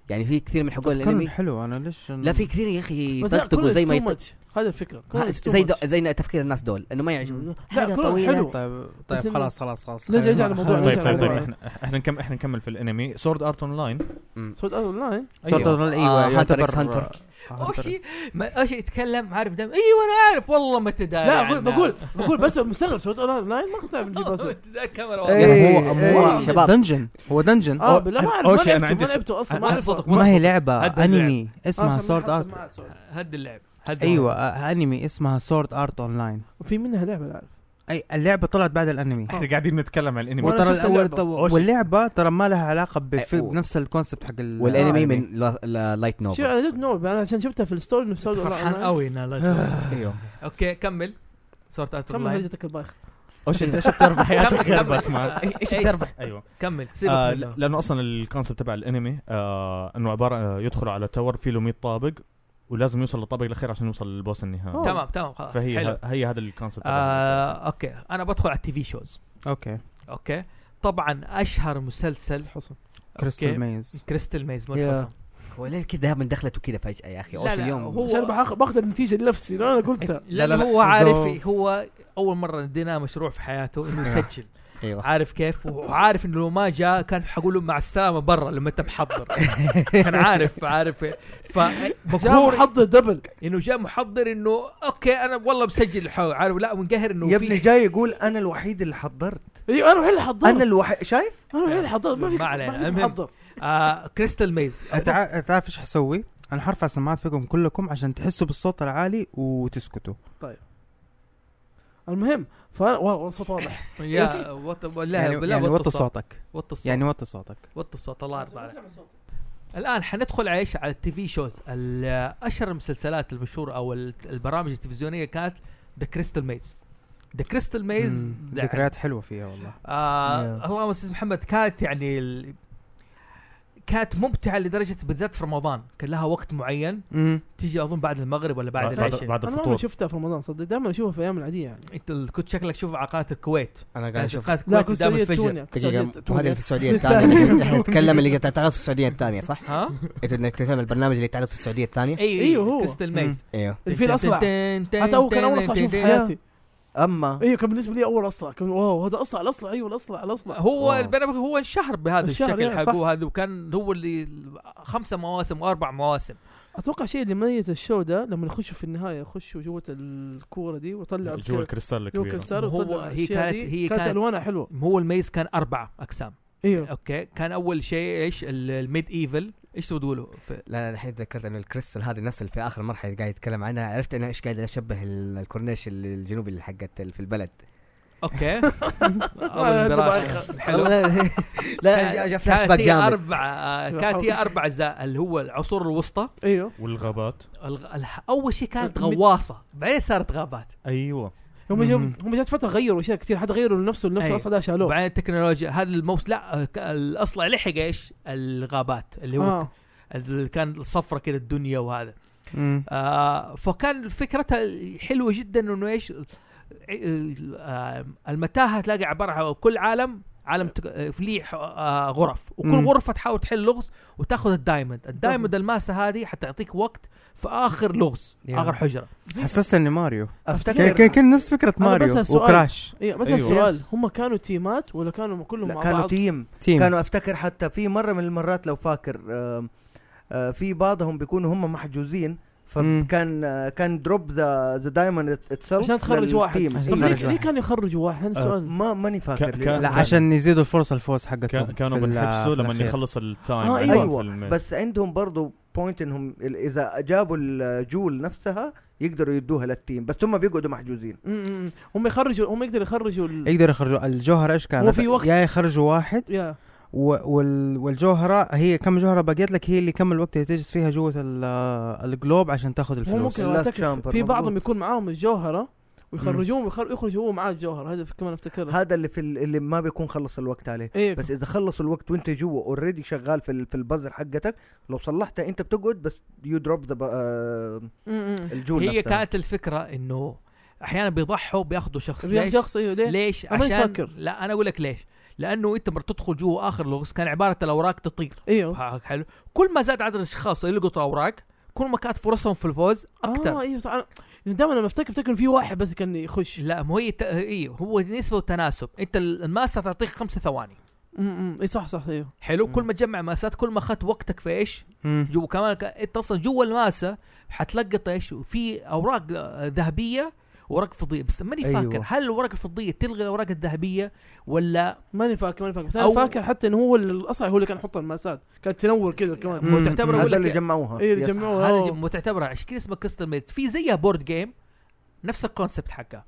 S3: يعني في كثير من حقوق
S6: كان
S3: الانمي
S6: حلو انا ليش
S3: لا في كثير يا اخي
S2: بس لا
S3: يطقطقوا زي ما
S2: يطق
S3: يطق
S2: هذا الفكره
S3: ها،
S2: كونان is too
S3: زي
S2: much.
S3: دو- زي تفكير الناس دول انه ما يعجبهم حلقه
S2: كونان
S3: طويله
S2: حلو.
S6: طيب
S2: بس
S6: طيب
S2: إنه-
S6: خلاص خلاص خلاص
S2: نرجع- نرجع
S6: خلينا-
S2: لموضوع-
S5: طيب
S2: نرجع
S5: طيب طيب
S2: لموضوع.
S5: احنا احنا نكمل احنا نكمل في الانمي سورد ارت اون لاين
S2: سورد ارت لاين
S6: سورد
S5: أيوة.
S6: أرت أونلاين،
S3: آه،
S6: ايوه
S3: هانتر
S6: يعتبر-
S3: إكس هانتر.
S6: آه،
S1: اوشي ما اوشي يتكلم عارف دم ايوه انا عارف والله ما تداري
S2: لا بقول بقول بقول بس مستغرب سورد ارت لاين ما كنت اعرف نجيب بازل
S1: الكاميرا
S4: إيه.
S1: والله.
S6: يعني هو هو
S4: إيه.
S3: شباب.
S6: دنجن هو دنجن
S2: اه لا ما اعرف ما
S5: أوشي،
S2: لعبته
S5: أنا عندي
S2: ما
S5: س-
S2: لعبته اصلا ما
S1: أنا
S2: اعرف
S1: صوتك
S6: ما هي لعبه
S1: هدد
S6: انمي
S2: آه،
S6: اسمها
S2: سمع-
S6: سورد ارت
S2: سمع- سورد.
S1: هد اللعب هد
S6: ايوه آه، انمي اسمها سورد ارت اونلاين
S2: وفي منها لعبه لا اعرف
S6: اي اللعبه طلعت بعد الانمي
S5: احنا قاعدين نتكلم عن الانمي
S2: وأنا
S6: وترى
S2: شفت
S6: الأول-
S2: اللعبة.
S6: طب- واللعبه ترى ما لها علاقه بف-
S3: أي، و-
S6: بنفس الكونسبت حق ال- آه، يعني
S3: والانمي
S6: الأنمي.
S2: يعني.
S3: من لا- لا- لايت
S2: شو
S3: نوفل
S2: انا دوت نو انا عشان شفتها في الستوري انه سورد
S1: فرحان
S2: ارت
S1: قوي إنها لا-
S3: أيوه.
S5: ايوه
S1: اوكي كمل صورت ارت
S2: كم
S1: لاين
S2: هرجتك البايخ
S5: اوش انت ايش بتربح حياتك غير
S1: كمل.
S5: باتمان ايش
S1: إيش؟
S5: بتربح ايوه
S1: كمل
S5: آه،
S1: سيبك منه.
S5: لانه اصلا الكونسبت تبع الانمي آه، انه عباره آه، يدخل على تاور فيه له 100 طابق ولازم يوصل للطابق الاخير عشان يوصل للبوس النهائي
S2: أوه.
S1: تمام تمام خلاص
S5: فهي
S1: حلو
S5: ه- هي هذا الكونسبت تبع
S1: آه اوكي انا بدخل على التي في شوز
S6: اوكي
S1: اوكي طبعا اشهر مسلسل
S2: الحصن
S6: كريستال ميز
S1: كريستال ميز مو
S2: يا.
S1: الحصن
S3: هو ليه كذا دائما دخلته كذا فجاه يا اخي اوش
S1: لا، لا،
S3: اليوم
S1: هو-
S2: عشان بأخ- باخذ النتيجه لنفسي لو انا قلتها
S1: لا لا
S6: لا،
S1: هو
S6: لا.
S1: عارف
S6: زوف.
S1: هو اول مره ادينا مشروع في حياته انه يسجل
S3: ايوه
S1: عارف كيف وعارف انه لو ما جاء كان حقول له مع السلامه برا لما انت محضر كان عارف عارف
S2: جاء
S1: فمقهور
S2: محضر دبل
S1: انه جاء محضر انه اوكي انا والله مسجل الحو عارف لا منقهر انه
S4: يا
S1: في-
S4: ابني جاي يقول انا الوحيد اللي حضرت
S2: ايوه انا الوحيد اللي حضرت
S4: انا
S2: انا
S4: الوحيد شايف
S2: الوحيد اللي حضرت ما في
S1: ما علينا.
S2: ما في
S1: المهم.
S2: محضر
S1: آه كريستال ميز
S6: أتع- تعرف ايش حسوي؟ انا حرفع سماعات فيكم كلكم عشان تحسوا بالصوت العالي وتسكتوا
S2: المهم فانا واو صوت واضح
S1: يا
S6: بس.
S1: وط... والله
S6: يعني,
S1: بالله
S6: يعني
S1: وط
S6: وطي صوتك
S1: وط الصوت
S6: يعني
S1: يعني
S6: وطي صوتك
S1: وط الصوت الله يرضى عليك الان حندخل على ايش على التي في شوز ال- اشهر المسلسلات المشهوره او ال- البرامج التلفزيونيه كانت ذا كريستال ميز ذا كريستال ميز
S6: مم، ذكريات حلوه فيها والله
S1: آه
S6: Yeah.
S1: اللهم استاذ محمد كانت يعني ال... كانت ممتعه لدرجه بالذات في رمضان كان لها وقت معين تيجي اظن بعد المغرب ولا بعد
S5: الأساس. بعد
S1: العشاء
S5: بعد
S2: انا ما
S5: الفطور
S2: شفتها في رمضان صدق دائما اشوفها في ايام العاديه يعني
S1: انت ال- كنت شكلك شوف على قناه الكويت
S3: انا قاعد
S1: قناه
S3: اشوف
S1: الكويت قدام
S2: سعودية،
S1: الفجر
S2: تونيا. سعودية،
S3: دقيقة
S2: تونيا.
S3: وهذه اللي في السعودية الثانية احنا نتكلم اللي تعرض في السعودية الثانية صح؟
S1: ها
S3: انت بدك تتكلم البرنامج اللي تعرض في السعودية الثانية؟
S1: ايوه
S2: أيوه هو.
S1: كريستال ميز
S3: ايوه
S2: الفيل الاصلع حتى هو كان اول اصلع اشوفه في حياتي
S4: اما
S2: ايوه كان بالنسبه لي اول اصلع كان واو هذا اصلع الاصلع ايوه الاصلع الاصلع
S1: هو
S3: واو.
S1: البرنامج هو انشهر بهذا
S2: الشهر،
S1: الشكل
S2: إيه، صح.
S1: حقه هذا وكان هو اللي خمسة مواسم واربع مواسم
S2: اتوقع الشيء اللي ميز الشو ده لما يخشوا في النهايه يخشوا جوه الكوره دي ويطلع
S5: جوا الكريستال
S2: جوه
S5: الكبير
S2: كريستال
S1: هو-
S2: ويطلع
S1: هي
S2: الأشياء
S1: كانت-
S2: دي.
S1: هي
S2: كانت
S1: كانت-
S2: الوانها حلوه
S1: هو الميز كان اربع اقسام
S2: ايوه
S1: اوكي كان اول شيء ايش ال- الميد ايفل ايش تقولوا له في
S3: لا لا الحين تذكرت انه الكريستال هذه نفس اللي في اخر مرحلة قاعد يتكلم عنها عرفت انا ايش قاعد اشبه ال- الكورنيش ال- الجنوبي اللي حقت ال- في البلد
S1: اوكي
S2: لا،
S1: اول دراسه حلو
S3: والله- لا جاء- جاء فلاش باك
S1: كانت هي
S3: جامد
S1: اربع آه، كانت هي اربع اجزاء اللي هو العصور الوسطى
S2: ايوه
S5: والغابات
S1: الغ- الح- اول شيء كانت
S2: مت-
S1: غواصه بعدين صارت غابات
S5: ايوه
S2: هم
S6: مم.
S2: جاب- هم جات فتره غيروا اشياء كثير حتى غيروا لنفسه لنفسه
S1: أيوة.
S2: الاصل ده شالوه
S1: بعدين التكنولوجيا هذا الموسم لا آه، ك- الاصلع لحق ايش الغابات اللي هو
S2: آه.
S1: اللي كان الصفرة كده الدنيا وهذا
S6: مم.
S1: آه فكان فكرتها حلوه جدا انه ايش آه، المتاهه تلاقي عباره عن كل عالم عالم تك- آه، ليه ح- آه، غرف وكل
S6: مم.
S1: غرفه تحاول تحل لغز وتاخذ الدايموند الدايموند الماسه هذه حتعطيك وقت في اخر لغز
S6: يا.
S1: اخر حجره
S6: حسستني اني ماريو كان- كان
S4: افتكر
S6: كان نفس فكره
S2: أنا
S6: ماريو
S2: بسأل سؤال.
S6: وكراش
S2: ايوه بس
S5: أيوة.
S2: السؤال هم كانوا تيمات ولا كانوا كلهم
S4: لا
S2: مع
S4: كانوا
S2: بعض؟
S4: تيم
S6: تيم
S4: كانوا افتكر حتى في مره من المرات لو فاكر آم، آه، في بعضهم بيكونوا هم محجوزين
S6: مم.
S4: فكان آه، كان دروب ذا ذا دايموند اتسلف
S2: عشان تخرج واحد.
S6: عشان
S2: طب ليه
S6: يخرج
S2: ليه
S6: واحد.
S2: كانوا يخرجوا واحد؟ هذا
S5: آه.
S2: السؤال
S4: إيه، ما ماني فاكر
S5: ك-
S4: ليه.
S5: كان-
S6: لا
S5: كان-
S6: عشان يزيدوا الفرصه الفوز حقتهم
S5: كا- كانوا
S6: في ال-
S5: بنحبسه
S6: في
S5: لما
S6: الأخير.
S5: يخلص التايم
S2: آه،
S5: عندهم
S4: أيوة،
S5: في الميز.
S4: بس عندهم برضو بوينت انهم ال- اذا جابوا الجول نفسها يقدروا يدوها للتيم بس هم بيقعدوا محجوزين
S2: م- م- هم يخرجوا هم يقدروا يخرجوا ال...
S6: يقدروا يخرجوا الجوهره ايش كانت؟
S2: هو في وقت.
S6: يا يخرجوا واحد
S2: يا
S6: و- وال- والجوهره هي كم جوهره بقيت لك هي اللي كم الوقت اللي تجلس فيها جوه ال- الجلوب عشان تاخذ
S2: هو
S6: الفلوس
S2: ممكن
S4: Last
S2: أعتقد
S4: Chamber،
S2: في بعضهم
S4: مظبوط.
S2: يكون معاهم الجوهره ويخرجوهم ويخر- يخرجوا هو معاه الجوهره هذا كمان افتكرها
S4: هذا اللي في ال- اللي ما بيكون خلص الوقت عليه
S2: ايه
S4: بس اذا خلص الوقت وانت جوا اوريدي شغال في ال- في البازر حقتك لو صلحتها انت بتقعد بس يو دروب ذا آه، الجول
S1: هي
S4: نفسها.
S1: كانت الفكره انه احيانا بيضحوا بياخذوا شخص
S2: بيعمل
S1: ليش
S2: شخص ايوه ليه؟
S1: ليش
S2: أما
S1: عشان
S2: يفكر.
S1: لا انا اقول لك ليش لانه انت مرة تدخل جوا اخر لغز كان عباره الاوراق تطير
S2: ايوه
S1: ح- حلو كل ما زاد عدد الاشخاص اللي يلقطوا اوراق كل ما كانت فرصهم في الفوز
S2: اه
S1: اكثر
S2: ايوه صح أنا- دائما لما افتكر افتكر إن في واحد بس كان يخش
S1: لا مو هي ت... إيه هو نسبه وتناسب انت ال- الماسه تعطيك خمسة ثواني
S2: امم اي صح صح ايوه
S1: حلو كل
S6: مم.
S1: ما تجمع ماسات كل ما اخذت وقتك في ايش
S6: مم.
S1: جوا كمان ك- انت اصلا جوا الماسه حتلقط ايش في اوراق آه، ذهبيه وورق فضيه بس ماني
S4: أيوة.
S1: فاكر هل الورق الفضيه تلغي الاوراق الذهبيه ولا
S2: ماني فاكر ماني فاكر بس انا
S1: أو-
S2: فاكر حتى انه هو الاصعي هو اللي كان يحط الماسات كانت تنور كذا كمان
S6: مم.
S1: تعتبر
S6: مم.
S1: اقول
S4: هذا
S1: لك
S4: اللي جمعوها
S2: ايه
S4: يس.
S2: اللي جمعوه
S1: هذا
S2: أوه.
S1: جم- معتبرها عشان كذا اسمها كاستم ميد في زيها بورد جيم نفس الكونسبت حقها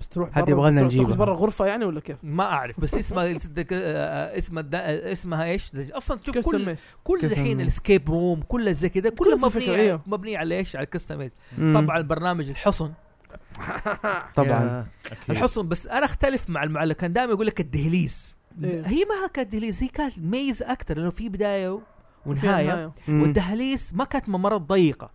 S2: بس تروح
S6: هذه
S2: برا-
S6: يبغالنا
S2: تروح-
S6: نجيبها.
S2: تخرج برا غرفه يعني ولا كيف؟
S1: ما اعرف بس اسمها اسمها اسمها ايش اصلا شوف
S2: كاستم
S1: كل
S2: ميس
S1: كل
S6: كاستم
S1: الحين
S6: ميد.
S1: الاسكيب روم كل زي كذا
S2: كل
S1: كل
S2: نفس الفكرة،
S1: مبني
S2: أيوه.
S1: مبني على ايش على الكستمايز
S6: مم.
S1: طبعا برنامج الحصن
S6: طبعا
S4: يا-
S5: أكيد.
S1: الحصن بس انا اختلف مع المعلق كان دائما يقول لك الدهليز
S2: إيه.
S1: هي ما كانت دهليز هي كانت ميز اكثر لانه في بدايه
S2: فيها
S1: ونهايه
S6: مم.
S1: والدهاليز ما كانت ممرات ضيقه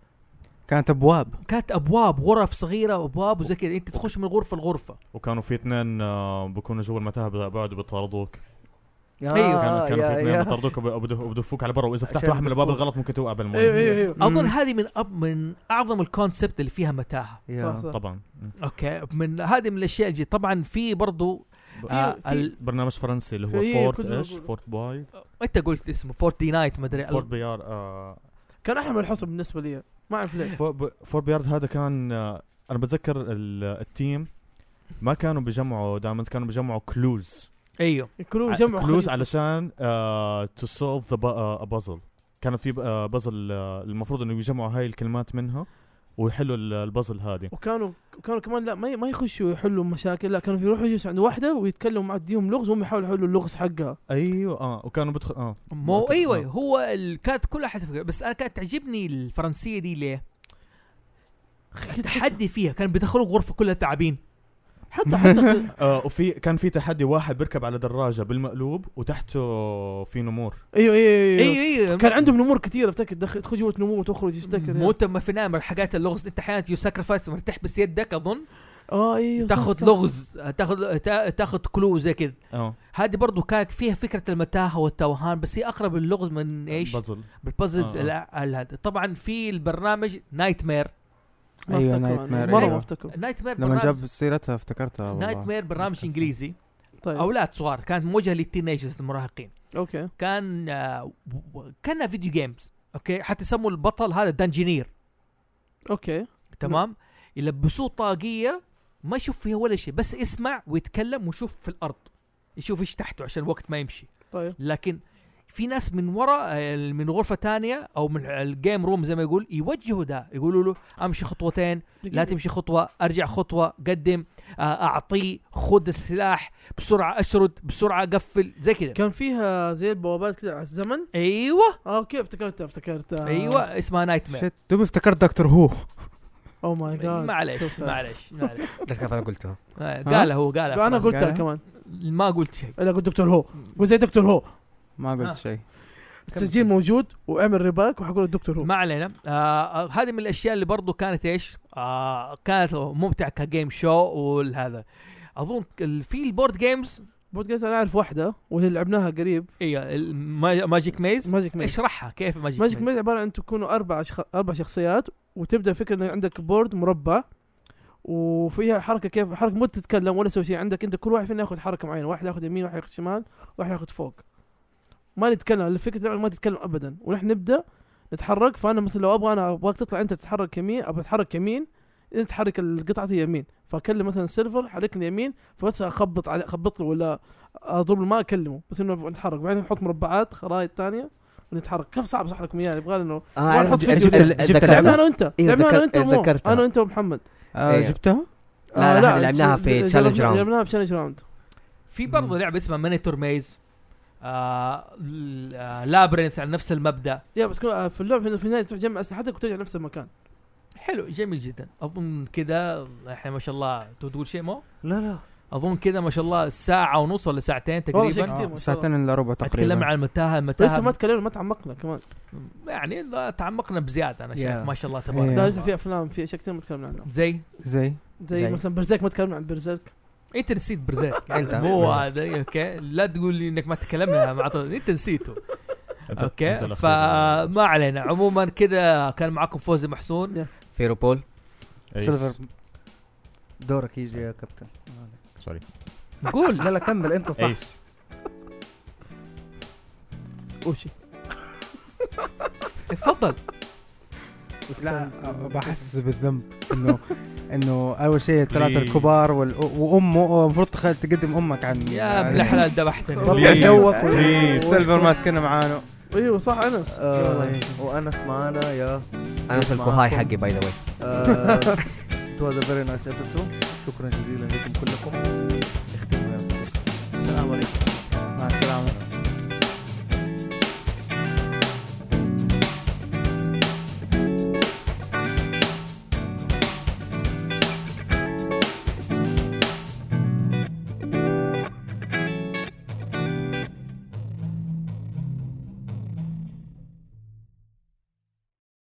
S6: كانت ابواب
S1: كانت ابواب غرف صغيره وابواب وزي كذا انت تخش من غرفه لغرفه
S5: وكانوا في اثنين آه، بيكونوا جوا المتاهه بي- بيقعدوا بيطاردوك
S4: يا-
S1: أيوة.
S5: كانوا كانوا في
S4: آه، يا-
S5: اثنين
S4: يا.
S5: بيطاردوك وب- وبدو- وبدفوك على برا واذا فتحت
S4: عشان إيه،
S5: واحد من الابواب
S4: بتفوت.
S5: الغلط ممكن توقع
S2: ايوه
S5: بالمي
S2: ايوه ايوه
S1: اظن
S6: مم.
S1: هذه من أب من اعظم الكونسبت اللي فيها متاهه
S4: يا.
S2: صح صح
S5: طبعا مم.
S1: اوكي من هذه من الاشياء اللي طبعا في برضو
S5: ب-
S1: آه
S2: في-
S1: ال...
S5: برنامج فرنسي اللي هو
S4: إيه،
S2: في-
S5: فورت
S2: كنت
S5: ايش
S2: بقول-
S5: فورت باي
S1: انت قلت اسمه فورتي نايت مدري
S5: فورت بيار آه،
S2: كان احلى من الحصن بالنسبه لي ما اعرف ليه
S5: فور ب- فور بيارد هذا كان آه، انا بتذكر ال- التيم ما كانوا بيجمعوا دايموندز كانوا بيجمعوا كلوز
S1: ايوه
S2: يكونوا
S5: ع-
S2: جمعوا
S5: كلوز
S2: خريطة.
S5: علشان آه، تو سولف ذا بازل كان آه، في بازل المفروض انه يجمعوا هاي الكلمات منها ويحلوا ال- البازل هذه
S2: وكانوا كانوا كمان لا ما ي- ما يخشوا يحلوا مشاكل لا كانوا يروحوا يجلسوا عند واحده ويتكلموا مع تديهم لغز وهم يحاولوا يحلوا اللغز حقها
S5: ايوه اه وكانوا بدخل اه
S1: مو
S5: أوكي.
S1: ايوه
S5: آه.
S1: هو ال... كانت كل احد فكرة. بس انا كانت تعجبني الفرنسيه دي ليه؟
S2: أخي، تحس-
S1: تحدي فيها كان بيدخلوا غرفه كلها تعابين
S2: حتى حتى
S5: آه وفي كان في تحدي واحد بيركب على دراجه بالمقلوب وتحته في نمور
S2: ايوه ايوه ايوه
S1: ايوه
S2: كان عندهم أيوه. نمور كثير افتكر دخل تدخل جوه نمور وتخرج افتكر
S1: مو انت ما في نعم، نام حاجات اللغز انت احيانا يو ساكرفايس تحبس يدك اظن
S2: اه ايوه صح،
S1: تاخذ
S2: صح.
S1: لغز تاخذ تا- تاخذ كلو زي كذا
S5: اه
S1: هذه برضو كانت فيها فكرة المتاهة والتوهان بس هي أقرب اللغز من إيش؟
S5: بازل
S1: بالبازلز
S5: آه.
S1: الع- الهد- طبعا في البرنامج نايت مير
S2: ما
S6: أيوة،
S2: افتكر
S6: نايت
S2: أنا.
S6: مير،
S2: مره ما
S6: أيوة.
S2: افتكر
S1: نايت مير
S6: لما
S1: برنامج
S6: جاب سيرتها افتكرتها
S1: نايت
S6: والله
S1: مير برنامج
S6: أحسن.
S1: إنجليزي
S2: طيب
S1: أولاد صغار كانت موجهة للتينيجرز المراهقين
S2: اوكي
S1: كان آه، و- و- كانها فيديو جيمز أوكي حتى يسموا البطل هذا دانجينير
S2: اوكي
S1: تمام يلبسوه طاقية ما يشوف فيها ولا شيء بس اسمع ويتكلم ويشوف في الأرض يشوف ايش تحته عشان الوقت ما يمشي
S2: طيب
S1: لكن في ناس من ورا آه، من غرفه تانية او من الجيم روم زي ما يقول يوجهوا ده يقولوا له امشي خطوتين لا
S2: دقيقة.
S1: تمشي خطوه ارجع خطوه قدم آه، اعطيه خذ السلاح بسرعه اشرد بسرعه اقفل زي كذا
S2: كان فيها زي البوابات كذا على الزمن
S1: ايوه
S2: اه اوكي افتكرتها افتكرتها
S1: ايوه اسمها نايت مير
S6: شت دوبي افتكرت دكتور هو
S2: او ماي جاد
S1: معليش معليش معليش
S3: دخلت انا قلتها
S1: آه، قالها هو قالها
S2: انا
S1: أنا
S6: قلت-
S2: قلتها كمان
S1: ما قلت شيء
S2: انا قلت دكتور هو وزي دكتور هو
S6: ما
S1: آه.
S6: قلت شيء
S2: التسجيل موجود واعمل ريباك وحقول الدكتور هو
S1: ما علينا آه هذه من الاشياء اللي برضو كانت ايش آه كانت ممتعه كجيم شو والهذا اظن ال- في البورد جيمز
S2: بودكاست انا اعرف واحده واللي لعبناها قريب
S1: اي ماجيك ميز
S2: ماجيك ميز
S1: اشرحها كيف ماجيك
S2: ماجيك
S1: ميز
S2: ميز عباره عن تكونوا اربع شخ... اربع شخصيات وتبدا فكره انك عندك بورد مربع وفيها حركه كيف حركه مو تتكلم ولا تسوي شيء عندك انت كل واحد فينا ياخذ حركه معينه واحد ياخذ يمين واحد ياخذ شمال واحد ياخذ فوق ما نتكلم الفكره اللعبه ما تتكلم ابدا ونحن نبدا نتحرك فانا مثلا لو ابغى انا ابغاك تطلع انت تتحرك يمين ابغى اتحرك يمين انت تحرك القطعه يمين فاكلم مثلا السيرفر حركني يمين فبس اخبط عليه اخبط له ولا اضرب له ما اكلمه بس انه نتحرك بعدين نحط مربعات خرائط ثانيه ونتحرك كيف صعب اشرح لكم اياها يبغى لنا انه
S3: اه
S2: وأنا أحط فيديو. لعبنا انا وانت
S3: إيه،
S2: لعبنا انا وانت
S3: ذكرت-
S2: ومو.
S3: ذكرتها.
S2: انا وانت ومحمد
S6: آه
S3: إيه.
S6: جبتها؟
S3: لا،
S2: آه،
S3: لا، لعبناها في
S2: جربنا-
S3: challenge round.
S2: لعبناها في تشالنج راوند
S1: في برضو لعبه اسمها مانيتور ميز آه ال- آه، لابرنث على نفس المبدا
S2: يا بس كو- آه، في اللعبه في- في النهايه تجمع اسلحتك وترجع نفس المكان
S1: حلو جميل جدا اظن كذا احنا ما شاء الله تبغى تقول شيء مو
S4: لا لا
S1: اظن كذا ما شاء الله ساعه ونص ولا ساعتين
S2: والله شيء
S1: تقريبا
S2: كتير ما شاء
S6: آه
S2: الله.
S6: ساعتين الا ربع
S1: اتكلم
S6: تقريبا
S1: عن المتاهه
S2: لسه ما
S1: المتاهه
S2: تكلمنا ما تعمقنا كمان
S1: يعني لا، تعمقنا بزياده انا شايف
S6: Yeah.
S1: ما شاء الله تبارك
S6: Yeah.
S2: ده لسه في
S1: الله
S2: افلام في اشياء كثير ما تكلمنا عنها
S1: زي
S6: زي
S2: زي,
S3: زي.
S2: مثلا برزيرك ما تكلمنا عن برزيرك
S1: انت نسيت برزيرك
S3: أنت.
S1: مو هذا اوكي لا تقول لي انك ما تكلمنا مع طول. انت نسيته
S5: أنت- أنت
S1: اوكي
S5: الأخير.
S1: فما علينا عموما كذا كان معكم فوزي محسون
S3: فيروبول
S5: أيس.
S6: سيلفر
S4: دورك يجي يا كابتن
S5: سوري
S1: قول
S4: لا لا كمل انت صح
S5: ايس
S2: اوشي
S1: تفضل
S6: لا آه، بحس بالذنب انه انه اول شيء الثلاثه الكبار والأ- وامه المفروض تخ- تقدم امك عن
S1: يا
S6: عن-
S1: ابن الحلال ذبحتني
S4: والله
S5: Please.
S4: جوك
S5: Please.
S6: سيلفر ماسكنا معانا
S2: ايوه صح انس
S4: آه، وانس معانا يا
S3: انا في الكوهاي حقي باي ذا واي
S4: Eh, تو هذا فيري نايس ابيسود شكرا جزيلا لكم كلكم اختموا يا صديقي
S1: السلام عليكم